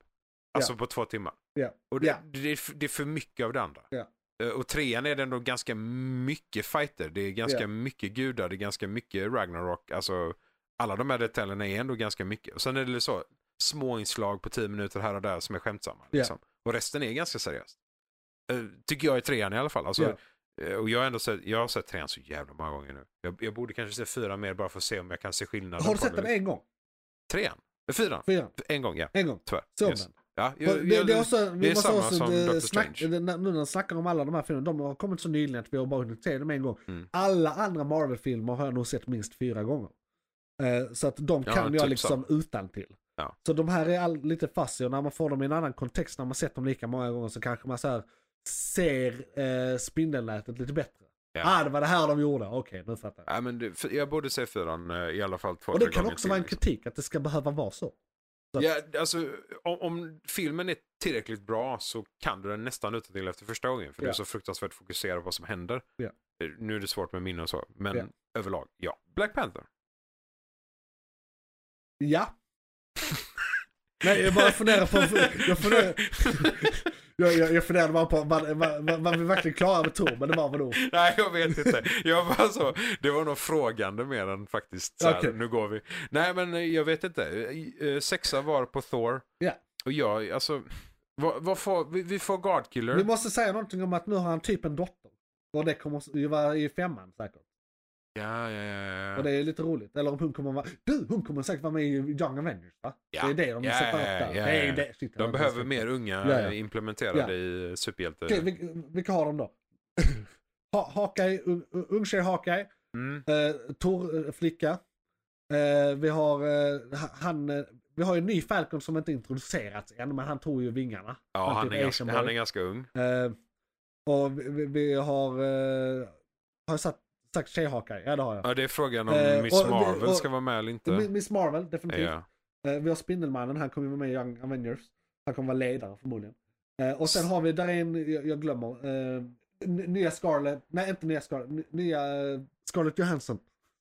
Speaker 4: Alltså på två timmar.
Speaker 3: Mm. Ja.
Speaker 4: Och det,
Speaker 3: Ja.
Speaker 4: det, är f- det är för mycket av det andra.
Speaker 3: Ja.
Speaker 4: Eh, Och trean är det ändå ganska mycket fighter. Det är ganska
Speaker 3: Ja.
Speaker 4: mycket gudar, det är ganska mycket Ragnarok. Alltså alla de här detaljerna är ändå ganska mycket. Och sen är det så små inslag på 10 minuter här och där som är skämtsamma.
Speaker 3: Ja.
Speaker 4: Liksom. Och resten är ganska seriöst. Eh, Tycker jag i trean i alla fall. Alltså, eh, Och jag har ändå sett, jag har sett trean så jävla många gånger nu. Jag, jag borde kanske se fyra mer bara för att se om jag kan se skillnaden.
Speaker 3: Har du
Speaker 4: på
Speaker 3: sett den en gång?
Speaker 4: Trean? Eh, Fyran?
Speaker 3: Fyran?
Speaker 4: En gång ja.
Speaker 3: En gång?
Speaker 4: Tyvärr.
Speaker 3: Såg
Speaker 4: Yes.
Speaker 3: den?
Speaker 4: Ja,
Speaker 3: För
Speaker 4: jag,
Speaker 3: det,
Speaker 4: jag,
Speaker 3: det är också, vi
Speaker 4: det är
Speaker 3: måste
Speaker 4: samma
Speaker 3: också
Speaker 4: som
Speaker 3: eh,
Speaker 4: Doctor
Speaker 3: snack,
Speaker 4: Strange.
Speaker 3: det- när- Nu när de snackar om alla de här filmerna, de har kommit så nyligen att vi har bara hunnit se dem en gång.
Speaker 4: Mm.
Speaker 3: Alla andra Marvel-filmer har jag nog sett minst fyra gånger. Eh, Så att de
Speaker 4: Ja,
Speaker 3: kan jag
Speaker 4: typ
Speaker 3: liksom utan till.
Speaker 4: Ja.
Speaker 3: Så de här är all, lite fast i, och när man får dem i en annan kontext, när man sett dem lika många gånger så kanske man så här ser eh, spindelnätet lite bättre.
Speaker 4: Ja.
Speaker 3: Ah, det var det här de gjorde, okej nu fattar jag.
Speaker 4: ja, men det, för- jag borde se fyran eh, i alla fall två,
Speaker 3: Och det
Speaker 4: tre
Speaker 3: kan
Speaker 4: gånger
Speaker 3: också
Speaker 4: till,
Speaker 3: vara en
Speaker 4: liksom.
Speaker 3: kritik, att det ska behöva vara så. kritik.
Speaker 4: Ja, alltså, om, om filmen är tillräckligt bra så kan du den nästan utantill efter första gången. För du
Speaker 3: Ja.
Speaker 4: är så fruktansvärt fokuserad på vad som händer.
Speaker 3: Ja.
Speaker 4: Eh, Nu är det svårt med minne och så, men
Speaker 3: Ja.
Speaker 4: överlag, ja. Black Panther.
Speaker 3: Ja. Nej, jag bara funderar på... Jag funderar,
Speaker 4: *laughs*
Speaker 3: jag, jag, jag funderar bara på vad, vad, vad, vad vi verkligen klarar med Tor, men det var väl nog.
Speaker 4: *laughs* Nej, jag vet inte. Jag var så, det var nog frågande mer än faktiskt så här,
Speaker 3: Okej.
Speaker 4: nu går vi. Nej, men eh, jag vet inte. Eh, eh, Sexa var på Thor.
Speaker 3: Ja.
Speaker 4: Och jag, alltså, vad, vad får, vi, vi får Godkiller.
Speaker 3: Vi måste säga någonting om att nu har han typ en dotter. Och det kommer ju vara i femman säkert.
Speaker 4: Ja, ja, ja. ja.
Speaker 3: Och det är lite roligt. Eller om hon kommer vara, du hon kommer säkert vara med i Young Avengers va?
Speaker 4: Ja.
Speaker 3: Det är det de
Speaker 4: Ja,
Speaker 3: har satt upp
Speaker 4: ja, ja,
Speaker 3: där.
Speaker 4: ja,
Speaker 3: det
Speaker 4: ja.
Speaker 3: är det. Shit, jag
Speaker 4: De
Speaker 3: har
Speaker 4: behöver
Speaker 3: missat.
Speaker 4: mer unga
Speaker 3: Ja, ja.
Speaker 4: implementerade i superhjälte...
Speaker 3: Okej, vil- vilka har de då? *laughs* Ha- Hawkeye, ung, ung tjej Hawkeye,
Speaker 4: Mm.
Speaker 3: eh, Tor eh, flicka. Eh, vi har eh, ha- han, eh, vi har ju en ny Falcon som inte introducerats än men han tog ju vingarna.
Speaker 4: Ja,
Speaker 3: Men
Speaker 4: han
Speaker 3: typ
Speaker 4: är,
Speaker 3: Asian
Speaker 4: ganska,
Speaker 3: boy.
Speaker 4: han är ganska ung.
Speaker 3: Eh, och vi, vi- vi har, eh, har jag sagt, sagt tjej Hawkeye? Ja det har jag.
Speaker 4: Ja, det är frågan om
Speaker 3: Eh,
Speaker 4: Miss
Speaker 3: och- och-
Speaker 4: Marvel
Speaker 3: och-
Speaker 4: ska vara med eller inte.
Speaker 3: Mi- Miss Marvel, definitivt.
Speaker 4: ja.
Speaker 3: Eh, Vi har Spindelmannen, han kommer ju vara med i Young Avengers. Han kommer vara ledare förmodligen. Eh, Och sen har vi, där är en, jag, jag glömmer, eh, n- nya Scarlet, nej inte nya Scarlet, n- nya eh, Scarlett Johansson.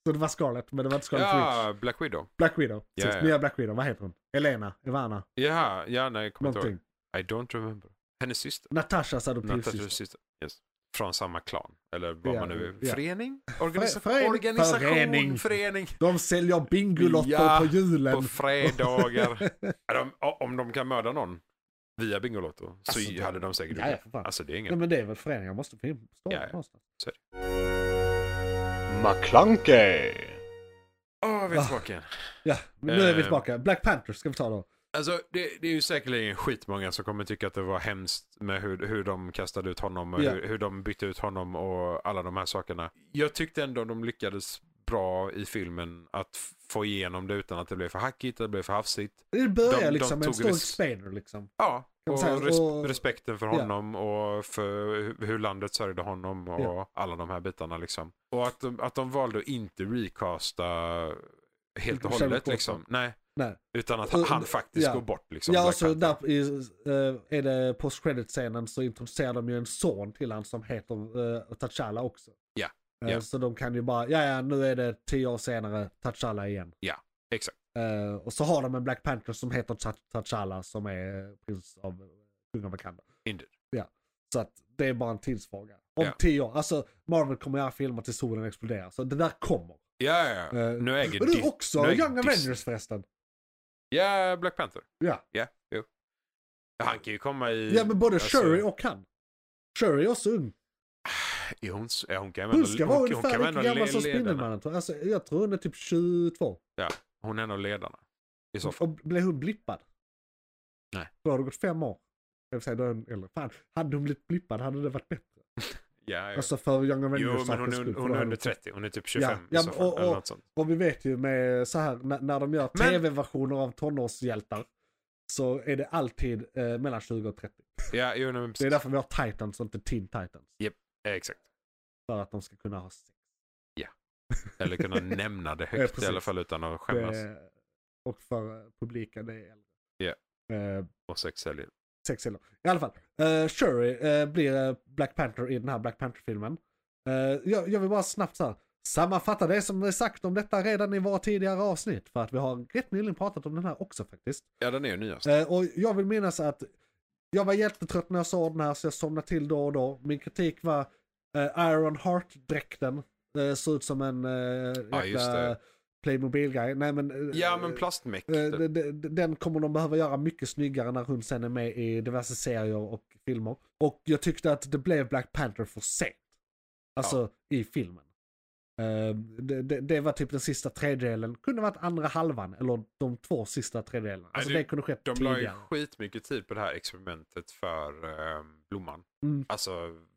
Speaker 3: Så det var Scarlett, men det var inte Scarlett Witch.
Speaker 4: ja, Black Widow.
Speaker 3: Black Widow,
Speaker 4: Ja,
Speaker 3: precis.
Speaker 4: ja.
Speaker 3: Nya Black Widow, vad heter hon? Elena, Ivana,
Speaker 4: Ja, ja nej, jag kommer inte ihåg.
Speaker 3: någonting.
Speaker 4: I don't remember. Hennes syster.
Speaker 3: Natashas
Speaker 4: Natas
Speaker 3: adoptivsyster.
Speaker 4: syster. Yes. Från samma klan. Eller vad
Speaker 3: Ja,
Speaker 4: man nu är.
Speaker 3: ja.
Speaker 4: Förening? Organisa-
Speaker 3: förening.
Speaker 4: Organisation? Förening.
Speaker 3: Förening. De säljer bingolotter
Speaker 4: Ja,
Speaker 3: på julen.
Speaker 4: På
Speaker 3: *laughs*
Speaker 4: fredagar. Ja, de, om de kan mörda någon via Bingolotto så
Speaker 3: Alltså, det-
Speaker 4: hade de säkert
Speaker 3: Ja, ja,
Speaker 4: gjort
Speaker 3: för
Speaker 4: det.
Speaker 3: fan.
Speaker 4: Alltså det är inget.
Speaker 3: Nej men det är väl föreningar, måste finnas
Speaker 4: Ja, ja.
Speaker 3: någonstans.
Speaker 2: McClunkey.
Speaker 4: Åh, vi är
Speaker 3: Ah.
Speaker 4: tillbaka igen.
Speaker 3: Ja, men nu är vi
Speaker 4: Eh.
Speaker 3: tillbaka. Black Panther ska vi ta då.
Speaker 4: Alltså det, det är ju säkerligen skitmånga som kommer tycka att det var hemskt med hur, hur de kastade ut honom och
Speaker 3: Ja.
Speaker 4: hur, hur de bytte ut honom och alla de här sakerna. Jag tyckte ändå de lyckades bra i filmen att f- få igenom det utan att det blev för hackigt, det blev för hafsigt.
Speaker 3: Det börjar
Speaker 4: De- de
Speaker 3: liksom med en
Speaker 4: tog
Speaker 3: stor
Speaker 4: res-
Speaker 3: expander liksom.
Speaker 4: Ja,
Speaker 3: man
Speaker 4: och,
Speaker 3: säga,
Speaker 4: res-
Speaker 3: och-
Speaker 4: respekten för
Speaker 3: ja.
Speaker 4: honom och för hu- hur landet sörjde honom och alla de här bitarna liksom. Och att de, att de valde att inte recasta helt och
Speaker 3: Inte Chadwick
Speaker 4: hållet
Speaker 3: Boseman.
Speaker 4: liksom. Nej.
Speaker 3: Nej.
Speaker 4: Utan att
Speaker 3: Och-
Speaker 4: han faktiskt
Speaker 3: ja.
Speaker 4: går bort liksom.
Speaker 3: ja,
Speaker 4: Black
Speaker 3: alltså
Speaker 4: Panther.
Speaker 3: där i, eh, är det post credit scenen så introducerar de ju en son till han som heter uh, T'Challa också.
Speaker 4: Ja,
Speaker 3: Eh,
Speaker 4: ja.
Speaker 3: Så de kan ju bara, ja ja nu är det tio år senare T'Challa igen.
Speaker 4: Ja, exakt.
Speaker 3: Eh, och så har de en Black Panther som heter Ta- T'Challa som är prins av, kung av Wakanda.
Speaker 4: Indeed.
Speaker 3: Ja, så att det är bara en tidsfråga. Om
Speaker 4: Ja.
Speaker 3: tio år, alltså Marvel kommer göra filmer tills solen exploderar. Så det där kommer.
Speaker 4: Ja, ja, ja.
Speaker 3: Eh,
Speaker 4: nu äger
Speaker 3: och du
Speaker 4: Dis-
Speaker 3: också,
Speaker 4: nu äger
Speaker 3: Young
Speaker 4: Dis-
Speaker 3: Avengers förresten.
Speaker 4: Ja, Black Panther.
Speaker 3: Ja.
Speaker 4: Ja, jo. Ja, Han kan ju komma i...
Speaker 3: Ja men både
Speaker 4: alltså,
Speaker 3: Shuri och han. Shuri är också ung.
Speaker 4: Är hon, s- är hon kan
Speaker 3: Hon ska vara
Speaker 4: kan
Speaker 3: ungefär lika
Speaker 4: ändå le-
Speaker 3: gammal som
Speaker 4: ledarna.
Speaker 3: Spindelmannen. tror jag. Alltså, jag tror hon är typ 22.
Speaker 4: Hon är en av ledarna. I så fall.
Speaker 3: Och blev hon blippad?
Speaker 4: Nej.
Speaker 3: Då har det gått fem år. Jag vill säga, då är hon äldre. Fan, hade hon blivit blippad hade det varit bättre.
Speaker 4: Ja, ja.
Speaker 3: Alltså för Young
Speaker 4: Eh, Jo,
Speaker 3: Avengers
Speaker 4: men hon,
Speaker 3: sakens
Speaker 4: är-
Speaker 3: skull. för
Speaker 4: hon
Speaker 3: då
Speaker 4: är
Speaker 3: hade
Speaker 4: under
Speaker 3: hon-
Speaker 4: 30. Hon är typ 25
Speaker 3: Ja,
Speaker 4: i så
Speaker 3: och-
Speaker 4: fall. eller
Speaker 3: och-
Speaker 4: något sånt.
Speaker 3: Och vi vet ju med så här, när, när de gör
Speaker 4: Men-
Speaker 3: tv-versioner av tonårshjältar så är det alltid eh, mellan 20 och 30.
Speaker 4: Ja, jo, nej, men
Speaker 3: Typ. Det
Speaker 4: precis.
Speaker 3: är därför vi har Titans och inte Teen Titans.
Speaker 4: Eh, Exakt.
Speaker 3: För att de ska kunna ha sex.
Speaker 4: Eller kunna
Speaker 3: *laughs*
Speaker 4: nämna det
Speaker 3: Ja,
Speaker 4: högt i
Speaker 3: precis.
Speaker 4: alla fall utan att skämmas.
Speaker 3: Det, Eh, och för eh, publiken, det är äldre.
Speaker 4: Ja.
Speaker 3: Eh,
Speaker 4: Och sex säljer.
Speaker 3: sex eller I alla fall, eh, Shuri eh, blir eh, Black Panther i den här Black Panther-filmen. Eh, jag, jag vill bara snabbt så här, sammanfatta det som är sagt om detta redan i våra tidigare avsnitt. För att vi har rätt nyligen pratat om den här också faktiskt.
Speaker 4: Ja, den är ju nyast.
Speaker 3: Eh, och jag vill minnas att jag var jättetrött när jag såg den här så jag somnade till då och då. Min kritik var eh, Iron Heart-dräkten. Eh, såg ut som en eh,
Speaker 4: Ja, just
Speaker 3: jäkla
Speaker 4: det.
Speaker 3: Playmobil-grej. Nej men... eh,
Speaker 4: Ja, men plastmäck. typ.
Speaker 3: Eh, de- de- de- Den kommer de behöva göra mycket snyggare när hon sen är med i diverse serier och filmer. Och jag tyckte att det blev Black Panther för sent. Alltså i filmen. Eh, Det, det, det var typ den sista tredjedelen, kunde varit andra halvan eller de två sista tredjedelarna. Alltså
Speaker 4: det-
Speaker 3: det, kunde skett
Speaker 4: De la ju
Speaker 3: tidigare.
Speaker 4: skitmycket tid på det här experimentet för ehm, blomman.
Speaker 3: Mm.
Speaker 4: Alltså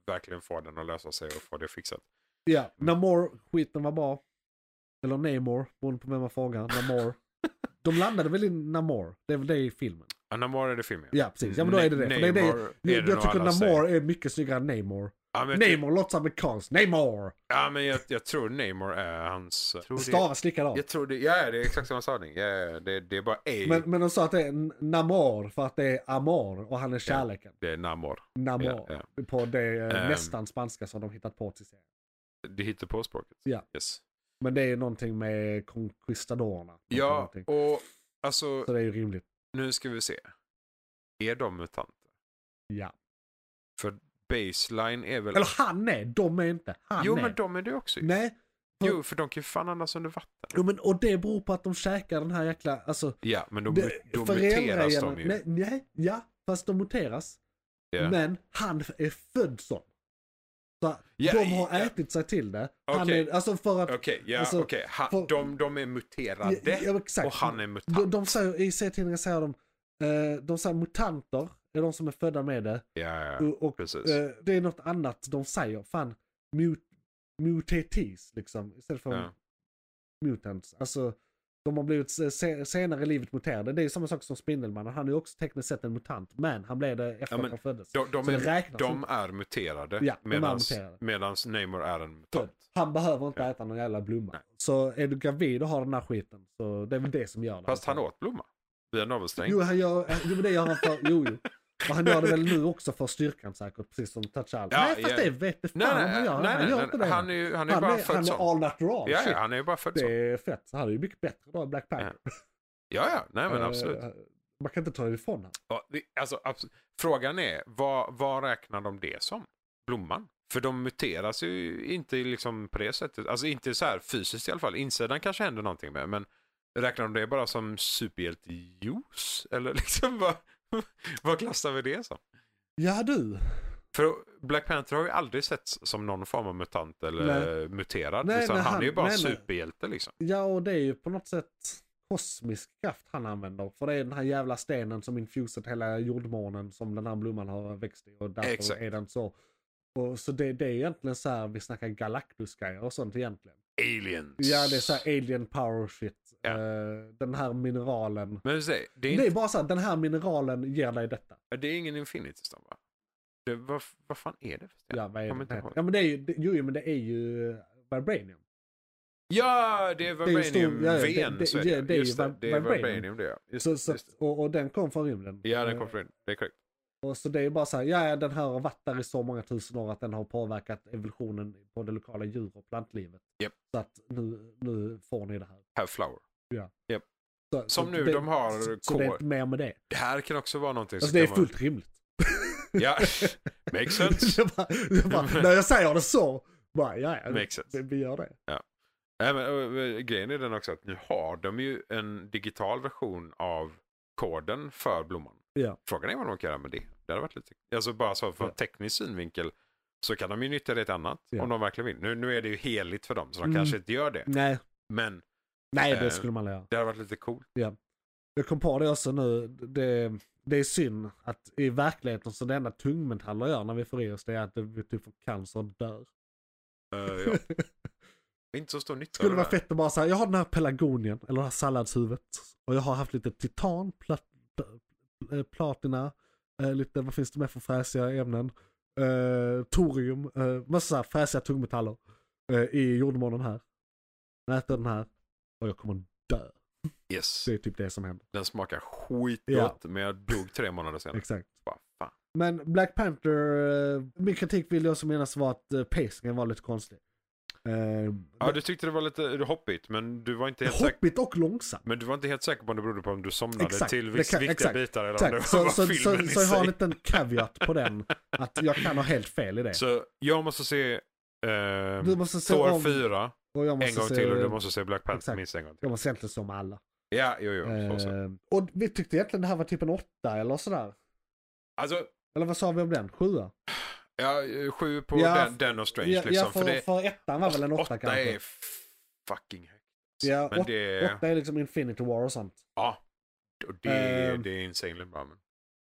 Speaker 4: verkligen få den att lösa sig och få det fixat.
Speaker 3: Ja, Namor-skiten var bra. Eller Namor, beroende på vem man frågar. Namor. de landade väl i Namor, det är väl det i filmen.
Speaker 4: Ja, Namor är det filmen.
Speaker 3: Ja, precis. Ja, men då är det det. För det är det- jag jag tycker Namor är mycket snyggare än Namor.
Speaker 4: Ja, men, typ- jag,
Speaker 3: Namor låter amerikanskt. Namor!
Speaker 4: ja, men jag, jag tror Namor är hans... Jag tror det,
Speaker 3: Stavas likadant.
Speaker 4: jag tror det, ja, det är exakt samma stavning. Ja, ja, det, det är bara A.
Speaker 3: Men, men de sa att det är N- Namor för att det är Amor och han är kärleken.
Speaker 4: Det är Namor.
Speaker 3: Namor.
Speaker 4: Ja,
Speaker 3: På det eh,
Speaker 4: Ehm.
Speaker 3: nästan spanska som de hittat på till serien.
Speaker 4: Det hittar på språket.
Speaker 3: Ja.
Speaker 4: Yes.
Speaker 3: Men det är ju någonting med conquistadorerna.
Speaker 4: Ja,
Speaker 3: Någonting.
Speaker 4: och alltså
Speaker 3: Så det är ju rimligt.
Speaker 4: nu ska vi se. Är de mutanter?
Speaker 3: Ja.
Speaker 4: För baseline är väl...
Speaker 3: Eller han är, de är inte. Han
Speaker 4: jo,
Speaker 3: är.
Speaker 4: men de är det också ju.
Speaker 3: Nej.
Speaker 4: Jo, för de kan ju fan andas under vatten.
Speaker 3: Jo, men, och det beror på att de käkar den här jäkla... Alltså,
Speaker 4: Ja, men de,
Speaker 3: det-
Speaker 4: de muteras
Speaker 3: föräldragener-
Speaker 4: de ju.
Speaker 3: Nej, nej, ja. Fast de muteras.
Speaker 4: Ja.
Speaker 3: Men han är född sån. Så
Speaker 4: Ja,
Speaker 3: de har
Speaker 4: ja.
Speaker 3: ätit sig till det. Han
Speaker 4: Okej.
Speaker 3: är, alltså för att...
Speaker 4: Okej, ja,
Speaker 3: Alltså,
Speaker 4: okej. Han-
Speaker 3: för-
Speaker 4: De, de är muterade
Speaker 3: Ja, ja, exakt.
Speaker 4: och han är mutant.
Speaker 3: De, de säger, I serietidningar säger de, eh, de säger mutanter är de som är födda med det.
Speaker 4: ja, ja,
Speaker 3: Och, och
Speaker 4: precis.
Speaker 3: eh, det är något annat de säger. Fan, mut, mutetis liksom. Istället för
Speaker 4: Ja.
Speaker 3: mutants. Alltså, de har blivit se- se, senare i livet muterade. Det är samma sak som Spindelmannen. Han är också tekniskt sett en mutant. Men han blev det
Speaker 4: Ja,
Speaker 3: efter
Speaker 4: men
Speaker 3: att han föddes.
Speaker 4: De, de,
Speaker 3: Så det
Speaker 4: är,
Speaker 3: räknas
Speaker 4: de
Speaker 3: inte.
Speaker 4: är muterade
Speaker 3: Ja, de är
Speaker 4: medans,
Speaker 3: muterade.
Speaker 4: medans Namor är en
Speaker 3: Född.
Speaker 4: mutant.
Speaker 3: Han behöver inte
Speaker 4: Ja.
Speaker 3: äta någon jävla blomma.
Speaker 4: Nej.
Speaker 3: Så är du gravid och har den här skiten. Så det är väl det som gör det. Alltså.
Speaker 4: Fast han åt blomma via navelsträng.
Speaker 3: Jo, han gör, eh, jo, men det gör han för, jo, jo. Och han gör det väl nu också för styrkan säkert, precis som T'Challa.
Speaker 4: Ja,
Speaker 3: nej, fast
Speaker 4: ja.
Speaker 3: det vet du fan
Speaker 4: Nej,
Speaker 3: om han
Speaker 4: nej,
Speaker 3: gör.
Speaker 4: nej,
Speaker 3: han gör
Speaker 4: nej,
Speaker 3: inte
Speaker 4: nej.
Speaker 3: det.
Speaker 4: Han är ju han är
Speaker 3: han
Speaker 4: bara
Speaker 3: är,
Speaker 4: född
Speaker 3: han är
Speaker 4: sån.
Speaker 3: all natural.
Speaker 4: Ja,
Speaker 3: Shit,
Speaker 4: ja, han är ju bara född
Speaker 3: det
Speaker 4: sån.
Speaker 3: är fett. Han är ju mycket bättre då än Black Panther.
Speaker 4: Ja, ja, nej men absolut.
Speaker 3: Eh, Man kan inte ta det ifrån honom.
Speaker 4: Ja, det, alltså, abs- Frågan är, vad, vad räknar de det som? Blomman? För de muteras ju inte liksom på det sättet. Alltså inte så här fysiskt i alla fall. Insidan kanske händer någonting med. Men räknar de det bara som superhjältejuice? Eller *laughs* liksom vad, vad klassar vi det som?
Speaker 3: Ja du.
Speaker 4: För Black Panther har ju aldrig setts som någon form av mutant eller muterad.
Speaker 3: Nej,
Speaker 4: utan
Speaker 3: nej,
Speaker 4: han,
Speaker 3: han-
Speaker 4: är ju bara
Speaker 3: nej, nej.
Speaker 4: superhjälte liksom.
Speaker 3: Ja och det är ju på något sätt kosmisk kraft han använder. För det är den här jävla stenen som infusat hela jordmånen som den här blomman har växt i. Och därför
Speaker 4: Exakt.
Speaker 3: är den så. Och, så det, det är egentligen så här vi snackar galaktusgrejer och sånt egentligen.
Speaker 4: Aliens.
Speaker 3: Ja, det är så här alien power shit.
Speaker 4: Ja.
Speaker 3: Eh, den här mineralen.
Speaker 4: Men vi säger, det är,
Speaker 3: Det är
Speaker 4: inte,
Speaker 3: bara så här, den här mineralen ger dig detta.
Speaker 4: det är ingen infinity stone va? Det, vad, vad fan är det för sten?
Speaker 3: Ja, vad är
Speaker 4: Kommer
Speaker 3: det?
Speaker 4: inte ihåg.
Speaker 3: Ja, men det är ju, det, jo, jo, men det är ju eh, vibranium.
Speaker 4: Ja, det är
Speaker 3: är ju stor- ja, ja, det-
Speaker 4: Vibranium-ven.
Speaker 3: det-
Speaker 4: så är det.
Speaker 3: ja, det är ju
Speaker 4: Just det,
Speaker 3: vib-
Speaker 4: det är
Speaker 3: vibranium.
Speaker 4: Vibranium det ja. Just,
Speaker 3: Så, så,
Speaker 4: just,
Speaker 3: att- och, och den kom från rymden.
Speaker 4: ja, den
Speaker 3: Eh,
Speaker 4: kommer från Det är korrekt.
Speaker 3: Och så det är bara så här, ja, ja, den här har varit där i så många tusen år att den har påverkat evolutionen på det lokala djur och plantlivet.
Speaker 4: Japp.
Speaker 3: Så att nu, nu får ni det här.
Speaker 4: Have flower.
Speaker 3: Så,
Speaker 4: Som
Speaker 3: så
Speaker 4: nu, de har
Speaker 3: Så, så det är
Speaker 4: kol.
Speaker 3: inte mer med det.
Speaker 4: Det här kan också vara någonting
Speaker 3: Alltså det är
Speaker 4: kan vara-
Speaker 3: fullt rimligt.
Speaker 4: Ja, *laughs*
Speaker 3: *laughs*
Speaker 4: makes sense.
Speaker 3: jag bara, jag bara,
Speaker 4: *laughs*
Speaker 3: när jag säger det så, bara, ja, ja,
Speaker 4: Makes sense.
Speaker 3: vi, vi gör det.
Speaker 4: Nej, men, ö, ö, grejen är den också att nu har de ju en digital version av koden för blomman.
Speaker 3: Ja.
Speaker 4: Frågan är vad de kan göra med det. Det hade varit lite... Alltså bara så från
Speaker 3: Ja.
Speaker 4: teknisk synvinkel så kan de ju nyttja det till annat
Speaker 3: Ja.
Speaker 4: om de verkligen vill. Nu, nu är det ju heligt för dem så de
Speaker 3: Mm.
Speaker 4: kanske inte gör det.
Speaker 3: Nej,
Speaker 4: Men
Speaker 3: nej det
Speaker 4: Eh,
Speaker 3: skulle man aldrig göra.
Speaker 4: det hade varit lite coolt.
Speaker 3: Jag kom på det också nu, det, det är synd att i verkligheten så det enda tungmetaller gör när vi får i oss det är att vi typ får cancer och dör.
Speaker 4: Eh,
Speaker 3: *laughs*
Speaker 4: ja. Inte så stor nytta
Speaker 3: Skulle
Speaker 4: av
Speaker 3: vara
Speaker 4: där.
Speaker 3: fett att bara säga, jag har den här pelargonien, eller det här salladshuvudet. Och jag har haft lite titan, plat, pl- eh, platina, eh, lite vad finns det mer för fräsiga ämnen? Eh, torium, eh, massa så här fräsiga tungmetaller eh, i jordmånen här. Jag äter den här och jag kommer dö.
Speaker 4: Yes.
Speaker 3: Det är typ det som händer.
Speaker 4: Den smakar skitgott men jag dog tre månader senare.
Speaker 3: Exakt.
Speaker 4: Bara, fan.
Speaker 3: Men Black Panther, eh, min kritik vill jag som menas var att eh, pacingen var lite konstig. Eh,
Speaker 4: Ja, du tyckte det var lite hoppigt men du var inte helt säker.
Speaker 3: hoppigt och långsamt.
Speaker 4: Men du var inte helt säker på om det berodde på om du somnade
Speaker 3: Exakt,
Speaker 4: till
Speaker 3: det
Speaker 4: viss,
Speaker 3: kan-
Speaker 4: viktiga
Speaker 3: exakt,
Speaker 4: bitar eller om det var
Speaker 3: Tack. Så,
Speaker 4: bara
Speaker 3: så, så,
Speaker 4: filmen i
Speaker 3: så jag har en
Speaker 4: sig.
Speaker 3: liten caveat på den. Att jag kan ha helt fel i det.
Speaker 4: Så jag måste se
Speaker 3: du
Speaker 4: eh,
Speaker 3: måste se
Speaker 4: Thor
Speaker 3: om,
Speaker 4: 4
Speaker 3: och jag
Speaker 4: en
Speaker 3: måste
Speaker 4: gång
Speaker 3: se,
Speaker 4: till och du måste se Black Panther
Speaker 3: exakt.
Speaker 4: minst en gång till.
Speaker 3: Jag måste egentligen se om alla.
Speaker 4: Ja, jo, jo. Så, så.
Speaker 3: Eh, och vi tyckte egentligen det här var typ en åtta eller sådär.
Speaker 4: Alltså,
Speaker 3: Eller vad sa vi om den? Sjua?
Speaker 4: ja, sju på
Speaker 3: Ja,
Speaker 4: den, den och Strange
Speaker 3: ja,
Speaker 4: liksom.
Speaker 3: ja, för,
Speaker 4: för det,
Speaker 3: för ettan var väl en åtta,
Speaker 4: åtta
Speaker 3: kanske.
Speaker 4: är f- fucking högt.
Speaker 3: Ja,
Speaker 4: men
Speaker 3: åt-
Speaker 4: det,
Speaker 3: Åtta är liksom Infinity War och sånt.
Speaker 4: ja, och det,
Speaker 3: Ehm.
Speaker 4: det är insanely bra. Men.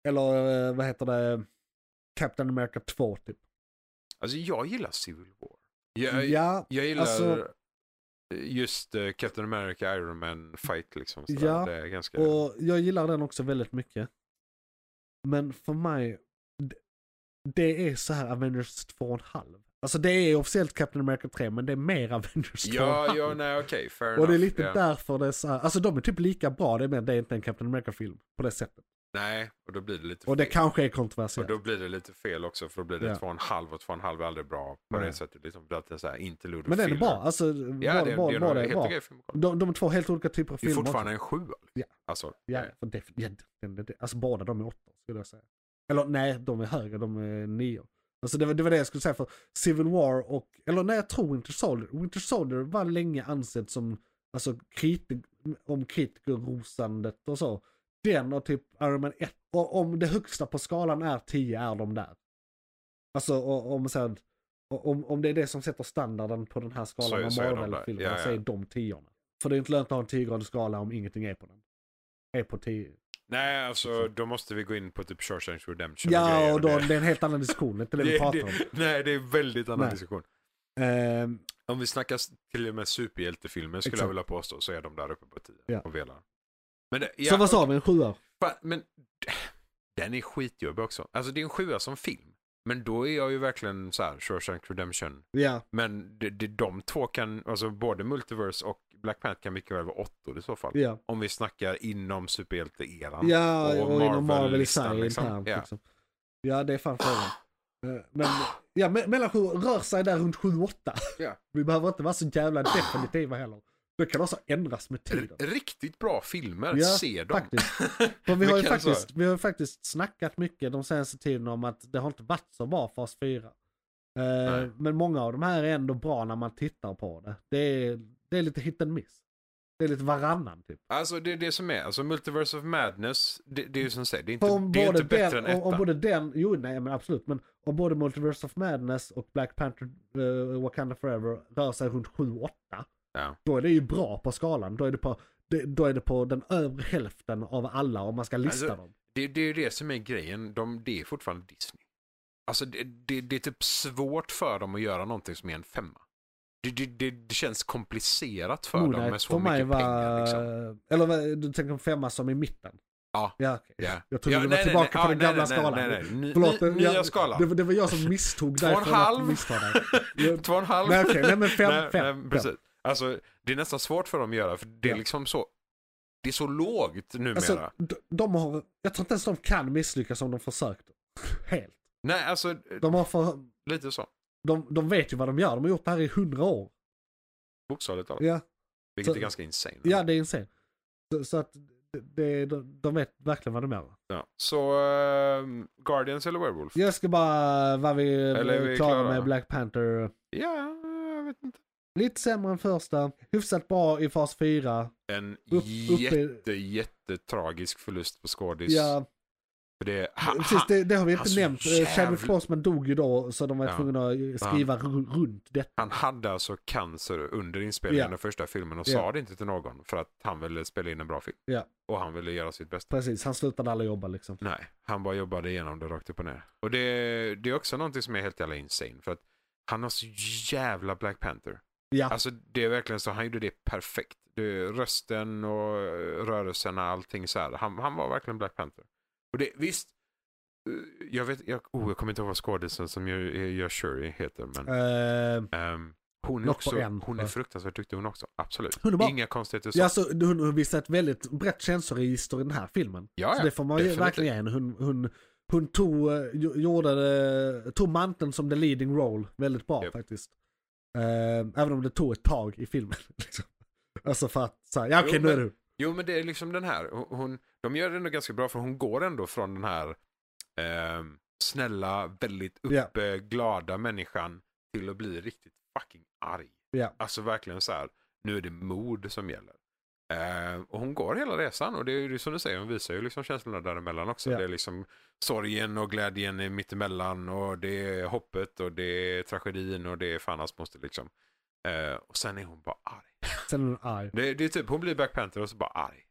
Speaker 3: Eller eh, vad heter det? Captain America 2 typ.
Speaker 4: Alltså jag gillar Civil War. Jag,
Speaker 3: ja,
Speaker 4: jag gillar
Speaker 3: alltså-
Speaker 4: just eh, Captain America, Iron Man fight liksom. sådär.
Speaker 3: Ja,
Speaker 4: det är ganska...
Speaker 3: Och jag gillar den också väldigt mycket. Men för mig, d- det är så här Avengers 2,5. Alltså det är officiellt Captain America 3 men det är mer Avengers 2,5.
Speaker 4: Ja, ja, nej okej, fair
Speaker 3: och
Speaker 4: enough.
Speaker 3: det är lite
Speaker 4: ja.
Speaker 3: därför det är så här, alltså de är typ lika bra, det är, mer, det är inte en Captain America-film på det sättet.
Speaker 4: Nej, och då blir det lite
Speaker 3: Och det
Speaker 4: fel.
Speaker 3: kanske är
Speaker 4: Och
Speaker 3: kontroversiellt.
Speaker 4: då blir det lite fel också för då blir det
Speaker 3: Ja.
Speaker 4: två och en halv och två och en halv är aldrig bra på
Speaker 3: Nej.
Speaker 4: det sättet. Liksom, för att det är så här interlude och
Speaker 3: Men den är
Speaker 4: filler.
Speaker 3: bra, alltså
Speaker 4: Ja,
Speaker 3: bra,
Speaker 4: det,
Speaker 3: bra,
Speaker 4: det är
Speaker 3: bra,
Speaker 4: nog
Speaker 3: det
Speaker 4: helt
Speaker 3: är bra.
Speaker 4: okej film att kolla.
Speaker 3: De, de är två helt olika typer av
Speaker 4: Det är
Speaker 3: filmer.
Speaker 4: fortfarande
Speaker 3: också.
Speaker 4: en sjua. Liksom.
Speaker 3: Ja.
Speaker 4: Alltså,
Speaker 3: Ja, för det, ja, den, den, den, alltså båda de är åtta skulle jag säga. Eller nej, de är högre, de är nio. Alltså det var, det var det jag skulle säga för Civil War och, eller nej jag tror Winter Soldier. Winter Soldier var länge ansedd som, alltså krit, om kritikerrosandet och så. Den och typ Iron Man 1, och om det högsta på skalan är 10 är de där. Alltså och, om man säger, Och Om, om det är det som sätter standarden på den här skalan
Speaker 4: Så-
Speaker 3: av
Speaker 4: så är de där.
Speaker 3: Marvel-filmerna
Speaker 4: Ja, ja.
Speaker 3: så är de tiorna. För det är inte lönt att ha en 10-gradig skala om ingenting är på den. Är på 10.
Speaker 4: Nej, alltså då måste vi gå in på typ Shawshank Redemption
Speaker 3: Ja,
Speaker 4: grejer
Speaker 3: och då,
Speaker 4: det.
Speaker 3: det är en helt annan diskussion, det är inte det vi pratar om.
Speaker 4: *laughs* det, nej, det är väldigt annan
Speaker 3: Nej.
Speaker 4: diskussion.
Speaker 3: Ehm,
Speaker 4: Om vi snackar s- till och med superhjältefilmer skulle jag
Speaker 3: Exakt.
Speaker 4: vilja påstå så är de där uppe på 10
Speaker 3: Ja.
Speaker 4: och velar. Men, det,
Speaker 3: Så
Speaker 4: ja,
Speaker 3: vad sa vi, en sjua?
Speaker 4: fan, men *laughs* den är skitjobbig också. Alltså det är en sjua som film. Men då är jag ju verkligen så här, Shawshank Redemption.
Speaker 3: Ja,
Speaker 4: Men det, det, de två kan, alltså både Multiverse och Black Panther kan mycket väl vara åttor i så fall.
Speaker 3: ja.
Speaker 4: Om vi snackar inom superhjälte-eran.
Speaker 3: Ja,
Speaker 4: och
Speaker 3: och, inom Marvel i
Speaker 4: Marvel-listan,
Speaker 3: sig
Speaker 4: liksom.
Speaker 3: internt.
Speaker 4: Ja. Ah.
Speaker 3: Liksom. Ja, det är fan frågan. Eh, Men ja, me- mellan sju, rör sig där runt 7-8.
Speaker 4: Ja.
Speaker 3: *laughs* Vi behöver inte vara så jävla definitiva heller. Det kan också ändras med
Speaker 4: R-
Speaker 3: tiden.
Speaker 4: Riktigt bra filmer,
Speaker 3: Ja,
Speaker 4: se dem.
Speaker 3: faktiskt. För
Speaker 4: *laughs*
Speaker 3: vi,
Speaker 4: Vi
Speaker 3: har ju
Speaker 4: kan
Speaker 3: faktiskt, vi har ju faktiskt snackat mycket de senaste tiden om att det har inte varit så bra fas 4. Eh,
Speaker 4: Nej.
Speaker 3: men många av de här är ändå bra när man tittar på det. Det är, det är lite hit and miss. Det är lite varannan typ.
Speaker 4: *laughs* Alltså det är det som är, alltså Multiverse of Madness, det, det är ju som säger, det är
Speaker 3: För
Speaker 4: inte,
Speaker 3: om
Speaker 4: det är ju
Speaker 3: både
Speaker 4: inte bättre
Speaker 3: den,
Speaker 4: än
Speaker 3: om, om
Speaker 4: ettan.
Speaker 3: både den, jo nej men absolut, men om både Multiverse of Madness och Black Panther eh, Wakanda Forever rör sig runt 7-8,
Speaker 4: Ja.
Speaker 3: då är det ju bra på skalan. Då är det på, det, då är det på den övre hälften av alla om man ska lista
Speaker 4: Alltså,
Speaker 3: dem.
Speaker 4: Det, det är ju det som är grejen, de, det är fortfarande Disney. Alltså det, det, det är typ svårt för dem att göra någonting som är en femma. Det, det, det, det känns komplicerat för dem
Speaker 3: Moonlight
Speaker 4: med så mycket pengar. Liksom.
Speaker 3: Eller vad- du tänker en femma som i mitten?
Speaker 4: Ja.
Speaker 3: ja okej.
Speaker 4: Ja.
Speaker 3: Jag trodde
Speaker 4: Ja,
Speaker 3: du var
Speaker 4: nej, nej,
Speaker 3: tillbaka
Speaker 4: nej.
Speaker 3: på
Speaker 4: Ja,
Speaker 3: den
Speaker 4: nej,
Speaker 3: gamla
Speaker 4: nej, nej,
Speaker 3: skalan.
Speaker 4: nej, nej. Ny-
Speaker 3: Förlåt,
Speaker 4: ny-
Speaker 3: jag-
Speaker 4: nya skalan.
Speaker 3: Det, var- det var jag som
Speaker 4: *laughs*
Speaker 3: misstog
Speaker 4: Två och
Speaker 3: dig
Speaker 4: en
Speaker 3: från att
Speaker 4: halv.
Speaker 3: missta
Speaker 4: *laughs*
Speaker 3: dig. Jag-
Speaker 4: Två och en halv.
Speaker 3: Nej, okej, nej, men fem,
Speaker 4: Nej,
Speaker 3: fem,
Speaker 4: nej,
Speaker 3: fem.
Speaker 4: precis. Alltså, det är nästan svårt för dem att göra, för det är
Speaker 3: Ja.
Speaker 4: liksom så, det är så lågt numera.
Speaker 3: Alltså, de, de har, jag tror inte ens de kan misslyckas om de försökt. *laughs* Helt.
Speaker 4: Nej, alltså
Speaker 3: De, har för,
Speaker 4: lite så.
Speaker 3: de, de vet ju vad de gör, de har gjort det här i hundra år.
Speaker 4: Bokstavligt talat.
Speaker 3: Ja,
Speaker 4: Vilket
Speaker 3: så-
Speaker 4: är ganska insane.
Speaker 3: ja det är insane. Så, så att det- det, de, de vet verkligen vad de gör.
Speaker 4: Ja. Så ehm, Guardians eller Werewolf?
Speaker 3: Jag ska bara, vad vi
Speaker 4: Eller är
Speaker 3: Eller
Speaker 4: vi
Speaker 3: klarar
Speaker 4: klara?
Speaker 3: med Black Panther.
Speaker 4: Ja, jag vet inte.
Speaker 3: Lite sämre än första, hyfsat bra i fas 4.
Speaker 4: En
Speaker 3: upp i-
Speaker 4: jätte, jättetragisk förlust på skådis.
Speaker 3: Ja,
Speaker 4: För det, ha,
Speaker 3: precis,
Speaker 4: ha,
Speaker 3: det, det har vi inte
Speaker 4: alltså,
Speaker 3: nämnt. Eh,
Speaker 4: jävla-
Speaker 3: Chadwick Boseman dog ju då så de var
Speaker 4: Ja.
Speaker 3: tvungna att skriva ru- runt det.
Speaker 4: han hade alltså cancer under inspelningen
Speaker 3: Ja.
Speaker 4: av första filmen och
Speaker 3: Ja.
Speaker 4: sa det inte till någon för att han ville spela in en bra film.
Speaker 3: Ja.
Speaker 4: Och han ville göra sitt bästa.
Speaker 3: Precis, han slutade aldrig jobba liksom.
Speaker 4: Nej, han bara jobbade igenom det rakt upp och ner. Och det, det är också någonting som är helt jävla insane. För att han har så jävla Black Panther.
Speaker 3: Ja,
Speaker 4: Alltså det är verkligen så, han gjorde det perfekt. Det, rösten och eh, rörelserna, allting så här. Han, han var verkligen Black Panther. Och det, visst, eh, jag vet, jag, oh, jag kommer inte ihåg vad skådisen som gör, eh, gör Shuri heter, men
Speaker 3: eh,
Speaker 4: ehm, hon är
Speaker 3: något på
Speaker 4: också,
Speaker 3: en,
Speaker 4: hon är
Speaker 3: va?
Speaker 4: fruktansvärt duktig hon också. Absolut.
Speaker 3: Hon är bra.
Speaker 4: Inga konstigheter så.
Speaker 3: ja så hon, hon visar ett väldigt brett känsloregister i den här filmen.
Speaker 4: ja,
Speaker 3: så det får man ju
Speaker 4: definitivt.
Speaker 3: verkligen ge henne. Hon, hon, hon tog, eh, gj- gjorde det, tog manteln som the leading role väldigt bra
Speaker 4: Japp.
Speaker 3: faktiskt. Eh, även om det tog ett tag i filmen. *laughs* Liksom. Alltså för att, så här, ja
Speaker 4: Jo,
Speaker 3: okej nu är
Speaker 4: men-
Speaker 3: du.
Speaker 4: Jo, men det är liksom den här. Hon- Hon, de gör det ändå ganska bra för hon går ändå från den här ehm, snälla, väldigt
Speaker 3: Ja.
Speaker 4: uppe, glada människan till att bli riktigt fucking arg.
Speaker 3: Ja.
Speaker 4: Alltså verkligen så här, nu är det mod som gäller. Ehm, och hon går hela resan och det är ju som du säger, hon visar ju liksom känslorna däremellan också.
Speaker 3: Ja.
Speaker 4: Det är liksom sorgen och glädjen är mittemellan och det är hoppet och det är tragedin och det är fan hans moster liksom. Ehm, och sen är hon bara arg.
Speaker 3: Sen är hon arg.
Speaker 4: Det, det är typ, hon blir Black Panther och så bara arg.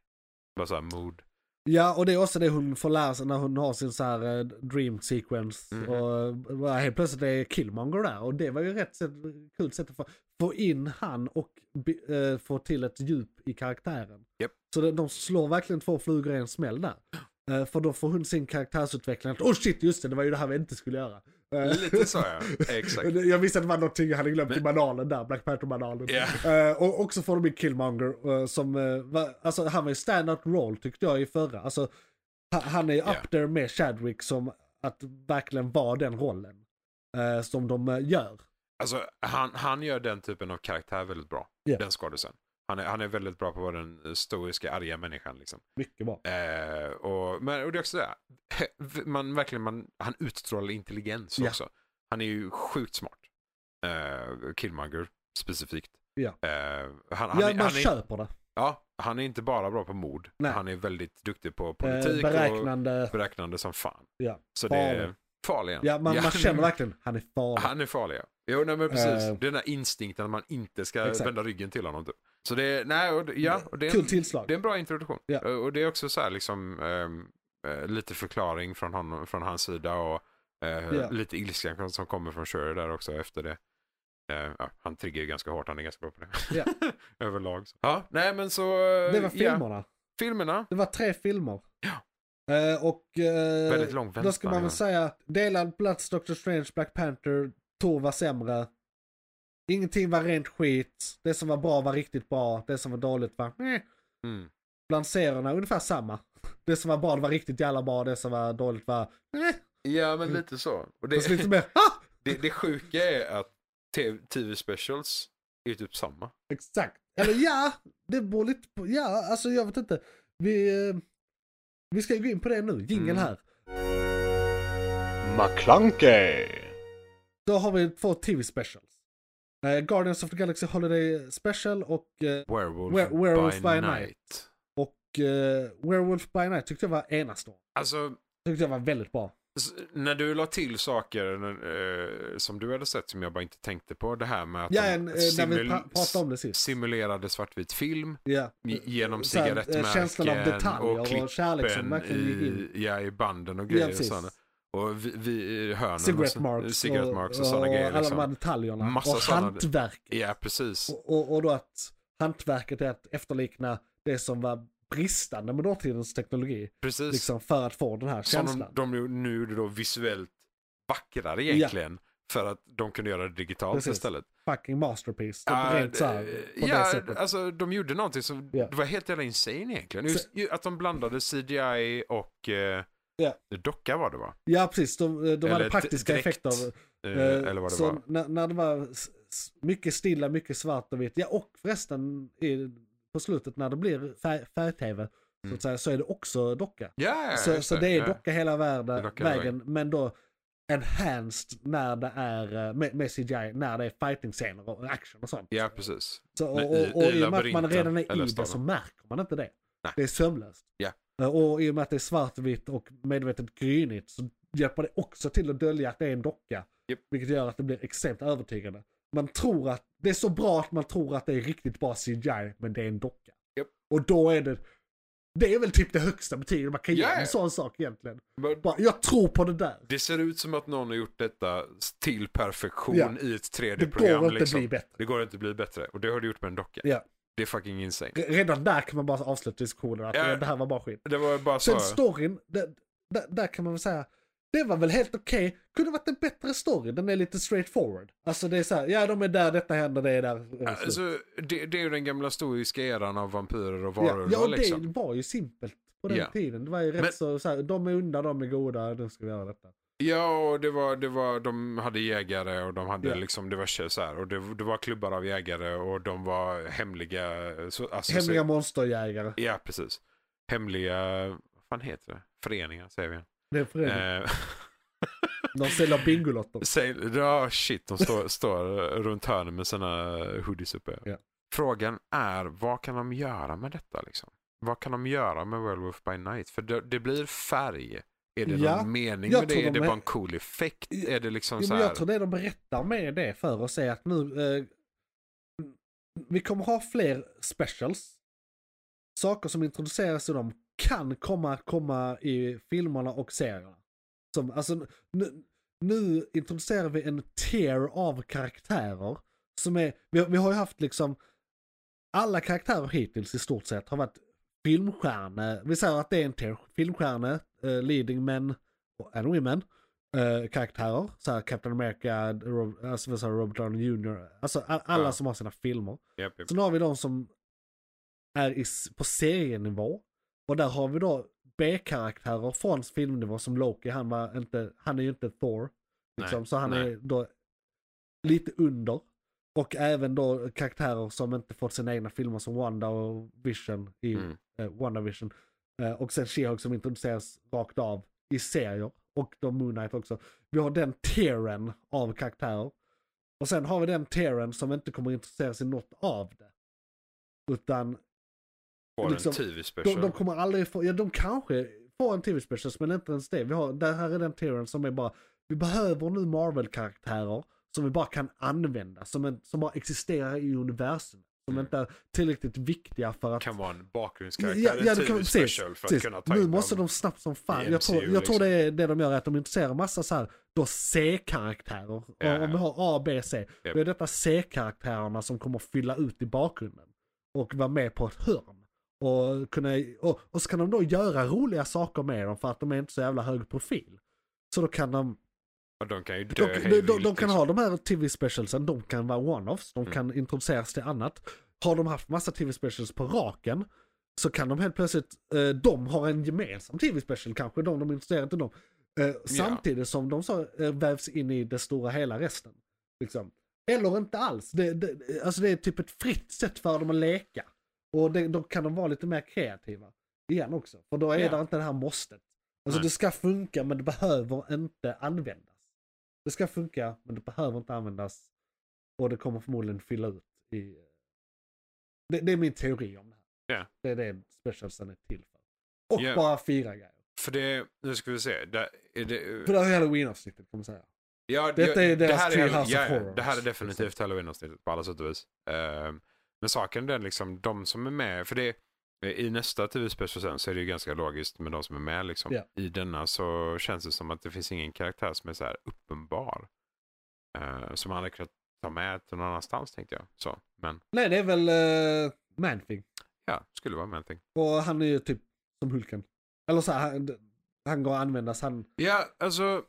Speaker 4: Bara såhär mod.
Speaker 3: Ja och det är också det hon får lära sig när hon har sin så här eh, dream sequence.
Speaker 4: Mhm.
Speaker 3: Och bara helt plötsligt är Killmonger där och det var ju rätt sätt, kul sätt att få, få in han och bi- eh, få till ett djup i karaktären.
Speaker 4: Japp.
Speaker 3: Så de, de slår verkligen två flugor i en smäll där. Eh, för då får hon sin karaktärsutveckling att oh shit just det, det var ju det här vi inte skulle göra. Eh,
Speaker 4: Lite så ja,
Speaker 3: *laughs*
Speaker 4: exakt.
Speaker 3: Jag visste att det var någonting jag hade glömt
Speaker 4: Men-
Speaker 3: i manualen där, Black Panther-manualen.
Speaker 4: Ja.
Speaker 3: Eh, och också får de in Killmonger eh, som, eh, var, alltså han var ju stand-out roll tyckte jag i förra. Alltså, ha, han är ju
Speaker 4: Ja.
Speaker 3: up there med Chadwick som att verkligen vara den rollen. eh, som de eh, gör.
Speaker 4: Alltså, han, han gör den typen av karaktär väldigt bra.
Speaker 3: Ja.
Speaker 4: Den skådisen. Han är, han är väldigt bra på att vara den stoiska, arga människan. Liksom.
Speaker 3: Mycket bra.
Speaker 4: Eh, och, men, och det är också det. här. *laughs* Man, verkligen, man, han utstrålar intelligens
Speaker 3: Ja.
Speaker 4: också. Han är ju sjukt smart. Eh, Killmonger specifikt.
Speaker 3: Ja.
Speaker 4: Eh, han, han,
Speaker 3: ja,
Speaker 4: är,
Speaker 3: man
Speaker 4: han, är,
Speaker 3: köper det.
Speaker 4: ja, han är inte bara bra på mord.
Speaker 3: Nej.
Speaker 4: Han är väldigt duktig på
Speaker 3: Eh,
Speaker 4: politik och
Speaker 3: beräknande.
Speaker 4: beräknande som fan.
Speaker 3: Ja.
Speaker 4: Så det är farlig.
Speaker 3: Ja, man, man känner verkligen, han är
Speaker 4: *laughs*
Speaker 3: farlig.
Speaker 4: Han är farlig. ja. Jo, nej, men precis.
Speaker 3: Eh.
Speaker 4: Den där instinkten att man inte ska
Speaker 3: Exakt.
Speaker 4: vända ryggen till honom. Typ. Så det är, nej, och, ja, och det är
Speaker 3: Kul
Speaker 4: en,
Speaker 3: tillslag.
Speaker 4: det är en bra introduktion.
Speaker 3: Ja.
Speaker 4: Eh, Och det är också så här liksom ehm, eh, lite förklaring från, honom, från hans sida och eh,
Speaker 3: Ja.
Speaker 4: lite ilskan som kommer från Shuri där också efter det. Eh, ja, han triggar ju ganska hårt, han är ganska bra på det.
Speaker 3: Ja.
Speaker 4: *laughs* Överlag. Så. Ja, nej men så... eh,
Speaker 3: Det var
Speaker 4: ja.
Speaker 3: filmerna.
Speaker 4: Filmerna,
Speaker 3: Det var tre filmer.
Speaker 4: Ja.
Speaker 3: Eh, och... eh,
Speaker 4: väldigt lång väntan.
Speaker 3: Då ska man väl säga, delad plats Doctor Strange, Black Panther, Thor var sämre. Ingenting var rent skit. Det som var bra var riktigt bra. Det som var dåligt var meh.
Speaker 4: mm.
Speaker 3: Bland serierna ungefär samma. *laughs* Det som var bra det var riktigt jävla bra. Det som var dåligt var meh.
Speaker 4: Ja,
Speaker 3: Mm.
Speaker 4: men lite så. Och
Speaker 3: Fast
Speaker 4: det,
Speaker 3: lite mer ah!
Speaker 4: det, det sjuka är att tv-specials är ju typ samma.
Speaker 3: Exakt. Eller ja, det beror lite på. Ja, alltså jag vet inte. Vi, eh, vi ska ju gå in på det nu.
Speaker 4: Mm.
Speaker 3: Jingeln här.
Speaker 2: McClunkey.
Speaker 3: Då har vi två tv-specials. Eh, Guardians of the Galaxy Holiday Special och eh,
Speaker 4: Werewolf,
Speaker 3: Were- Werewolf
Speaker 4: by,
Speaker 3: by
Speaker 4: night.
Speaker 3: Och eh, Werewolf by Night tyckte jag var enastående.
Speaker 4: Alltså,
Speaker 3: Tyckte jag var väldigt bra.
Speaker 4: s- när du la till saker eh, som du hade sett som jag bara inte tänkte på. Det här med att
Speaker 3: Ja,
Speaker 4: de
Speaker 3: en, eh, när vi
Speaker 4: simul-
Speaker 3: pra- pratade om det sist.
Speaker 4: simulerade svartvit film
Speaker 3: Ja.
Speaker 4: i- genom
Speaker 3: Så här, eh,
Speaker 4: cigarettmärken
Speaker 3: Känslan av detaljer och,
Speaker 4: klippen
Speaker 3: kärlek som verkligen gick in.
Speaker 4: i, ja, i banden och
Speaker 3: Ja,
Speaker 4: grejer. och
Speaker 3: precis.
Speaker 4: sådana. Och vi, vi, hörnen och
Speaker 3: Cigarette
Speaker 4: så-
Speaker 3: marks
Speaker 4: cigarette marks och, sådana grejer.
Speaker 3: alla de här
Speaker 4: Liksom.
Speaker 3: detaljerna.
Speaker 4: Massa
Speaker 3: och
Speaker 4: sådana-
Speaker 3: hantverk.
Speaker 4: Ja, precis.
Speaker 3: Och, och, och då att hantverket är att efterlikna det som var bristande med dåtidens teknologi.
Speaker 4: precis.
Speaker 3: Liksom för att få den här
Speaker 4: Som
Speaker 3: känslan.
Speaker 4: de, de nu gjorde då visuellt vackrare egentligen. För att de kunde göra det digitalt
Speaker 3: Precis.
Speaker 4: istället.
Speaker 3: Fucking masterpiece. Typ
Speaker 4: Ja,
Speaker 3: rent så här,
Speaker 4: eh,
Speaker 3: på
Speaker 4: ja,
Speaker 3: det sättet.
Speaker 4: alltså de gjorde någonting som
Speaker 3: Ja.
Speaker 4: det var helt jävla insane egentligen. Just, ju- att de blandade CGI och eh,
Speaker 3: Ja.
Speaker 4: docka var det va?
Speaker 3: Ja precis, de, de
Speaker 4: Eller
Speaker 3: hade
Speaker 4: d-
Speaker 3: praktiska
Speaker 4: direkt.
Speaker 3: effekter. av-
Speaker 4: Eh,
Speaker 3: Eh,
Speaker 4: eller vad det
Speaker 3: så
Speaker 4: var.
Speaker 3: När, när det var s- s- mycket stilla, mycket svart och vitt. Ja, och förresten i, på slutet när det blir färg, färg-tv så,
Speaker 4: Mm.
Speaker 3: att säga, så är det också docka.
Speaker 4: Ja, ja,
Speaker 3: så,
Speaker 4: just
Speaker 3: så det är
Speaker 4: ja.
Speaker 3: docka hela
Speaker 4: Det är
Speaker 3: världen,
Speaker 4: docka hela
Speaker 3: vägen, men då enhanced när det är eh, med, med CGI, när det är fighting-scener och action och sånt.
Speaker 4: Ja, precis.
Speaker 3: Så, och,
Speaker 4: Men
Speaker 3: och,
Speaker 4: i-
Speaker 3: och
Speaker 4: i
Speaker 3: i och med att man
Speaker 4: labyrinten,
Speaker 3: redan är
Speaker 4: eller
Speaker 3: i det så
Speaker 4: staden.
Speaker 3: märker man inte det.
Speaker 4: Nej.
Speaker 3: Det är sömlöst.
Speaker 4: Ja.
Speaker 3: Eh, Och i och med att det är svartvitt och medvetet grynigt så hjälper det också till att dölja att det är en docka.
Speaker 4: Japp.
Speaker 3: Vilket gör att det blir extremt övertygande. Man tror att, det är så bra att man tror att det är riktigt bra CGI men det är en docka.
Speaker 4: Japp.
Speaker 3: Och då är det, det är väl typ det högsta betyget man kan ge
Speaker 4: Ja, ja.
Speaker 3: en sån sak egentligen.
Speaker 4: Men
Speaker 3: Bara, jag tror på det där.
Speaker 4: det ser ut som att någon har gjort detta till perfektion
Speaker 3: Ja.
Speaker 4: i ett
Speaker 3: Det går
Speaker 4: 3D-program.
Speaker 3: inte
Speaker 4: liksom.
Speaker 3: bli bättre.
Speaker 4: Det går inte att bli bättre. Och det har du gjort med en docka.
Speaker 3: Ja.
Speaker 4: Det är fucking insane.
Speaker 3: Re- Redan där kan man bara avsluta diskussionen att
Speaker 4: Ja.
Speaker 3: det här var bara skit.
Speaker 4: Det var bara så.
Speaker 3: Sen storyn, där, där, där kan man väl säga, det var väl helt okej. Kunde varit en bättre story, den är lite straightforward. Alltså det är så här, ja de är där, detta händer, det är där. det är slut.
Speaker 4: Alltså, det, det är ju den gamla historiska eran av vampyrer och
Speaker 3: ja,
Speaker 4: varulvar
Speaker 3: ja och det
Speaker 4: liksom.
Speaker 3: var ju simpelt på den
Speaker 4: Ja.
Speaker 3: tiden. Det var ju rätt
Speaker 4: Men-
Speaker 3: så, så här, de är onda, de är goda, nu ska vi göra detta.
Speaker 4: Ja, och det var, det var, de hade jägare och de hade
Speaker 3: Ja.
Speaker 4: liksom diverse så här. Och det, det var klubbar av jägare och de var hemliga. Så, alltså, *laughs*
Speaker 3: Hemliga monsterjägare.
Speaker 4: Så, ja, precis. Hemliga, vad fan heter det? Föreningar säger vi.
Speaker 3: Det är föreningen.
Speaker 4: Eh, *laughs*
Speaker 3: De säljer bingolotter.
Speaker 4: säg, ja, shit, de står, står runt hörnet med sina hoodies uppe.
Speaker 3: Ja.
Speaker 4: Frågan är, vad kan de göra med detta liksom? Vad kan de göra med Werewolf by Night? För det, det blir färg. Är det
Speaker 3: Ja,
Speaker 4: någon mening
Speaker 3: jag
Speaker 4: med det?
Speaker 3: tror
Speaker 4: Är
Speaker 3: de
Speaker 4: det
Speaker 3: är-
Speaker 4: bara en cool effekt?
Speaker 3: Ja,
Speaker 4: Är det liksom
Speaker 3: Jo,
Speaker 4: så
Speaker 3: men
Speaker 4: här?
Speaker 3: jag tror det de berättar med det för oss är att nu... Eh, vi kommer ha fler specials. Saker som introduceras i dem kan komma, komma i filmerna och serierna. Som, alltså, nu, nu introducerar vi en tier av karaktärer. Som är, vi, vi har ju haft liksom... Alla karaktärer hittills i stort sett har varit filmstjärnor. Vi säger att det är en tier. Filmstjärnor, eh, leading men och- and women eh, karaktärer. Så här Captain America, Rob, alltså, vad sa jag, Robert Downey Jr. Alltså a- alla
Speaker 4: Ja.
Speaker 3: som har sina filmer.
Speaker 4: Japp, japp.
Speaker 3: Sen har vi de som är i, s- på serienivå. Och där har vi då B-karaktärer från filmnivå som Loki. Han, var inte, han är ju inte Thor. Liksom, så han
Speaker 4: nej.
Speaker 3: är då lite under. Och även då karaktärer som inte fått sina egna filmer som Wanda och Vision i
Speaker 4: Mm.
Speaker 3: eh, WandaVision. Eh, och sen She-Hulk som introduceras rakt av i serier. Och då Moon Knight också. Vi har den tieren av karaktärer. Och sen har vi den tieren som inte kommer introduceras i något av det. Utan
Speaker 4: Får
Speaker 3: liksom,
Speaker 4: en TV-special.
Speaker 3: de, de kommer aldrig få, ja de kanske får en tv-special men inte ens det. Vi har, det här är den tieren som är bara, vi behöver nu Marvel-karaktärer som vi bara kan använda, som, en, som bara existerar i universum. Som
Speaker 4: Mm.
Speaker 3: inte är tillräckligt viktiga för att...
Speaker 4: kan vara en
Speaker 3: Ja,
Speaker 4: bakgrundskaraktär,
Speaker 3: ja,
Speaker 4: en
Speaker 3: ja, du
Speaker 4: TV
Speaker 3: kan, precis,
Speaker 4: special för
Speaker 3: precis.
Speaker 4: att kunna ta
Speaker 3: Nu
Speaker 4: in
Speaker 3: måste
Speaker 4: dem.
Speaker 3: de snabbt som
Speaker 4: i
Speaker 3: fan. Jag
Speaker 4: MCU,
Speaker 3: tror, jag
Speaker 4: liksom.
Speaker 3: tror det är det de gör, är att de introducerar massa så här, då C-karaktärer.
Speaker 4: Ja.
Speaker 3: Och Om vi har A, B, C.
Speaker 4: Japp.
Speaker 3: Då är detta C-karaktärerna som kommer fylla ut i bakgrunden. Och vara med på ett hörn. Och, kunna, och, och så kan de då göra roliga saker med dem för att de är inte så jävla hög profil. Så då kan de,
Speaker 4: Och de kan ju dö
Speaker 3: de,
Speaker 4: hej
Speaker 3: de, de,
Speaker 4: vilt,
Speaker 3: de kan
Speaker 4: liksom. Mm.
Speaker 3: ha de här TV-specialsen, de kan vara one-offs, de kan introduceras till annat. Har de haft massa TV-specials på raken så kan de helt plötsligt, eh, de har en gemensam TV-special kanske, de de är intresserade av dem. Eh, samtidigt som de så eh, vävs in i det stora hela resten. Liksom. Eller inte alls. Det, det, alltså det är typ ett fritt sätt för dem att leka. Och det, då kan de vara lite mer kreativa. Igen också. För då är
Speaker 4: Ja.
Speaker 3: det inte det här måstet. Alltså
Speaker 4: Nej.
Speaker 3: det ska funka men det behöver inte användas. Det ska funka men det behöver inte användas. Och det kommer förmodligen fylla ut i... eh, Det, det är min teori om det här.
Speaker 4: Ja.
Speaker 3: Det är det specialsen är till för. Och
Speaker 4: Ja.
Speaker 3: bara fira grejer.
Speaker 4: För det, nu ska vi se. Det, är det,
Speaker 3: För det här är halloween-avsnittet kan man säga.
Speaker 4: ja,
Speaker 3: detta är
Speaker 4: jag-
Speaker 3: deras
Speaker 4: här är-
Speaker 3: Treehouse of
Speaker 4: ja,
Speaker 3: Horrors, liksom.
Speaker 4: Det här är definitivt halloween-avsnittet på alla sätt och vis. Ehm, men saken är liksom, de som är med, för det i nästa TV-special sen så är det ju ganska logiskt med de som är med liksom.
Speaker 3: Ja.
Speaker 4: I denna så känns det som att det finns ingen karaktär som är så här uppenbar. Ehm, som man hade kunnat ta med till någon annanstans tänkte jag. Så, men
Speaker 3: Nej, det är väl uh, Manfing.
Speaker 4: ja, skulle vara med någonting.
Speaker 3: Och han är ju typ som Hulken. Eller så här, han, han går att användas. Han,
Speaker 4: Ja, alltså.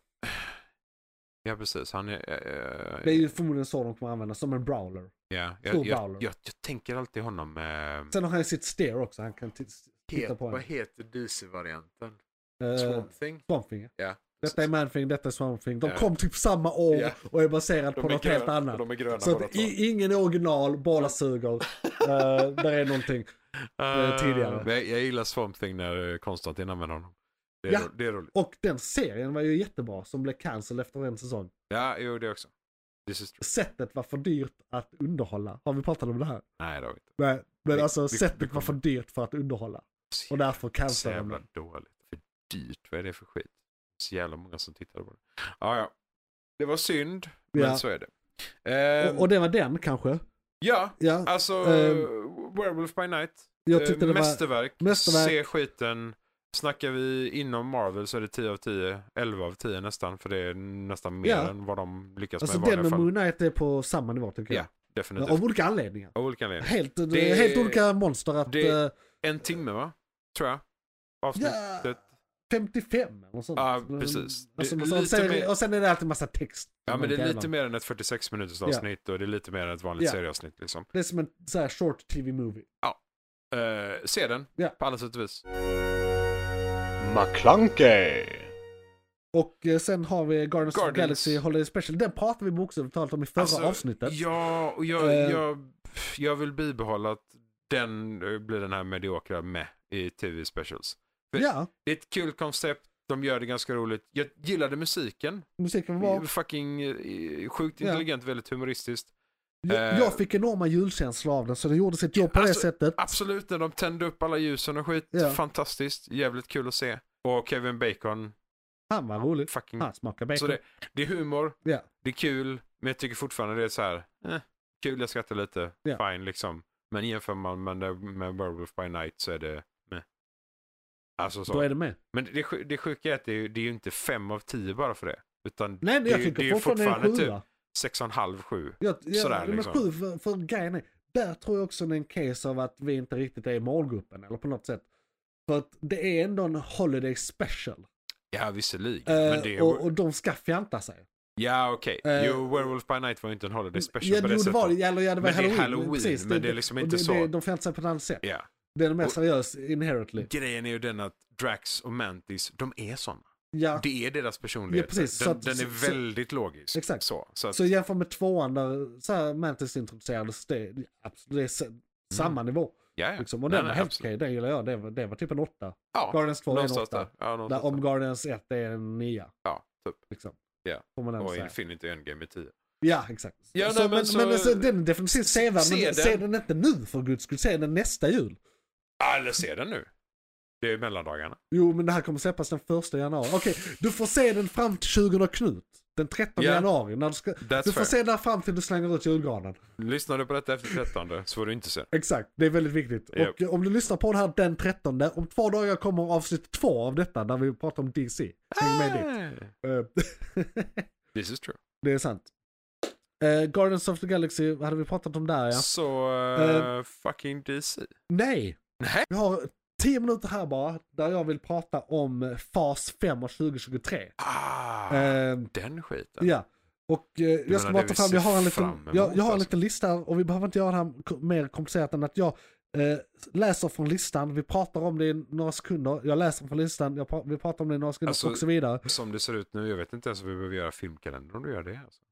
Speaker 4: Ja, precis. Han är... eh,
Speaker 3: det är ju förmodligen så de kommer användas, som en brawler.
Speaker 4: Ja,
Speaker 3: Stor
Speaker 4: jag, jag,
Speaker 3: bowler.
Speaker 4: jag, jag tänker alltid honom ehm, med...
Speaker 3: Sen har han sitt steer också, han kan t- titta på
Speaker 4: vad
Speaker 3: en.
Speaker 4: heter DC-varianten?
Speaker 3: Uh,
Speaker 4: Swamp Thing?
Speaker 3: Swampfinger.
Speaker 4: Ja.
Speaker 3: Detta är Manfing, detta är Swampfing. De
Speaker 4: Ja.
Speaker 3: kom typ samma år
Speaker 4: Ja.
Speaker 3: och är baserad på något helt annat.
Speaker 4: De är gröna
Speaker 3: Så att i, ingen original, båda suger.
Speaker 4: *laughs*
Speaker 3: Eh, där är någonting. eh, tidigare.
Speaker 4: Jag, jag gillar Swamp Thing när eh, Konstantin använder honom. Det är,
Speaker 3: Ja.
Speaker 4: ro, det är roligt.
Speaker 3: Och den serien var ju jättebra som blev cancelled efter en säsong.
Speaker 4: Ja, jo det också. This is true.
Speaker 3: Sättet var för dyrt att underhålla. Har vi pratat om det här?
Speaker 4: Nej, det har vi inte.
Speaker 3: Nej, men
Speaker 4: Vi-
Speaker 3: alltså
Speaker 4: vi-
Speaker 3: sättet
Speaker 4: vi
Speaker 3: var
Speaker 4: kommer-
Speaker 3: för dyrt för att underhålla.
Speaker 4: Så
Speaker 3: Och därför
Speaker 4: jävla- Så
Speaker 3: cancelade Alltså, de
Speaker 4: jävla
Speaker 3: den.
Speaker 4: dåligt. För dyrt. Vad är det för skit? Så jävla många som tittar på det. Ja, ja. Det var synd, men
Speaker 3: Ja.
Speaker 4: så är det. Eh,
Speaker 3: Och, och det var den kanske?
Speaker 4: ja,
Speaker 3: Ja.
Speaker 4: Alltså,
Speaker 3: Ehm,
Speaker 4: Werewolf by Night.
Speaker 3: jag tyckte
Speaker 4: Eh,
Speaker 3: det var-
Speaker 4: mästerverk.
Speaker 3: mästerverk.
Speaker 4: Se skiten. Snackar vi inom Marvel så är det 10 av 10. 11 av 10 nästan. För det är nästan mer
Speaker 3: Ja.
Speaker 4: än vad de lyckas
Speaker 3: Alltså
Speaker 4: med i
Speaker 3: den
Speaker 4: vanliga
Speaker 3: med
Speaker 4: fall.
Speaker 3: Moon Knight är på samma nivå tycker jag.
Speaker 4: Ja, definitivt.
Speaker 3: Av olika anledningar.
Speaker 4: Av olika anledningar.
Speaker 3: Helt,
Speaker 4: Det-
Speaker 3: helt olika monster att...
Speaker 4: det-
Speaker 3: eh,
Speaker 4: En timme va? Tror jag. Avsnittet.
Speaker 3: Ja. 55 eller något sånt.
Speaker 4: Ja, precis.
Speaker 3: Alltså,
Speaker 4: Det-
Speaker 3: och, sen,
Speaker 4: lite
Speaker 3: sen,
Speaker 4: mer-
Speaker 3: och sen är det alltid massa text.
Speaker 4: Ja men det är lite
Speaker 3: mer...
Speaker 4: mer än ett 46 minuters avsnitt och det är lite mer än ett vanligt
Speaker 3: Ja.
Speaker 4: serieavsnitt liksom.
Speaker 3: Det är som en så här short TV-movie.
Speaker 4: Eh, se den
Speaker 3: Ja.
Speaker 4: på alla sätt och vis.
Speaker 2: McClunkey.
Speaker 3: Och eh, sen har vi Guardians, of
Speaker 4: Guardians.
Speaker 3: the Galaxy Holiday Special. Den pratade vi bokstavligt talat om i förra
Speaker 4: Alltså,
Speaker 3: avsnittet.
Speaker 4: Ja, och jag,
Speaker 3: Eh.
Speaker 4: jag, jag vill bibehålla att den eh, blir den här mediokra med i tv-specials. för-
Speaker 3: Ja,
Speaker 4: Det är ett kul koncept, de gör det ganska roligt. Jag gillade musiken.
Speaker 3: musiken var...
Speaker 4: Fucking eh, sjukt
Speaker 3: Ja.
Speaker 4: intelligent, väldigt humoristiskt.
Speaker 3: Jag,
Speaker 4: eh,
Speaker 3: jag fick enorma julkänslor av den så det gjorde sitt jobb på
Speaker 4: Alltså,
Speaker 3: det sättet.
Speaker 4: Absolut, när de tände upp alla ljusen och skit.
Speaker 3: Ja.
Speaker 4: Fantastiskt, jävligt kul att se. Och Kevin Bacon,
Speaker 3: Han var rolig.
Speaker 4: fucking...
Speaker 3: Han smakar bacon.
Speaker 4: ah, Så det, det är humor,
Speaker 3: Ja.
Speaker 4: det är kul, men jag tycker fortfarande det är så här, eh, kul, jag skrattar lite,
Speaker 3: Ja.
Speaker 4: fine liksom. Men jämför man med, med Werewolf by Night så är det, meh. Alltså så.
Speaker 3: Då är det med.
Speaker 4: Men det, sj- det sjuka är att det är, ju- det är ju inte fem av tio bara för det. Utan
Speaker 3: Nej,
Speaker 4: det,
Speaker 3: jag
Speaker 4: är-
Speaker 3: tycker
Speaker 4: det är ju
Speaker 3: fortfarande det är en
Speaker 4: fortfarande
Speaker 3: sjua.
Speaker 4: typ sex och en halv, sju.
Speaker 3: Jag, jag,
Speaker 4: Sådär,
Speaker 3: men
Speaker 4: liksom.
Speaker 3: sju, för, för grejen är, där tror jag också det är en case av att vi inte riktigt är i målgruppen eller på något sätt. För att det är ändå en holiday special.
Speaker 4: Ja, visserligen.
Speaker 3: Eh,
Speaker 4: men det är,
Speaker 3: och, och de ska fjanta sig.
Speaker 4: ja, okej.
Speaker 3: eh,
Speaker 4: jo, Werewolf by Night var ju inte en holiday special
Speaker 3: ja,
Speaker 4: på det
Speaker 3: det, jo, det
Speaker 4: sättet.
Speaker 3: var, ja, eller, ja, det var
Speaker 4: Men det är
Speaker 3: halloween.
Speaker 4: Halloween, men det är liksom
Speaker 3: och
Speaker 4: inte
Speaker 3: det,
Speaker 4: så.
Speaker 3: Det, de fjantar sig på ett annat sätt.
Speaker 4: Ja.
Speaker 3: Det är de mer
Speaker 4: Och-
Speaker 3: seriösa inherently.
Speaker 4: Grejen är ju den att Drax och Mantis, de är sådana.
Speaker 3: Ja,
Speaker 4: Det är deras personlighet.
Speaker 3: Ja, precis. Så
Speaker 4: den,
Speaker 3: att-
Speaker 4: den är
Speaker 3: så- så-
Speaker 4: väldigt logisk.
Speaker 3: Exakt.
Speaker 4: Så, så att,
Speaker 3: så jämför med tvåan där så här, Mantis introducerades, det, är absolut- det är s- samma nivå.
Speaker 4: Mm. ja, ja.
Speaker 3: Liksom. Och
Speaker 4: Nej,
Speaker 3: den
Speaker 4: nej,
Speaker 3: var helt
Speaker 4: absolut.
Speaker 3: okej, den gillar jag. Det var, det var typ en åtta.
Speaker 4: Ja,
Speaker 3: Guardians 2 är en
Speaker 4: någonstans
Speaker 3: åtta.
Speaker 4: där. Ja,
Speaker 3: Där,
Speaker 4: någonstans
Speaker 3: om
Speaker 4: där.
Speaker 3: Guardians 1 är en nia.
Speaker 4: Ja, typ.
Speaker 3: Liksom.
Speaker 4: Ja.
Speaker 3: Får man ändå
Speaker 4: Och
Speaker 3: säga.
Speaker 4: Infinity Endgame är tio.
Speaker 3: Ja, exakt.
Speaker 4: Ja,
Speaker 3: så,
Speaker 4: nej,
Speaker 3: men,
Speaker 4: men
Speaker 3: men,
Speaker 4: så-
Speaker 3: alltså, den är definitivt sevärd,
Speaker 4: Se
Speaker 3: men
Speaker 4: den.
Speaker 3: se den inte nu för guds skull. Se den nästa jul.
Speaker 4: Ah, Eller se den nu. Det är mellandagarna.
Speaker 3: Jo, men det här kommer släppas den första januari. Okej, du får se den fram till 20 och Knut. Den 13
Speaker 4: Ja.
Speaker 3: januari. När du, ska,
Speaker 4: That's
Speaker 3: du får
Speaker 4: fair.
Speaker 3: se där fram till du slänger ut julgranen.
Speaker 4: Lyssnar du på detta efter 13 så får du inte se.
Speaker 3: Exakt, det är väldigt viktigt.
Speaker 4: Japp.
Speaker 3: Och eh, om du lyssnar på det här den 13, om två dagar kommer avsnitt två av detta där vi pratar om DC. Häng med dit. Eh,
Speaker 4: Ah,
Speaker 3: *laughs*
Speaker 4: This is true.
Speaker 3: det är sant. Eh, Guardians of the Galaxy hade vi pratat om där ja.
Speaker 4: Så eh, fucking DC.
Speaker 3: Nej!
Speaker 4: Nej.
Speaker 3: Vi har 10 minuter här bara där jag vill prata om fas 5 av 2023.
Speaker 4: Ah,
Speaker 3: Eh,
Speaker 4: den skiten.
Speaker 3: Ja. Och eh, jag ska
Speaker 4: menar
Speaker 3: bara
Speaker 4: det
Speaker 3: ta
Speaker 4: vi
Speaker 3: fram, jag
Speaker 4: ser
Speaker 3: har en
Speaker 4: fram
Speaker 3: liten,
Speaker 4: emot,
Speaker 3: jag, jag har en
Speaker 4: alltså.
Speaker 3: liten lista här, och vi behöver inte göra det här ko- mer komplicerat än att jag eh, läser från listan, vi pratar om det i några sekunder, jag läser från listan, jag pra- vi pratar om det i några sekunder
Speaker 4: Alltså-
Speaker 3: och så vidare.
Speaker 4: Som det ser ut nu, jag vet inte ens om vi behöver göra filmkalender om du gör det. Alltså.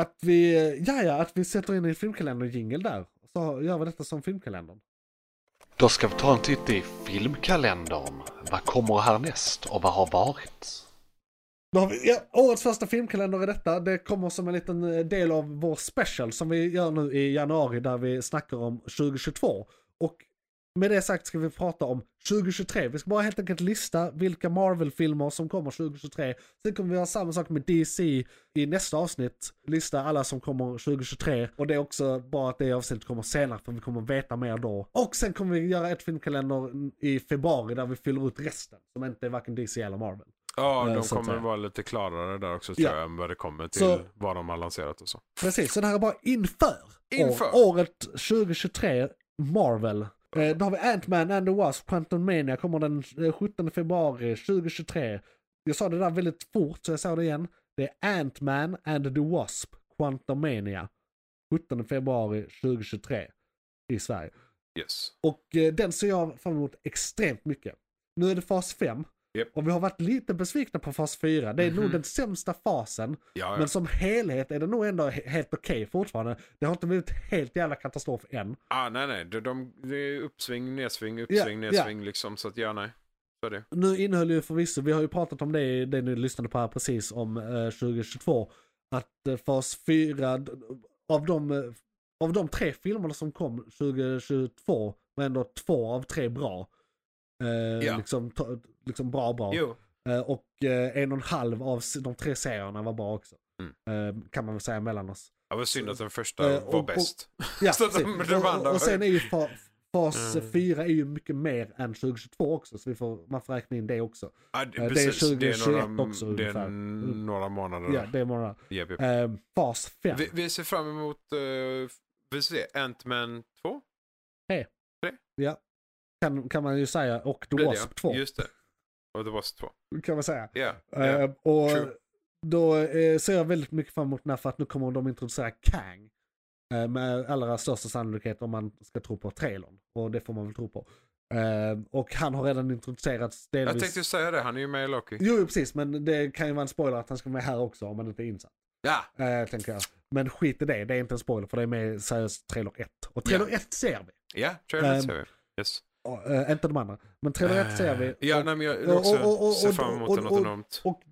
Speaker 3: Att vi, eh, ja ja, att vi sätter in en filmkalender-jingel där. Så gör vi detta som filmkalendern.
Speaker 2: Då ska vi ta en titt i filmkalendern. Vad kommer härnäst och vad har varit?
Speaker 3: Då har vi, ja, årets första filmkalender är detta. Det kommer som en liten eh, del av vår special som vi gör nu i januari där vi snackar om 2022. Och med det sagt ska vi prata om 2023. Vi ska bara helt enkelt lista vilka Marvel-filmer som kommer 2023. Sen kommer vi göra samma sak med DC i nästa avsnitt. Lista alla som kommer 2023. Och det är också bara att det avsnittet kommer senare för vi kommer veta mer då. Och sen kommer vi göra ett filmkalender i februari där vi fyller ut resten. Som inte är varken DC eller Marvel.
Speaker 4: Ja,
Speaker 3: Eh,
Speaker 4: de
Speaker 3: så att
Speaker 4: kommer
Speaker 3: säga.
Speaker 4: vara lite klarare där också tror
Speaker 3: Ja.
Speaker 4: jag, än vad det kommer till
Speaker 3: Så-
Speaker 4: vad de har lanserat och så.
Speaker 3: Precis, så det här är bara inför,
Speaker 4: Inför.
Speaker 3: År, året 2023, Marvel. Eh, då har vi Ant-Man and the Wasp, Quantum Mania kommer den eh, 17 februari 2023. Jag sa det där väldigt fort så jag sa det igen. Det är Ant-Man and the Wasp, Quantum Mania. 17 februari 2023 i Sverige.
Speaker 4: Yes.
Speaker 3: Och eh, den ser jag fram emot extremt mycket. Nu är det fas 5.
Speaker 4: Japp.
Speaker 3: Och vi har varit lite besvikna på fas 4. Det är nog
Speaker 4: Mhm.
Speaker 3: den sämsta fasen.
Speaker 4: Ja, ja.
Speaker 3: Men som helhet är det nog ändå he- helt okej fortfarande. Det har inte blivit helt jävla katastrof än.
Speaker 4: Ah, nej, nej. De, de, det är uppsving, nedsving, uppsving,
Speaker 3: ja.
Speaker 4: nedsving liksom. Så att ja, nej. Så är det.
Speaker 3: Nu innehöll ju förvisso, vi har ju pratat om det, i det ni lyssnade på här precis om eh, 2022. Att eh, fas 4, d- av de, eh, av de tre filmerna som kom 2022 var ändå två av tre bra. Eh,
Speaker 4: Ja.
Speaker 3: liksom, to- liksom bra bra.
Speaker 4: Jo.
Speaker 3: Eh, och eh, en och en halv av s- de tre serierna var bra också.
Speaker 4: Mm.
Speaker 3: Eh, kan man väl säga mellan oss.
Speaker 4: Det var synd att den första
Speaker 3: Eh, och-
Speaker 4: var
Speaker 3: och-
Speaker 4: bäst.
Speaker 3: Ja,
Speaker 4: Så att de-
Speaker 3: precis.
Speaker 4: de
Speaker 3: och,
Speaker 4: andra
Speaker 3: och, och
Speaker 4: var-
Speaker 3: sen är ju fa, fas
Speaker 4: Mm.
Speaker 3: 4 är ju mycket mer än 2022 också, så vi får, man får räkna in det också.
Speaker 4: Ja, det,
Speaker 3: det är
Speaker 4: Ah, precis.
Speaker 3: 2021
Speaker 4: några,
Speaker 3: också
Speaker 4: det
Speaker 3: ungefär. Mm.
Speaker 4: är några månader.
Speaker 3: Ja, det är bara,
Speaker 4: Japp, japp.
Speaker 3: eh, fas 5.
Speaker 4: Vi, vi ser fram emot, eh, vi ser Ant-Man 2.
Speaker 3: Kan, kan man ju säga, och The
Speaker 4: blir det,
Speaker 3: Wasp
Speaker 4: ja.
Speaker 3: 2
Speaker 4: Just det. Och The Wasp 2.
Speaker 3: kan man säga.
Speaker 4: Ja.
Speaker 3: Eh,
Speaker 4: ja.
Speaker 3: och
Speaker 4: true.
Speaker 3: då eh, ser jag väldigt mycket fram emot den här för att nu kommer de introducera Kang. Eh, med allra största sannolikhet om man ska tro på trailern. Och det får man väl tro på. Eh, och han har redan introducerats delvis.
Speaker 4: Jag tänkte ju säga det, han är ju med i Loki.
Speaker 3: Jo, jo, precis, men det kan ju vara en spoiler att han ska vara med här också om man inte är insatt.
Speaker 4: Ja,
Speaker 3: Eh, tänker jag. Men skit i det, det är inte en spoiler för det är med seriöst trailer 1. Och trailer 1 ser vi.
Speaker 4: ja trailern
Speaker 3: Ehm,
Speaker 4: ser vi. Yes. Eh,
Speaker 3: Ja, eh, inte de andra, men trailer 1 ser vi.
Speaker 4: Ja,
Speaker 3: och,
Speaker 4: nej, men jag vill
Speaker 3: och-
Speaker 4: också
Speaker 3: och- och-
Speaker 4: ser
Speaker 3: och-
Speaker 4: fram emot
Speaker 3: och-
Speaker 4: något
Speaker 3: och-
Speaker 4: enormt.
Speaker 3: och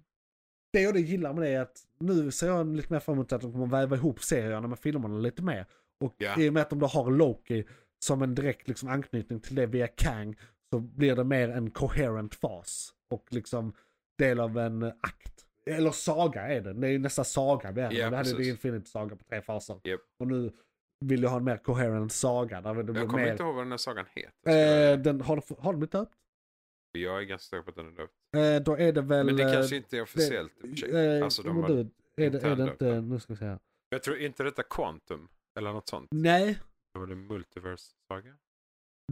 Speaker 3: det jag det gillar med det är att nu ser jag lite mer fram emot att de kommer väva ihop serierna med filmerna lite mer. Och
Speaker 4: Ja.
Speaker 3: i och med att de då har Loki som en direkt liksom, anknytning till det via Kang så blir det mer en coherent fas. Och liksom del av en eh, akt. Eller saga är den. Det är ju nästan saga. Vi, är.
Speaker 4: Ja,
Speaker 3: vi hade ju
Speaker 4: precis.
Speaker 3: Infinity Saga på tre faser.
Speaker 4: Japp.
Speaker 3: Och nu vill jag ha en mer coherent saga. Där det blir
Speaker 4: Jag kommer
Speaker 3: mer...
Speaker 4: inte ihåg vad den här sagan heter. ska jag säga.
Speaker 3: Eh, den, har, de- har de inte döpt?
Speaker 4: Jag är ganska säker på att den är döpt.
Speaker 3: Eh, då är det väl...
Speaker 4: Men det
Speaker 3: eh,
Speaker 4: kanske inte är officiellt. i och för sig.
Speaker 3: eh,
Speaker 4: Alltså, de
Speaker 3: men
Speaker 4: har-
Speaker 3: du, är, det, är det
Speaker 4: internt
Speaker 3: inte, nu ska vi se här.
Speaker 4: Jag tror inte detta Quantum eller något sånt.
Speaker 3: Nej,
Speaker 4: Det var det Multiverse-saga?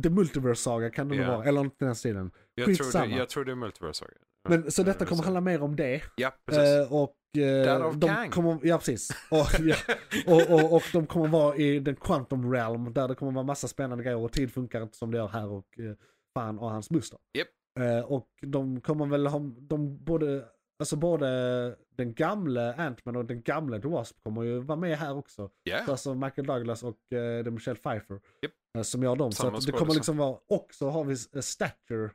Speaker 3: The Multiverse Saga kan det nog
Speaker 4: Ja.
Speaker 3: vara, eller något i den här stilen.
Speaker 4: Jag tror, det,
Speaker 3: Skitsamma.
Speaker 4: jag tror det är Multiverse-saga.
Speaker 3: Men, så
Speaker 4: Ja,
Speaker 3: detta
Speaker 4: det
Speaker 3: kommer
Speaker 4: ser-
Speaker 3: handla mer om det.
Speaker 4: Ja, precis.
Speaker 3: Eh, och, eh,
Speaker 4: Därav
Speaker 3: de
Speaker 4: Kang.
Speaker 3: kommer, ja precis.
Speaker 4: *laughs*
Speaker 3: Och, ja, och, och, och de kommer vara i den quantum realm där det kommer vara massa spännande grejer och tid funkar inte som det gör här och eh, fan och hans moster.
Speaker 4: Japp.
Speaker 3: Eh, och de kommer väl ha, de både, alltså både den gamle Ant-Man och den gamle The Wasp kommer ju vara med här också.
Speaker 4: Ja.
Speaker 3: Så Alltså Michael Douglas och eh, det är Michelle Pfeiffer.
Speaker 4: Japp.
Speaker 3: eh, Som gör dem.
Speaker 4: Samma
Speaker 3: så att det kommer
Speaker 4: skådis.
Speaker 3: liksom vara, också har vi eh, Stature.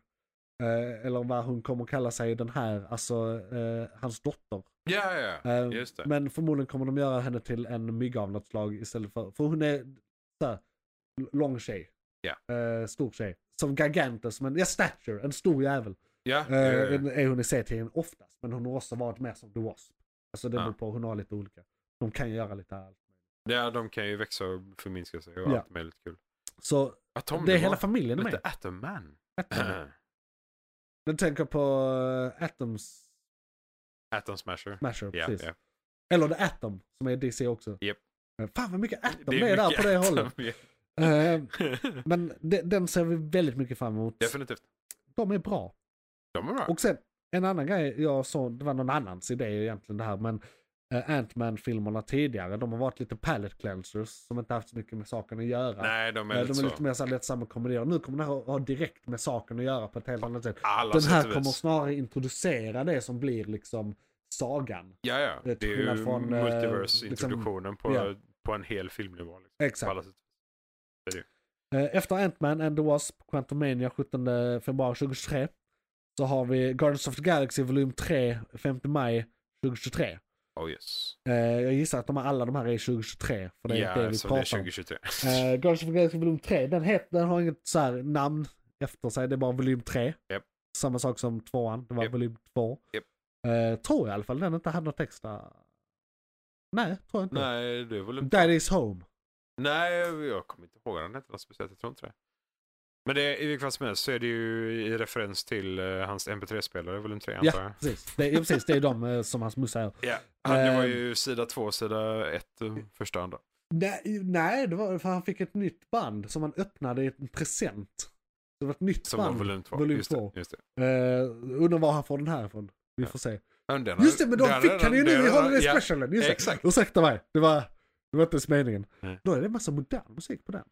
Speaker 3: Eh, eller vad hon kommer kalla sig i den här, alltså eh, hans dotter.
Speaker 4: Ja, ja, ja.
Speaker 3: Eh,
Speaker 4: Just det.
Speaker 3: Men förmodligen kommer de göra henne till en mygga av något slag istället för, för hon är såhär, l- lång tjej.
Speaker 4: Ja.
Speaker 3: Eh, stor tjej. Som Gargantus, men ja Stature, en stor jävel.
Speaker 4: Ja,
Speaker 3: Eh,
Speaker 4: ja, ja.
Speaker 3: är hon i C-tiden oftast, men hon har också varit med som The Wasp. Alltså det
Speaker 4: Ja.
Speaker 3: beror på, hon har lite olika. De kan göra lite allt.
Speaker 4: Ja, de kan ju växa och förminska sig och
Speaker 3: Ja.
Speaker 4: allt möjligt kul.
Speaker 3: Så
Speaker 4: Atom,
Speaker 3: det är
Speaker 4: var
Speaker 3: hela familjen
Speaker 4: Lite
Speaker 3: med.
Speaker 4: Atom Man. *clears throat*
Speaker 3: Atom. Den tänker på eh, Atom
Speaker 4: Atom Smasher.
Speaker 3: Smasher,
Speaker 4: Ja,
Speaker 3: precis.
Speaker 4: ja.
Speaker 3: Eller The Atom, som är DC också.
Speaker 4: Japp.
Speaker 3: Men Fan vad mycket Atom det är, där på
Speaker 4: mycket
Speaker 3: det
Speaker 4: Atom,
Speaker 3: hållet.
Speaker 4: ja.
Speaker 3: Eh, men de, den ser vi väldigt mycket fram
Speaker 4: *laughs*
Speaker 3: emot.
Speaker 4: Definitivt.
Speaker 3: De är bra.
Speaker 4: De är bra.
Speaker 3: Och sen en annan grej jag såg, det var någon annans idé egentligen det här, men eh, Ant-Man-filmerna tidigare, de har varit lite palette cleansers som inte haft så mycket med saken att göra.
Speaker 4: Nej, de är,
Speaker 3: Eh,
Speaker 4: lite
Speaker 3: de är
Speaker 4: så.
Speaker 3: lite mer så här lättsamma komedier. Nu kommer det här att ha direkt med saken att göra på ett helt annat sätt.
Speaker 4: Alla
Speaker 3: Den
Speaker 4: sätt
Speaker 3: här
Speaker 4: och alltså, vis.
Speaker 3: kommer snarare introducera det som blir liksom sagan.
Speaker 4: Ja, ja.
Speaker 3: Det är
Speaker 4: Det är ju
Speaker 3: skillnad från, eh, liksom,
Speaker 4: multiverse-introduktionen på,
Speaker 3: ja.
Speaker 4: på en hel filmnivå. Liksom. På
Speaker 3: Exakt.
Speaker 4: alla sätt.
Speaker 3: Eh, Efter Ant-Man and the Wasp, Quantumania 17 februari 2023. Så har vi Guardians of the Galaxy volym 3, 5 maj 2023.
Speaker 4: Oh yes.
Speaker 3: Eh, Jag gissar att de, alla de här är 2023, för det är
Speaker 4: ja,
Speaker 3: det vi
Speaker 4: så det är
Speaker 3: pratar om.
Speaker 4: 2023.
Speaker 3: Eh, Guardians of the Galaxy volym 3, den, het, den har inget så här namn efter sig, det är bara volym 3.
Speaker 4: Japp.
Speaker 3: Samma sak som tvåan, det var
Speaker 4: Japp.
Speaker 3: volym 2.
Speaker 4: Japp.
Speaker 3: Eh, tror jag i alla fall, den inte hade något extra. Nej, tror jag
Speaker 4: *laughs*
Speaker 3: inte.
Speaker 4: Nej, det är väl inte...
Speaker 3: That is home.
Speaker 4: Nej, jag kommer inte ihåg vad den hette något speciellt. Jag tror inte det. Men det, är- i vilket fall som helst så är det ju i referens till eh, hans MP3-spelare, volym 3 antar jag.
Speaker 3: Ja, precis. Det, ja, precis. Det är de eh, som hans mussa är.
Speaker 4: Ja, han, det var
Speaker 3: Eh,
Speaker 4: ju sida två, sida ett, eh, första och andra.
Speaker 3: Nej, nej det var, för han fick ett nytt band som han öppnade i en present. Det var ett nytt
Speaker 4: Som var
Speaker 3: band.
Speaker 4: volym två.
Speaker 3: volym
Speaker 4: just
Speaker 3: två.
Speaker 4: Det, just det.
Speaker 3: Eh, undrar var han får den här ifrån. Vi
Speaker 4: Ja.
Speaker 3: får se.
Speaker 4: Ja, men den har-
Speaker 3: Just det, men de
Speaker 4: den
Speaker 3: fick
Speaker 4: har-
Speaker 3: han ju
Speaker 4: den
Speaker 3: nu i
Speaker 4: har-
Speaker 3: Holiday
Speaker 4: ja,
Speaker 3: Specialen. Just det.
Speaker 4: Exakt.
Speaker 3: Ursäkta mig, det var, det var inte ens meningen.
Speaker 4: Nej.
Speaker 3: Då är det en massa modern musik på den.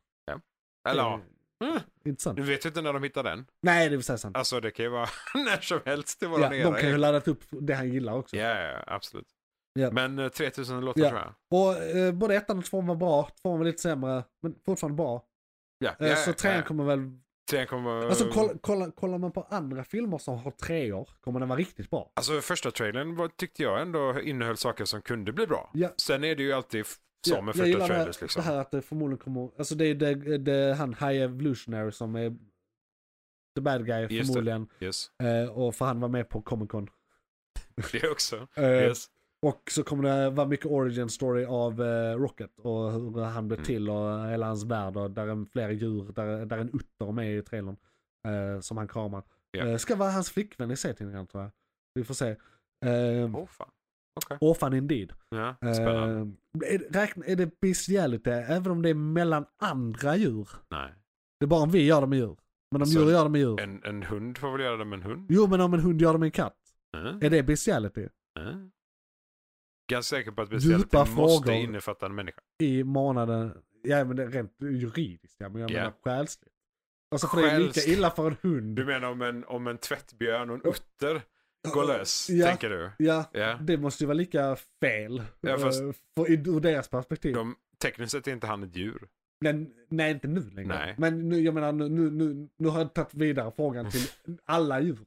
Speaker 4: Eller ja,
Speaker 3: Det är
Speaker 4: Mm.
Speaker 3: Intressant.
Speaker 4: du vet ju inte när de hittar den.
Speaker 3: Nej, det vill säga sant.
Speaker 4: Alltså det kan ju vara *laughs* när som helst i
Speaker 3: Ja,
Speaker 4: våran
Speaker 3: de kan ju
Speaker 4: era.
Speaker 3: ha laddat upp det han gillar också.
Speaker 4: Ja, ja, ja, absolut.
Speaker 3: Ja.
Speaker 4: Men eh, 3000 låtar
Speaker 3: Ja.
Speaker 4: tror jag.
Speaker 3: Och eh, både ettan och tvåan var bra, tvåan var lite sämre, men fortfarande bra.
Speaker 4: Ja,
Speaker 3: Eh,
Speaker 4: ja, Eh.
Speaker 3: så
Speaker 4: ja,
Speaker 3: trean
Speaker 4: ja.
Speaker 3: kommer väl...
Speaker 4: Trean kommer...
Speaker 3: Alltså kolla, kolla, kollar man på andra filmer som har treor kommer den vara riktigt bra.
Speaker 4: Alltså första trailern var, tyckte jag ändå innehöll saker som kunde bli bra.
Speaker 3: Ja.
Speaker 4: Sen är det ju alltid f- så
Speaker 3: Ja,
Speaker 4: med
Speaker 3: jag
Speaker 4: första
Speaker 3: gillar det här-
Speaker 4: trailers liksom.
Speaker 3: Det här att det förmodligen kommer, alltså det är det, det, han High Evolutionary som är the bad guy
Speaker 4: det.
Speaker 3: förmodligen.
Speaker 4: Yes.
Speaker 3: Eh, och för han var med på Comic Con.
Speaker 4: Det också.
Speaker 3: *laughs* Eh,
Speaker 4: Yes.
Speaker 3: Och så kommer det vara mycket origin story av eh, Rocket och hur han blev
Speaker 4: Mm.
Speaker 3: till och hela hans värld och där är flera djur, där, där är en utter med i trailern. Eh, som han kramar.
Speaker 4: Ja.
Speaker 3: Eh, ska vara hans flickvän i C-tidningen tror jag. Vi får se. Eh,
Speaker 4: Åh fan. Okej.
Speaker 3: Orphan indeed.
Speaker 4: Ja, Oh. spännande.
Speaker 3: Eh, är, det- räkna, är det bestiality även om det är mellan andra djur?
Speaker 4: Nej.
Speaker 3: Det är bara om vi gör det med djur. Men om
Speaker 4: Så-
Speaker 3: djur gör det med djur.
Speaker 4: Alltså, En, en hund får väl göra det med en hund?
Speaker 3: Jo men om en hund gör det med en katt.
Speaker 4: Mm.
Speaker 3: Är det bestiality?
Speaker 4: Mm. Ganska säker på att
Speaker 3: Djupa
Speaker 4: speciellt det måste
Speaker 3: frågor.
Speaker 4: innefatta en människa.
Speaker 3: I månaden, ja men det är rent juridiskt ja men jag
Speaker 4: Ja.
Speaker 3: menar själsligt. Alltså för det är lika
Speaker 4: Själsligt.
Speaker 3: illa för en hund.
Speaker 4: Du menar om en, om en tvättbjörn och en utter går lös,
Speaker 3: Ja.
Speaker 4: tänker du?
Speaker 3: Ja,
Speaker 4: Ja.
Speaker 3: det måste ju vara lika fel.
Speaker 4: Ja, fast-
Speaker 3: eh, för, i- ur deras perspektiv.
Speaker 4: De, tekniskt sett är inte han ett djur.
Speaker 3: Men, nej inte nu längre.
Speaker 4: Nej.
Speaker 3: Men nu, jag menar nu, nu, nu, nu har jag tagit vidare frågan till alla djur.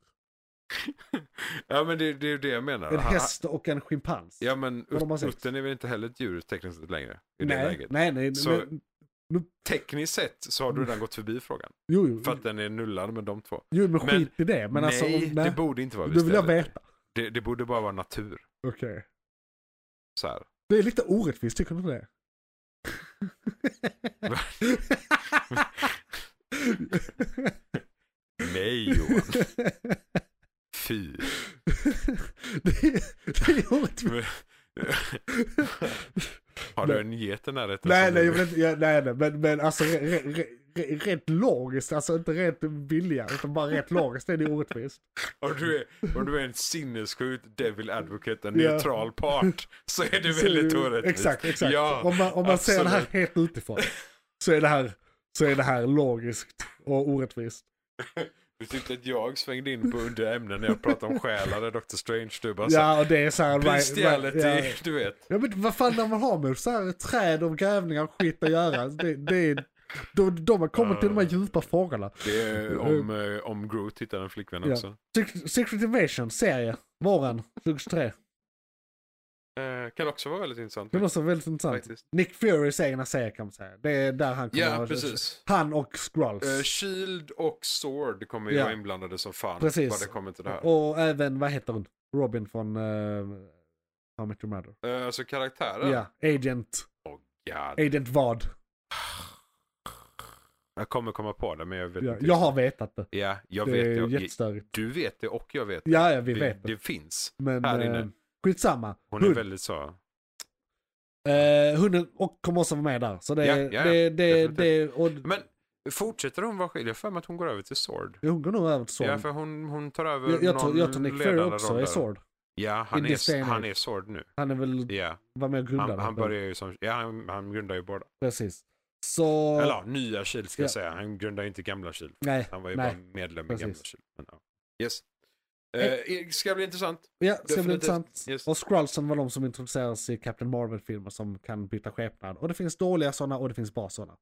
Speaker 4: Ja men det, det är ju det jag menar.
Speaker 3: En
Speaker 4: Han-
Speaker 3: häst och en schimpans.
Speaker 4: Ja men
Speaker 3: Vad de har
Speaker 4: ut-
Speaker 3: sett.
Speaker 4: uttern är väl inte heller ett djur tekniskt sett längre? I det
Speaker 3: nej, Mm.
Speaker 4: läget.
Speaker 3: nej, nej,
Speaker 4: Så-
Speaker 3: men-
Speaker 4: Tekniskt sett så har du redan gått förbi frågan.
Speaker 3: jo, jo,
Speaker 4: För att den är nullad med de två.
Speaker 3: jo, men
Speaker 4: men-
Speaker 3: skit i det. Men
Speaker 4: nej,
Speaker 3: alltså, om- nej,
Speaker 4: det borde inte vara
Speaker 3: då vill jag
Speaker 4: bestämt.
Speaker 3: veta.
Speaker 4: Det, det borde bara vara natur.
Speaker 3: Okej.
Speaker 4: Så här.
Speaker 3: Det är lite orättvist, tycker du inte det?
Speaker 4: Va? *laughs* Nej Johan,
Speaker 3: *laughs*
Speaker 4: fy.
Speaker 3: det, är, det är orättvist.
Speaker 4: Men- har du en get i närheten?
Speaker 3: Nej,
Speaker 4: som
Speaker 3: nej,
Speaker 4: du-
Speaker 3: jag vill inte, ja, nej, nej, men, men alltså re, re, re, rent logiskt, alltså inte rent vilja, utan bara rent logiskt är det orättvist.
Speaker 4: om, du är, om du är en sinnessjuk devil advocate, en
Speaker 3: Ja.
Speaker 4: neutral part, så är det *laughs*
Speaker 3: Så-
Speaker 4: väldigt orättvist.
Speaker 3: Exakt, exakt.
Speaker 4: Ja,
Speaker 3: om man, om man ser det här
Speaker 4: absolut.
Speaker 3: helt utifrån så är det här, så är det här logiskt och orättvist.
Speaker 4: Du tyckte att jag svängde in på under ämnen när jag pratade om själar i Doctor Strange. Du bara så här,
Speaker 3: ja, och det är så här...
Speaker 4: Alltså, bestiality,
Speaker 3: ja.
Speaker 4: *laughs* du vet.
Speaker 3: Ja men vad fan när man har med så här träd och grävningar och skit att göra. Det, det är, då, då man kommer till de här djupa frågorna.
Speaker 4: Det är om, eh, om Groot hittar en flickvän
Speaker 3: Ja.
Speaker 4: också.
Speaker 3: Sec- Secret Invasion serie, våren 2023.
Speaker 4: Eh, kan också vara väldigt intressant.
Speaker 3: Det är också väldigt intressant.
Speaker 4: Faktiskt.
Speaker 3: Nick Furys egna serie kan man säga. Det är där han kommer
Speaker 4: Ja,
Speaker 3: att-
Speaker 4: precis.
Speaker 3: Han och Skrulls.
Speaker 4: Eh, Shield och Sword kommer ju
Speaker 3: Ja.
Speaker 4: vara inblandade som fan.
Speaker 3: Precis.
Speaker 4: Vad det kommer till det här.
Speaker 3: och även, vad heter hon? Robin från... eh, How I Met Your Mother.
Speaker 4: Eh, Alltså karaktären?
Speaker 3: Ja, Agent.
Speaker 4: God.
Speaker 3: Agent vad?
Speaker 4: Jag kommer komma på det men jag vet
Speaker 3: Ja,
Speaker 4: inte.
Speaker 3: jag har vetat det.
Speaker 4: Ja, jag
Speaker 3: Det
Speaker 4: vet
Speaker 3: är
Speaker 4: jag,
Speaker 3: jättestörigt.
Speaker 4: Du vet det och jag vet det.
Speaker 3: Ja, ja, vi
Speaker 4: det,
Speaker 3: vet det.
Speaker 4: det finns.
Speaker 3: Men
Speaker 4: här inne.
Speaker 3: eh, skitsamma.
Speaker 4: Hon är
Speaker 3: Hund.
Speaker 4: väldigt så.
Speaker 3: Eh, hunden och kommer också vara med där. Så det,
Speaker 4: Ja, ja, ja.
Speaker 3: det, det,
Speaker 4: Definitivt.
Speaker 3: det och...
Speaker 4: Men fortsätter hon vara skild? Jag har för mig att hon går över till Sword.
Speaker 3: Jo, hon går nog över till Sword.
Speaker 4: Ja, för hon, hon tar över
Speaker 3: jag, jag,
Speaker 4: någon
Speaker 3: tror, jag tror Nick Fury
Speaker 4: ledande
Speaker 3: också
Speaker 4: roll
Speaker 3: är
Speaker 4: där.
Speaker 3: Sword.
Speaker 4: Ja,
Speaker 3: In
Speaker 4: han
Speaker 3: this day
Speaker 4: är,
Speaker 3: and
Speaker 4: han
Speaker 3: age.
Speaker 4: är Sword nu.
Speaker 3: Han är väl,
Speaker 4: Ja,
Speaker 3: var med och grundade.
Speaker 4: han, han
Speaker 3: den.
Speaker 4: börjar ju som... Ja, han, han grundar ju båda.
Speaker 3: Precis. Så...
Speaker 4: Eller ja, nya Kil ska
Speaker 3: Ja.
Speaker 4: jag säga. Han grundar ju inte gamla Kil.
Speaker 3: nej,
Speaker 4: Han var ju
Speaker 3: nej.
Speaker 4: bara medlem i
Speaker 3: Precis.
Speaker 4: gamla Kil. Men, ja. Yes. Eh, ska bli intressant.
Speaker 3: Ja, det ska bli
Speaker 4: Definitivt.
Speaker 3: intressant.
Speaker 4: Yes.
Speaker 3: Och Skrullsen var de som introduceras i Captain Marvel-filmer som kan byta skepnad. Och det finns dåliga sådana och det finns bra sådana.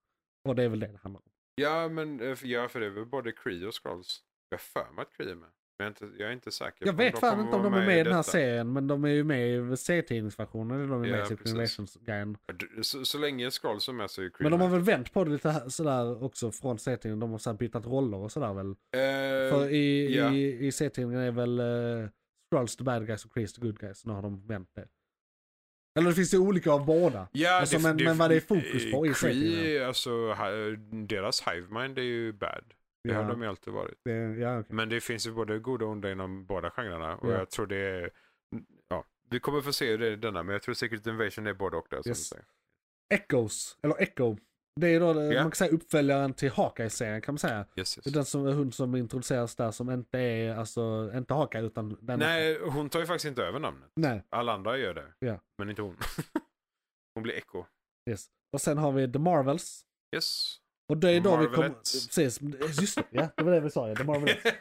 Speaker 3: Och det är väl det det handlar om.
Speaker 4: Ja, men eh, för- ja, för det är väl både Kree och Skrulls. Jag har för mig att Kree är med. Men jag är inte, jag är inte säker.
Speaker 3: Jag
Speaker 4: på
Speaker 3: vet fan
Speaker 4: kommer
Speaker 3: inte om
Speaker 4: vara
Speaker 3: de är med i den här
Speaker 4: detta.
Speaker 3: serien, men de är ju med i serietidningsversionen. Eller de är
Speaker 4: Ja,
Speaker 3: med i
Speaker 4: precis.
Speaker 3: Simulations-grejen.
Speaker 4: Du- Så, så länge Skrulls är med så är ju Kree
Speaker 3: Men de har
Speaker 4: med.
Speaker 3: väl vänt på det lite här, sådär också från serietidningen. De har sådär bytt roller och sådär väl.
Speaker 4: Eh,
Speaker 3: För i,
Speaker 4: ja.
Speaker 3: i, i serietidningen är väl uh, Skrulls the bad guys och Chris the good guys. Nu har de vänt det. Eller det finns ju olika av båda.
Speaker 4: Ja,
Speaker 3: alltså, men- men vad det är fokus på i
Speaker 4: Kree,
Speaker 3: serietidningarna.
Speaker 4: alltså hi- deras hivemind är ju bad. Det har de ju alltid varit.
Speaker 3: det, ja, okej.
Speaker 4: Men det finns ju både goda och onda inom båda genrerna. Och
Speaker 3: Ja.
Speaker 4: jag tror det är... Ja, vi kommer få se hur det är i denna. Men jag tror Secret Invasion är både och där. Som
Speaker 3: Yes.
Speaker 4: du säger.
Speaker 3: Echoes, eller Echo. Det är då det-
Speaker 4: Ja.
Speaker 3: man kan säga uppföljaren till Hawkeye-serien kan man säga.
Speaker 4: Yes,
Speaker 3: Det är
Speaker 4: yes.
Speaker 3: Den som, hund som introduceras där som inte är, alltså inte Hawkeye utan den.
Speaker 4: Nej, hon tar ju faktiskt inte över namnet.
Speaker 3: Nej,
Speaker 4: Alla andra gör det.
Speaker 3: Ja.
Speaker 4: Men inte hon. *laughs* hon blir Echo.
Speaker 3: yes. Och sen har vi The Marvels.
Speaker 4: Yes.
Speaker 3: Och det är då vi kommer...
Speaker 4: Marvelettes.
Speaker 3: Precis, just det. Ja, det var det vi sa ja.
Speaker 4: *laughs*
Speaker 3: The Marvelettes.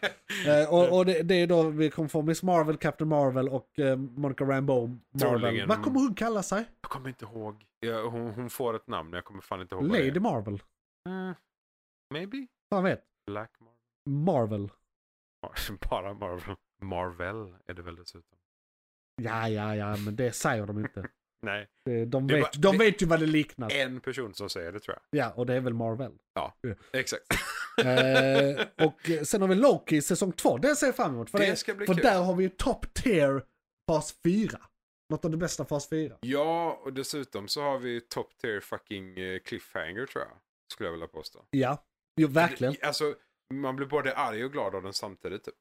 Speaker 3: Eh, och och det, det är då vi kommer få Miss Marvel, Captain Marvel och eh, Monica Rambeau. Marvel.
Speaker 4: Troligen.
Speaker 3: Vad kommer hon kalla sig?
Speaker 4: jag kommer inte ihåg. Ja, hon, hon får ett namn, jag kommer fan inte ihåg vad det
Speaker 3: Lady
Speaker 4: är.
Speaker 3: Marvel.
Speaker 4: Mm. Maybe?
Speaker 3: Fan vet.
Speaker 4: Black Marvel?
Speaker 3: Marvel.
Speaker 4: Mar- *laughs* Bara Marvel. Marvel är det väl dessutom.
Speaker 3: Ja, ja, ja, men det säger de inte.
Speaker 4: Nej,
Speaker 3: Det- De
Speaker 4: Det är
Speaker 3: vet,
Speaker 4: bara-
Speaker 3: de
Speaker 4: det-
Speaker 3: vet ju vad det liknar.
Speaker 4: en person som säger det tror
Speaker 3: Ja, och det är väl Marvel.
Speaker 4: jag. Exakt.
Speaker 3: eh, och eh, sen har vi Loki i säsong två. Den ser jag fram emot. För,
Speaker 4: Det
Speaker 3: det,
Speaker 4: ska bli
Speaker 3: för
Speaker 4: kul.
Speaker 3: där har vi ju top tier fas 4. Något av det bästa fas 4.
Speaker 4: *laughs* Ja, och dessutom så har vi top tier fucking eh, cliffhanger tror jag. Skulle jag vilja påstå.
Speaker 3: Ja, jo, verkligen.
Speaker 4: Det, alltså, man blir både arg och glad av den samtidigt typ.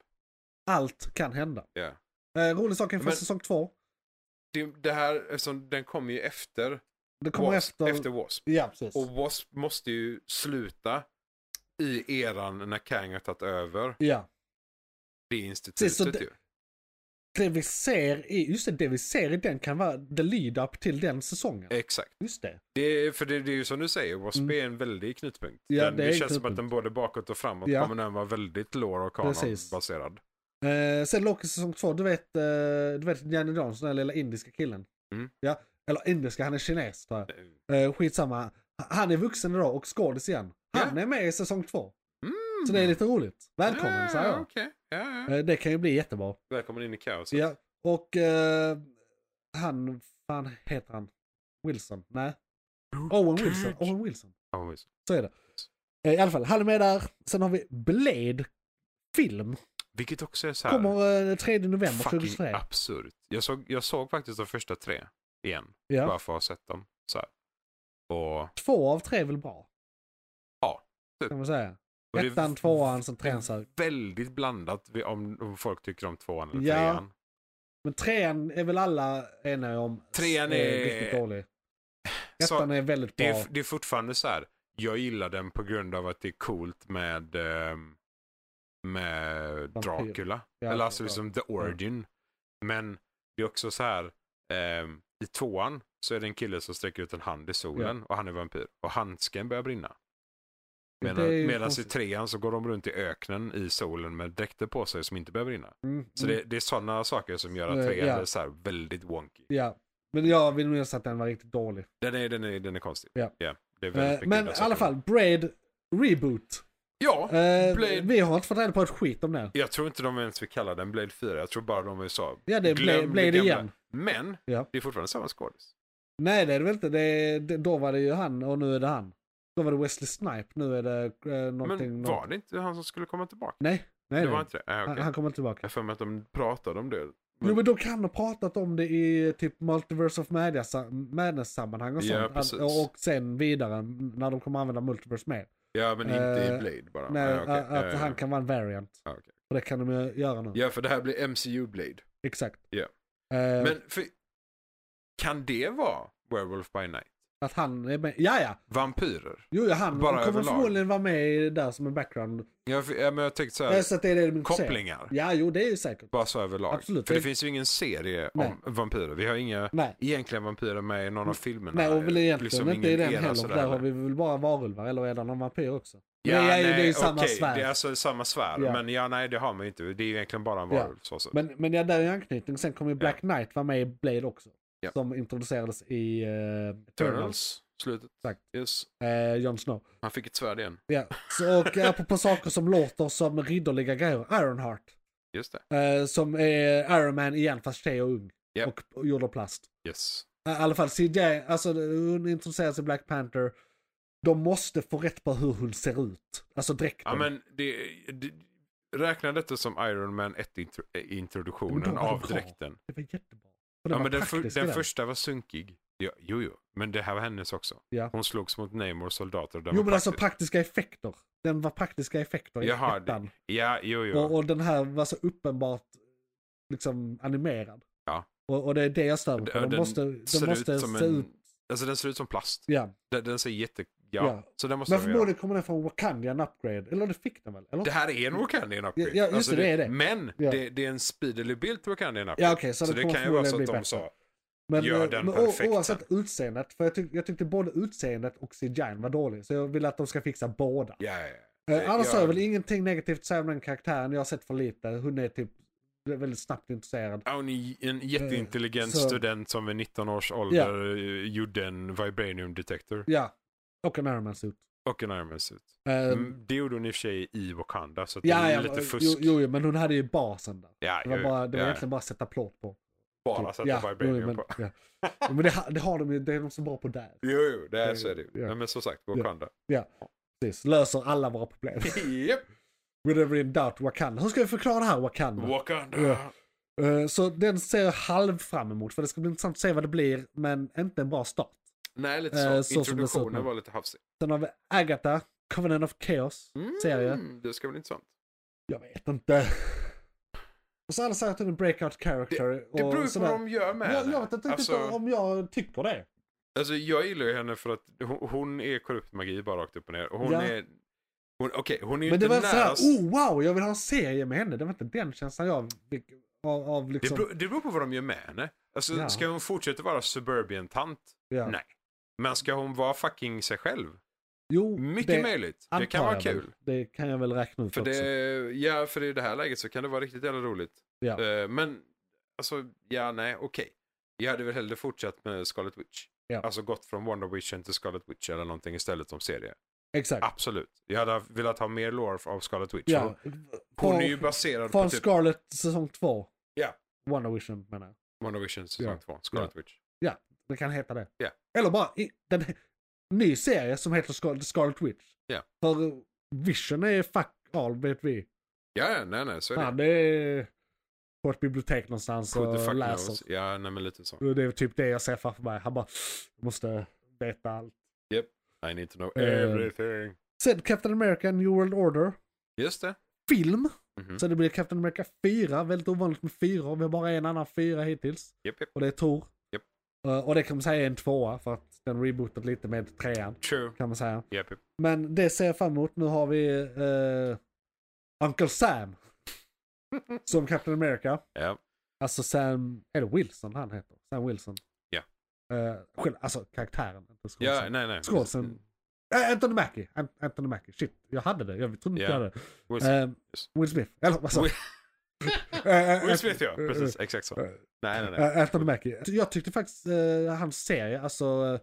Speaker 3: Allt kan hända.
Speaker 4: Ja.
Speaker 3: Eh, rolig sak inför
Speaker 4: Men-
Speaker 3: säsong två.
Speaker 4: Det, det här, eftersom den kommer ju efter
Speaker 3: Det kommer
Speaker 4: Wasp,
Speaker 3: efter...
Speaker 4: efter Wasp.
Speaker 3: Ja, precis.
Speaker 4: Och W.A.S.P. måste ju sluta i eran när Kang har tagit över
Speaker 3: Ja.
Speaker 4: det
Speaker 3: Precis, så
Speaker 4: institutet
Speaker 3: det-
Speaker 4: ju.
Speaker 3: Det vi ser i, just det, det vi ser i den kan vara the lead-up till den säsongen.
Speaker 4: Exakt.
Speaker 3: Just det.
Speaker 4: Det är, för det, det är ju som du säger, W.A.S.P.
Speaker 3: Mm.
Speaker 4: är en väldig knutpunkt.
Speaker 3: Ja,
Speaker 4: den,
Speaker 3: det
Speaker 4: det,
Speaker 3: är en
Speaker 4: känns som
Speaker 3: knutpunkt.
Speaker 4: att den både bakåt och framåt
Speaker 3: Ja.
Speaker 4: kommer den vara väldigt lår och
Speaker 3: Precis.
Speaker 4: kanon-baserad.
Speaker 3: Eh, sen Loki säsong två, du vet, eh, du vet Janne Jansson, den lilla indiska killen.
Speaker 4: Mm.
Speaker 3: Ja, eller indiska, han är kines tror jag. Eh, skitsamma. Han är vuxen idag och skådis igen. Han är med i säsong två.
Speaker 4: Mm.
Speaker 3: Så det är lite roligt. Välkommen
Speaker 4: ja,
Speaker 3: säger jag.
Speaker 4: Ah, okej. ja, ja.
Speaker 3: Eh, det kan ju bli jättebra.
Speaker 4: Välkommen in i kaoset.
Speaker 3: Ja. Och eh, han, fan heter han? Wilson? Nej. Owen Wilson. Owen Wilson.
Speaker 4: Ja, visst.
Speaker 3: Så är det. Eh, I alla fall, han är med där. Sen har vi Blade film.
Speaker 4: Vilket också är så här
Speaker 3: Kommer eh, 3 november
Speaker 4: fucking
Speaker 3: 2023.
Speaker 4: absurt. Jag såg, jag såg faktiskt de första tre igen.
Speaker 3: Ja.
Speaker 4: Bara för att ha sett dem. Så här. Och,
Speaker 3: Två av tre är väl bra?
Speaker 4: Ja, typ.
Speaker 3: Kan man säga.
Speaker 4: och det-
Speaker 3: Ettan, tvåan, sen trean. så här.
Speaker 4: väldigt blandat vi- om, om folk tycker om tvåan eller
Speaker 3: Ja.
Speaker 4: trean.
Speaker 3: Men trean är väl alla eniga om. Eh,
Speaker 4: Trean är-
Speaker 3: riktigt dålig.
Speaker 4: Så-
Speaker 3: Ettan är väldigt
Speaker 4: Det
Speaker 3: bra.
Speaker 4: är, det är fortfarande så här. Jag gillar den på grund av att det är coolt med, ehm, med
Speaker 3: Vampyr.
Speaker 4: Dracula.
Speaker 3: Ja,
Speaker 4: eller alltså
Speaker 3: ja.
Speaker 4: liksom the origin. Men det är också så här. ehm, I tvåan så är det en kille som sträcker ut en hand i solen och han är vampyr. Och handsken börjar brinna.
Speaker 3: Det är
Speaker 4: Medan,
Speaker 3: ju
Speaker 4: medan i
Speaker 3: konstigt.
Speaker 4: trean så går de runt i öknen i solen med dräkter på sig som inte börjar brinna.
Speaker 3: Mm,
Speaker 4: Så
Speaker 3: mm,
Speaker 4: det, det är sådana saker som gör
Speaker 3: Eh,
Speaker 4: att trean
Speaker 3: ja.
Speaker 4: är så här väldigt wonky.
Speaker 3: Ja. Men jag vill nog säga att den var riktigt dålig.
Speaker 4: Den är, den är, den är konstig.
Speaker 3: Ja.
Speaker 4: det är
Speaker 3: Eh,
Speaker 4: väldigt mycket
Speaker 3: men i
Speaker 4: där
Speaker 3: alla
Speaker 4: saker.
Speaker 3: fall, Braid Reboot.
Speaker 4: Ja,
Speaker 3: Eh,
Speaker 4: Blade.
Speaker 3: Vi har inte fått reda på ett skit om det.
Speaker 4: Jag tror inte de ens vill kalla den Blade 4. Jag tror bara de vill sa.
Speaker 3: Ja, det är
Speaker 4: glöm
Speaker 3: Blade,
Speaker 4: det
Speaker 3: Blade
Speaker 4: gamla.
Speaker 3: igen.
Speaker 4: Men
Speaker 3: Ja.
Speaker 4: det är fortfarande samma skådis.
Speaker 3: Nej, det är det väl inte. Det, är- det, då var det ju han och nu är det han. Då var det Wesley Snipe, nu är det eh, någonting...
Speaker 4: Men
Speaker 3: någon-
Speaker 4: var det inte han som skulle komma tillbaka?
Speaker 3: Nej, nej.
Speaker 4: det var
Speaker 3: nej.
Speaker 4: inte det? Nej, okej.
Speaker 3: Han, han kommer tillbaka.
Speaker 4: Jag har för mig att de pratade om det
Speaker 3: Jo men de kan ha pratat om det i typ Multiverse of Madness- Madness-sammanhang och sånt.
Speaker 4: Ja,
Speaker 3: Att-
Speaker 4: precis.
Speaker 3: och sen vidare när de kommer använda Multiverse mer.
Speaker 4: Ja, men inte
Speaker 3: Eh,
Speaker 4: i Blade bara.
Speaker 3: Nej,
Speaker 4: Ja, okej.
Speaker 3: att, att
Speaker 4: Ja, ja,
Speaker 3: han
Speaker 4: ja.
Speaker 3: kan vara en variant.
Speaker 4: Ja, okej.
Speaker 3: Och det kan de ju göra nu.
Speaker 4: Ja, för det här blir MCU Blade.
Speaker 3: Exakt.
Speaker 4: Ja.
Speaker 3: Eh,
Speaker 4: Men för, kan det vara Werewolf by Night?
Speaker 3: Att han är med. Ja, ja.
Speaker 4: Vampyrer?
Speaker 3: Jo, ja, han
Speaker 4: Bara
Speaker 3: kommer
Speaker 4: överlag.
Speaker 3: förmodligen vara med i det där som en background.
Speaker 4: Ja, för, ja, men jag tänkte så här,
Speaker 3: Eh, Så att det är det de inte säger.
Speaker 4: kopplingar.
Speaker 3: Ja, jo, det är ju säkert.
Speaker 4: Bara så överlag.
Speaker 3: Absolut.
Speaker 4: För
Speaker 3: Det-
Speaker 4: det finns ju ingen serie
Speaker 3: Nej.
Speaker 4: om vampyrer. Vi har inga
Speaker 3: Nej.
Speaker 4: egentligen vampyrer med i någon av filmerna.
Speaker 3: Mm. Nej, och väl egentligen
Speaker 4: Liksom
Speaker 3: inte i
Speaker 4: ingen
Speaker 3: den
Speaker 4: era
Speaker 3: heller.
Speaker 4: sådär
Speaker 3: Där har
Speaker 4: heller.
Speaker 3: vi väl bara varulvar, eller är det någon vampyr också?
Speaker 4: Ja,
Speaker 3: nej, det är ju
Speaker 4: nej,
Speaker 3: samma
Speaker 4: okej,
Speaker 3: sfär.
Speaker 4: Det är alltså samma sfär.
Speaker 3: Ja.
Speaker 4: Men ja, nej, det har man ju inte. Det är ju egentligen bara en
Speaker 3: Ja.
Speaker 4: varulv. Så, så.
Speaker 3: Men, men ja, där är anknytning. Sen kommer ju Black Knight vara med i Blade också.
Speaker 4: Ja.
Speaker 3: Som introducerades i uh, Turtles.
Speaker 4: Turtles, slutet.
Speaker 3: Exakt.
Speaker 4: Yes.
Speaker 3: Eh, Jon Snow.
Speaker 4: Han fick ett svärd igen.
Speaker 3: Ja. Så, och apropå saker som låter som ridderliga grejer. Ironheart.
Speaker 4: Just det.
Speaker 3: eh, som är Iron Man igen fast tjej och ung.
Speaker 4: Ja.
Speaker 3: Och, och gjord av plast.
Speaker 4: Yes.
Speaker 3: I alla fall CJ, alltså hon introduceras i Black Panther. De måste få rätt på hur hon ser ut. Alltså dräkten.
Speaker 4: Ja, men det, det, räkna detta som Iron Man 1-introduktionen
Speaker 3: Men då var
Speaker 4: av
Speaker 3: det bra.
Speaker 4: dräkten.
Speaker 3: Det var jättebra. För
Speaker 4: Ja,
Speaker 3: var
Speaker 4: men den, för,
Speaker 3: praktisk i
Speaker 4: den första var sunkig. Ja, jo, jo, men det här var hennes också.
Speaker 3: Ja.
Speaker 4: Hon slogs mot Namors soldater. och den
Speaker 3: Jo
Speaker 4: var
Speaker 3: men alltså
Speaker 4: praktisk.
Speaker 3: praktiska effekter. Den var praktiska effekter i
Speaker 4: Jaha,
Speaker 3: ettan.
Speaker 4: det, ja, jo, jo.
Speaker 3: Och, och den här var så uppenbart liksom animerad.
Speaker 4: Ja.
Speaker 3: Och, och det är det jag stör mig på.
Speaker 4: Ja,
Speaker 3: De
Speaker 4: den
Speaker 3: måste, de
Speaker 4: ser
Speaker 3: måste
Speaker 4: ut som
Speaker 3: se
Speaker 4: en-
Speaker 3: ut...
Speaker 4: Alltså den ser ut som plast.
Speaker 3: Ja.
Speaker 4: Den, den ser jätte... Ja,
Speaker 3: Ja.
Speaker 4: så den måste
Speaker 3: Men
Speaker 4: de göra.
Speaker 3: förmodligen kommer den från Wakandian upgrade. Eller det fick den väl? Eller?
Speaker 4: Det här är en Wakandian upgrade.
Speaker 3: Ja, ja, just det, det är det.
Speaker 4: Men
Speaker 3: Ja.
Speaker 4: det, det är en speedily build till Wakandian upgrade.
Speaker 3: Ja okej, så,
Speaker 4: så
Speaker 3: det
Speaker 4: det,
Speaker 3: kommer
Speaker 4: kan ju vara så att de
Speaker 3: förmodligen bli bättre.
Speaker 4: sa,
Speaker 3: Men,
Speaker 4: Gör
Speaker 3: eh,
Speaker 4: den
Speaker 3: men o-
Speaker 4: perfekt
Speaker 3: oavsett utseendet, för jag, tyck, jag tyckte både utseendet och CGI'n var dålig. Så jag vill att de ska fixa båda.
Speaker 4: ja, ja, ja.
Speaker 3: Eh, annars
Speaker 4: Ja.
Speaker 3: har jag väl ingenting negativt att säga om den karaktären. Jag har sett för lite. Hon är typ väldigt snabbt intresserad.
Speaker 4: Ja, hon är en jätteintelligent
Speaker 3: Eh, Så-
Speaker 4: student som vid 19 års ålder eh, gjorde en vibranium detector
Speaker 3: Ja. Och en Iron Man-suit.
Speaker 4: och en Iron Man suit.
Speaker 3: Eh,
Speaker 4: Mm, Det gjorde hon i och för sig i Wakanda, så att
Speaker 3: ja,
Speaker 4: det är
Speaker 3: ja,
Speaker 4: lite fusk.
Speaker 3: jo, jo, jo, men hon hade ju basen där.
Speaker 4: ja,
Speaker 3: Det var,
Speaker 4: jo,
Speaker 3: bara, det var
Speaker 4: ja,
Speaker 3: egentligen bara att sätta plåt på. Typ.
Speaker 4: bara sätta
Speaker 3: ja,
Speaker 4: vibranium
Speaker 3: jo, men,
Speaker 4: på. *laughs*
Speaker 3: Ja. Jo, Men det, ha- det har de ju, det är de så bra på där.
Speaker 4: Jo, jo, det är så är det ju.
Speaker 3: Ja.
Speaker 4: Ja, men som sagt,
Speaker 3: *laughs*
Speaker 4: Wakanda.
Speaker 3: Precis, löser alla våra problem. *laughs*
Speaker 4: Japp,
Speaker 3: Whatever in doubt, Wakanda. Hur ska vi förklara det här, Wakanda?
Speaker 4: Mm. Wakanda!
Speaker 3: Ja. Eh, Så den ser jag halv fram emot, för det ska bli intressant att se vad det blir, men inte en bra start.
Speaker 4: Nej, lite
Speaker 3: Eh,
Speaker 4: så.
Speaker 3: så som det ser ut nu.
Speaker 4: Introduktionen var lite hafsig.
Speaker 3: Sen har vi Agatha, Covenant of Chaos, serie.
Speaker 4: Mm, det ska bli intressant.
Speaker 3: Jag vet inte. Och så alla säger att hon är en breakout character.
Speaker 4: Det beror
Speaker 3: och
Speaker 4: ju på
Speaker 3: sådär.
Speaker 4: vad de gör med
Speaker 3: jag,
Speaker 4: henne.
Speaker 3: jag vet inte riktigt
Speaker 4: Alltså-
Speaker 3: om jag tycker det.
Speaker 4: Alltså jag gillar ju henne för att hon, hon är korrupt magi bara rakt upp och ner. Och hon
Speaker 3: Ja.
Speaker 4: är... Hon, Okej, hon är ju
Speaker 3: Men det
Speaker 4: inte
Speaker 3: var inte såhär,
Speaker 4: nära...
Speaker 3: oh wow, jag vill ha en serie med henne. Det var inte den känslan jag fick av, av
Speaker 4: det,
Speaker 3: liksom...
Speaker 4: beror, det beror på vad de gör med henne. Alltså
Speaker 3: Ja.
Speaker 4: ska hon fortsätta vara suburbian-tant?
Speaker 3: ja.
Speaker 4: Nej. Men ska hon vara fucking sig själv?
Speaker 3: Jo,
Speaker 4: Mycket
Speaker 3: det
Speaker 4: möjligt. Det
Speaker 3: antar
Speaker 4: kan vara
Speaker 3: jag väl.
Speaker 4: kul.
Speaker 3: Det kan jag väl räkna ut
Speaker 4: För
Speaker 3: också.
Speaker 4: det, ja, för i det här läget så kan det vara riktigt jävla roligt.
Speaker 3: Ja.
Speaker 4: Eh, men, alltså, ja, nej, okej. Jag hade väl hellre fortsatt med Scarlet Witch.
Speaker 3: Ja.
Speaker 4: Alltså gått från Wonder Vision till Scarlet Witch eller någonting istället som serie.
Speaker 3: Exakt.
Speaker 4: Absolut. Jag hade velat ha mer lore av Scarlet Witch. Hon-
Speaker 3: ja.
Speaker 4: Hon
Speaker 3: Från-
Speaker 4: är ju baserad på
Speaker 3: Från
Speaker 4: typ
Speaker 3: Scarlet säsong 2.
Speaker 4: Ja.
Speaker 3: Wonder Vision menar jag.
Speaker 4: WandaVision säsong
Speaker 3: Ja.
Speaker 4: 2, Scarlet Witch.
Speaker 3: Det kan heta det.
Speaker 4: Ja.
Speaker 3: Eller bara i, den ny serie som heter Scar- Scarlet Witch.
Speaker 4: Ja.
Speaker 3: För eh, Vision är fuck all vet vi.
Speaker 4: Ja, ja, nej, nej, så är det.
Speaker 3: Han är på ett bibliotek någonstans
Speaker 4: Who the
Speaker 3: och
Speaker 4: fuck
Speaker 3: läser.
Speaker 4: knows? Ja, nej, men lite så.
Speaker 3: Och Det är typ det jag ser framför mig. Han bara måste veta allt.
Speaker 4: I need to know
Speaker 3: Eh,
Speaker 4: everything.
Speaker 3: Sen Captain America New World Order.
Speaker 4: Just det.
Speaker 3: Film.
Speaker 4: Mhm.
Speaker 3: Så det blir Captain America 4. Väldigt ovanligt med 4. Vi har bara en annan 4 hittills.
Speaker 4: Japp, japp.
Speaker 3: Och det är Tor.
Speaker 4: Japp.
Speaker 3: Eh, och det kan man säga är en tvåa för att den rebootade lite med trean.
Speaker 4: True.
Speaker 3: Kan man säga.
Speaker 4: Japp, japp.
Speaker 3: Men det ser jag fram emot. Nu har vi eh, Uncle Sam. som Captain America.
Speaker 4: Ja.
Speaker 3: Alltså Sam, är det Wilson han heter? Sam Wilson.
Speaker 4: Ja.
Speaker 3: Eh, själv, alltså karaktären. inte
Speaker 4: ja,
Speaker 3: skådisen.
Speaker 4: nej, nej.
Speaker 3: Skådisen. Eh, Anthony Mackie. An- Anthony Mackie. Shit, jag hade det. Jag trodde inte
Speaker 4: Ja.
Speaker 3: jag hade det.
Speaker 4: Will,
Speaker 3: Eh, Will Smith. Eller vad sa
Speaker 4: *laughs*
Speaker 3: jag? Eh, eh,
Speaker 4: Will Smith, ja.
Speaker 3: eh, *laughs*
Speaker 4: Precis, exakt så.
Speaker 3: eh,
Speaker 4: Nej, nej, nej.
Speaker 3: Äh, Anthony Mackie. Jag tyckte faktiskt eh, hans serie, alltså,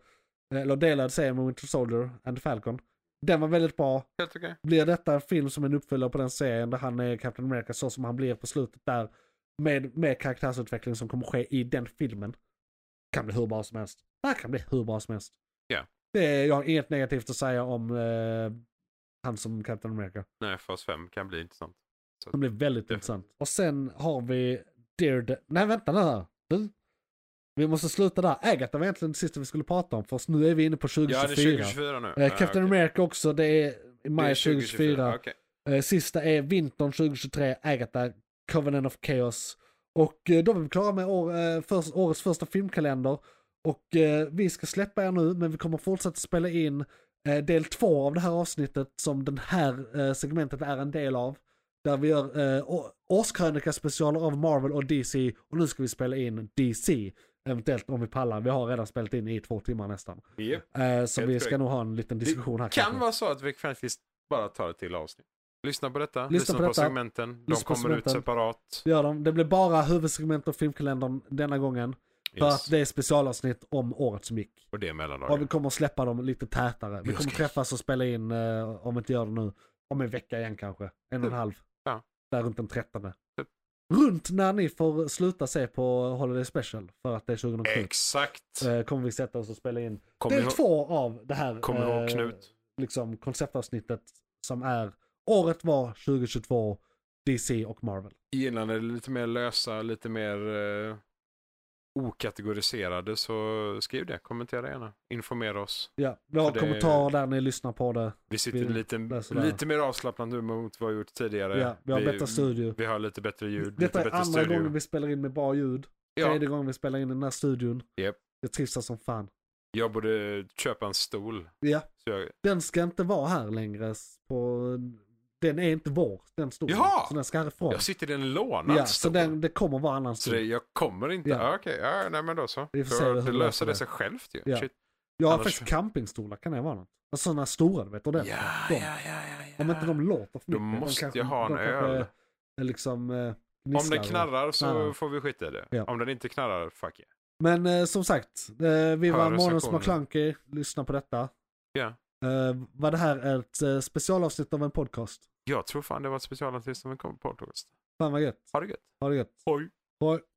Speaker 3: eh, eller delad serie med Winter Soldier and Falcon. Den var väldigt bra.
Speaker 4: Helt okej.
Speaker 3: Blir detta en film som en uppföljare på den serien där han är Captain America så som han blir på slutet där. Med, med karaktärsutveckling som kommer ske i den filmen. Kan bli hur bra som helst. Det här kan bli hur bra som helst.
Speaker 4: Ja.
Speaker 3: Det är, jag har inget negativt att säga om eh, han som Captain America.
Speaker 4: Nej, fas 5 kan bli intressant.
Speaker 3: Det blir väldigt
Speaker 4: Definitivt.
Speaker 3: intressant. Och sen har vi steered... Nej, vänta nu här. Du? Vi måste sluta där. Äh, Agatha var egentligen det sista vi skulle prata om, för nu är vi inne på
Speaker 4: Ja, det är
Speaker 3: 2024.
Speaker 4: 2024 nu. Ah,
Speaker 3: Eh, Captain America också, det är i maj 2024.
Speaker 4: Okay.
Speaker 3: Eh, Sista är vintern 2023, Agatha, Covenant of Chaos. Och eh, då är vi klara med år, eh, först, årets första filmkalender. Och eh, vi ska släppa er nu, men vi kommer fortsätta spela in eh, del två av det här avsnittet som den här eh, segmentet är en del av. Där vi gör eh, å- årskrönika-specialer av Marvel och DC och nu ska vi spela in DC. Eventuellt om vi pallar, vi har redan spelat in i två timmar nästan.
Speaker 4: Yep.
Speaker 3: Eh, så
Speaker 4: Helt
Speaker 3: vi ska
Speaker 4: korrekt.
Speaker 3: nog ha en liten diskussion här
Speaker 4: Det kan vara så att vi faktiskt bara tar ett till avsnitt. Lyssna på detta, lyssna,
Speaker 3: på
Speaker 4: på,
Speaker 3: detta.
Speaker 4: segmenten. De
Speaker 3: Lyssna på
Speaker 4: kommer ut
Speaker 3: segmenten.
Speaker 4: separat.
Speaker 3: Det gör de. Det blir bara huvudsegment och filmkalendern denna gången. För
Speaker 4: Yes.
Speaker 3: att det är specialavsnitt om året som gick.
Speaker 4: Och det är mellandagar.
Speaker 3: Och vi kommer släppa dem lite tätare. Vi
Speaker 4: Jag
Speaker 3: kommer
Speaker 4: ska-
Speaker 3: träffas och spela in, eh, om vi inte gör det nu, om en vecka igen kanske. En och en
Speaker 4: Typ.
Speaker 3: halv.
Speaker 4: Ja. Typ.
Speaker 3: Där runt den trettonde. Runt när ni får sluta se på Holiday Special, för att det är 2007.
Speaker 4: Exakt.
Speaker 3: Eh, kommer vi sätta oss och spela in
Speaker 4: Kommer
Speaker 3: del
Speaker 4: ihåg-
Speaker 3: två av det här
Speaker 4: Kommer du ihåg
Speaker 3: eh,
Speaker 4: Knut?
Speaker 3: liksom, konceptavsnittet som är året var 2022, DC och Marvel.
Speaker 4: Innan det är lite mer lösa, lite mer eh, okategoriserade så skriv det. Kommentera gärna. Informera oss.
Speaker 3: Ja, vi har
Speaker 4: För det-
Speaker 3: kommentarer där ni lyssnar på det.
Speaker 4: Vi sitter
Speaker 3: Vi
Speaker 4: lite,
Speaker 3: läser det här.
Speaker 4: lite mer avslappnat nu mot vad vi gjort tidigare.
Speaker 3: Ja, vi har bättre studio.
Speaker 4: Vi har lite bättre ljud,
Speaker 3: Detta är
Speaker 4: lite
Speaker 3: andra
Speaker 4: bättre studio.
Speaker 3: gången vi spelar in med bra ljud.
Speaker 4: ja,
Speaker 3: Tredje gången vi spelar in i den här studion.
Speaker 4: Japp.
Speaker 3: Jag trivs här som fan.
Speaker 4: jag borde köpa en stol.
Speaker 3: Ja,
Speaker 4: Så jag,
Speaker 3: den ska inte vara här längre. På... Den är inte vår, den stolen.
Speaker 4: Jaha!
Speaker 3: Så den ska härifrån.
Speaker 4: jag sitter i en lånad
Speaker 3: Ja, så
Speaker 4: stol.
Speaker 3: den, det kommer vara annan
Speaker 4: Så det,
Speaker 3: stol.
Speaker 4: jag kommer inte...
Speaker 3: Ja.
Speaker 4: Ja. Okej, ja, nej men då så.
Speaker 3: Vi får
Speaker 4: Då-
Speaker 3: se hur
Speaker 4: det
Speaker 3: det
Speaker 4: löser
Speaker 3: löser
Speaker 4: det
Speaker 3: det.
Speaker 4: sig självt ju.
Speaker 3: Ja.
Speaker 4: Shit.
Speaker 3: Jag har
Speaker 4: annars-
Speaker 3: faktiskt campingstolar, kan det vara något? Alltså, Sådana stora, du vet, ordentliga. De- Om inte de låter för
Speaker 4: Då
Speaker 3: mycket. de
Speaker 4: måste
Speaker 3: kanske-
Speaker 4: jag ha en
Speaker 3: de kanske
Speaker 4: öl.
Speaker 3: är Liksom, eh,
Speaker 4: Om
Speaker 3: gnisslar
Speaker 4: den
Speaker 3: och-
Speaker 4: knarrar så
Speaker 3: knarrar.
Speaker 4: får vi skita i det.
Speaker 3: Ja.
Speaker 4: Om den inte knarrar, fuck yeah.
Speaker 3: Men eh, som sagt, eh, vi var
Speaker 4: Hör
Speaker 3: Månens
Speaker 4: recensionen.
Speaker 3: McKlunky, lyssna på detta.
Speaker 4: Ja.
Speaker 3: Eh, var det här ett eh, specialavsnitt av en podcast?
Speaker 4: Jag tror fan det var ett specialavsnitt som en podcast.
Speaker 3: Fan vad gött.
Speaker 4: Ha det gött.
Speaker 3: Ha det gött.
Speaker 4: Hoj.
Speaker 3: Hej.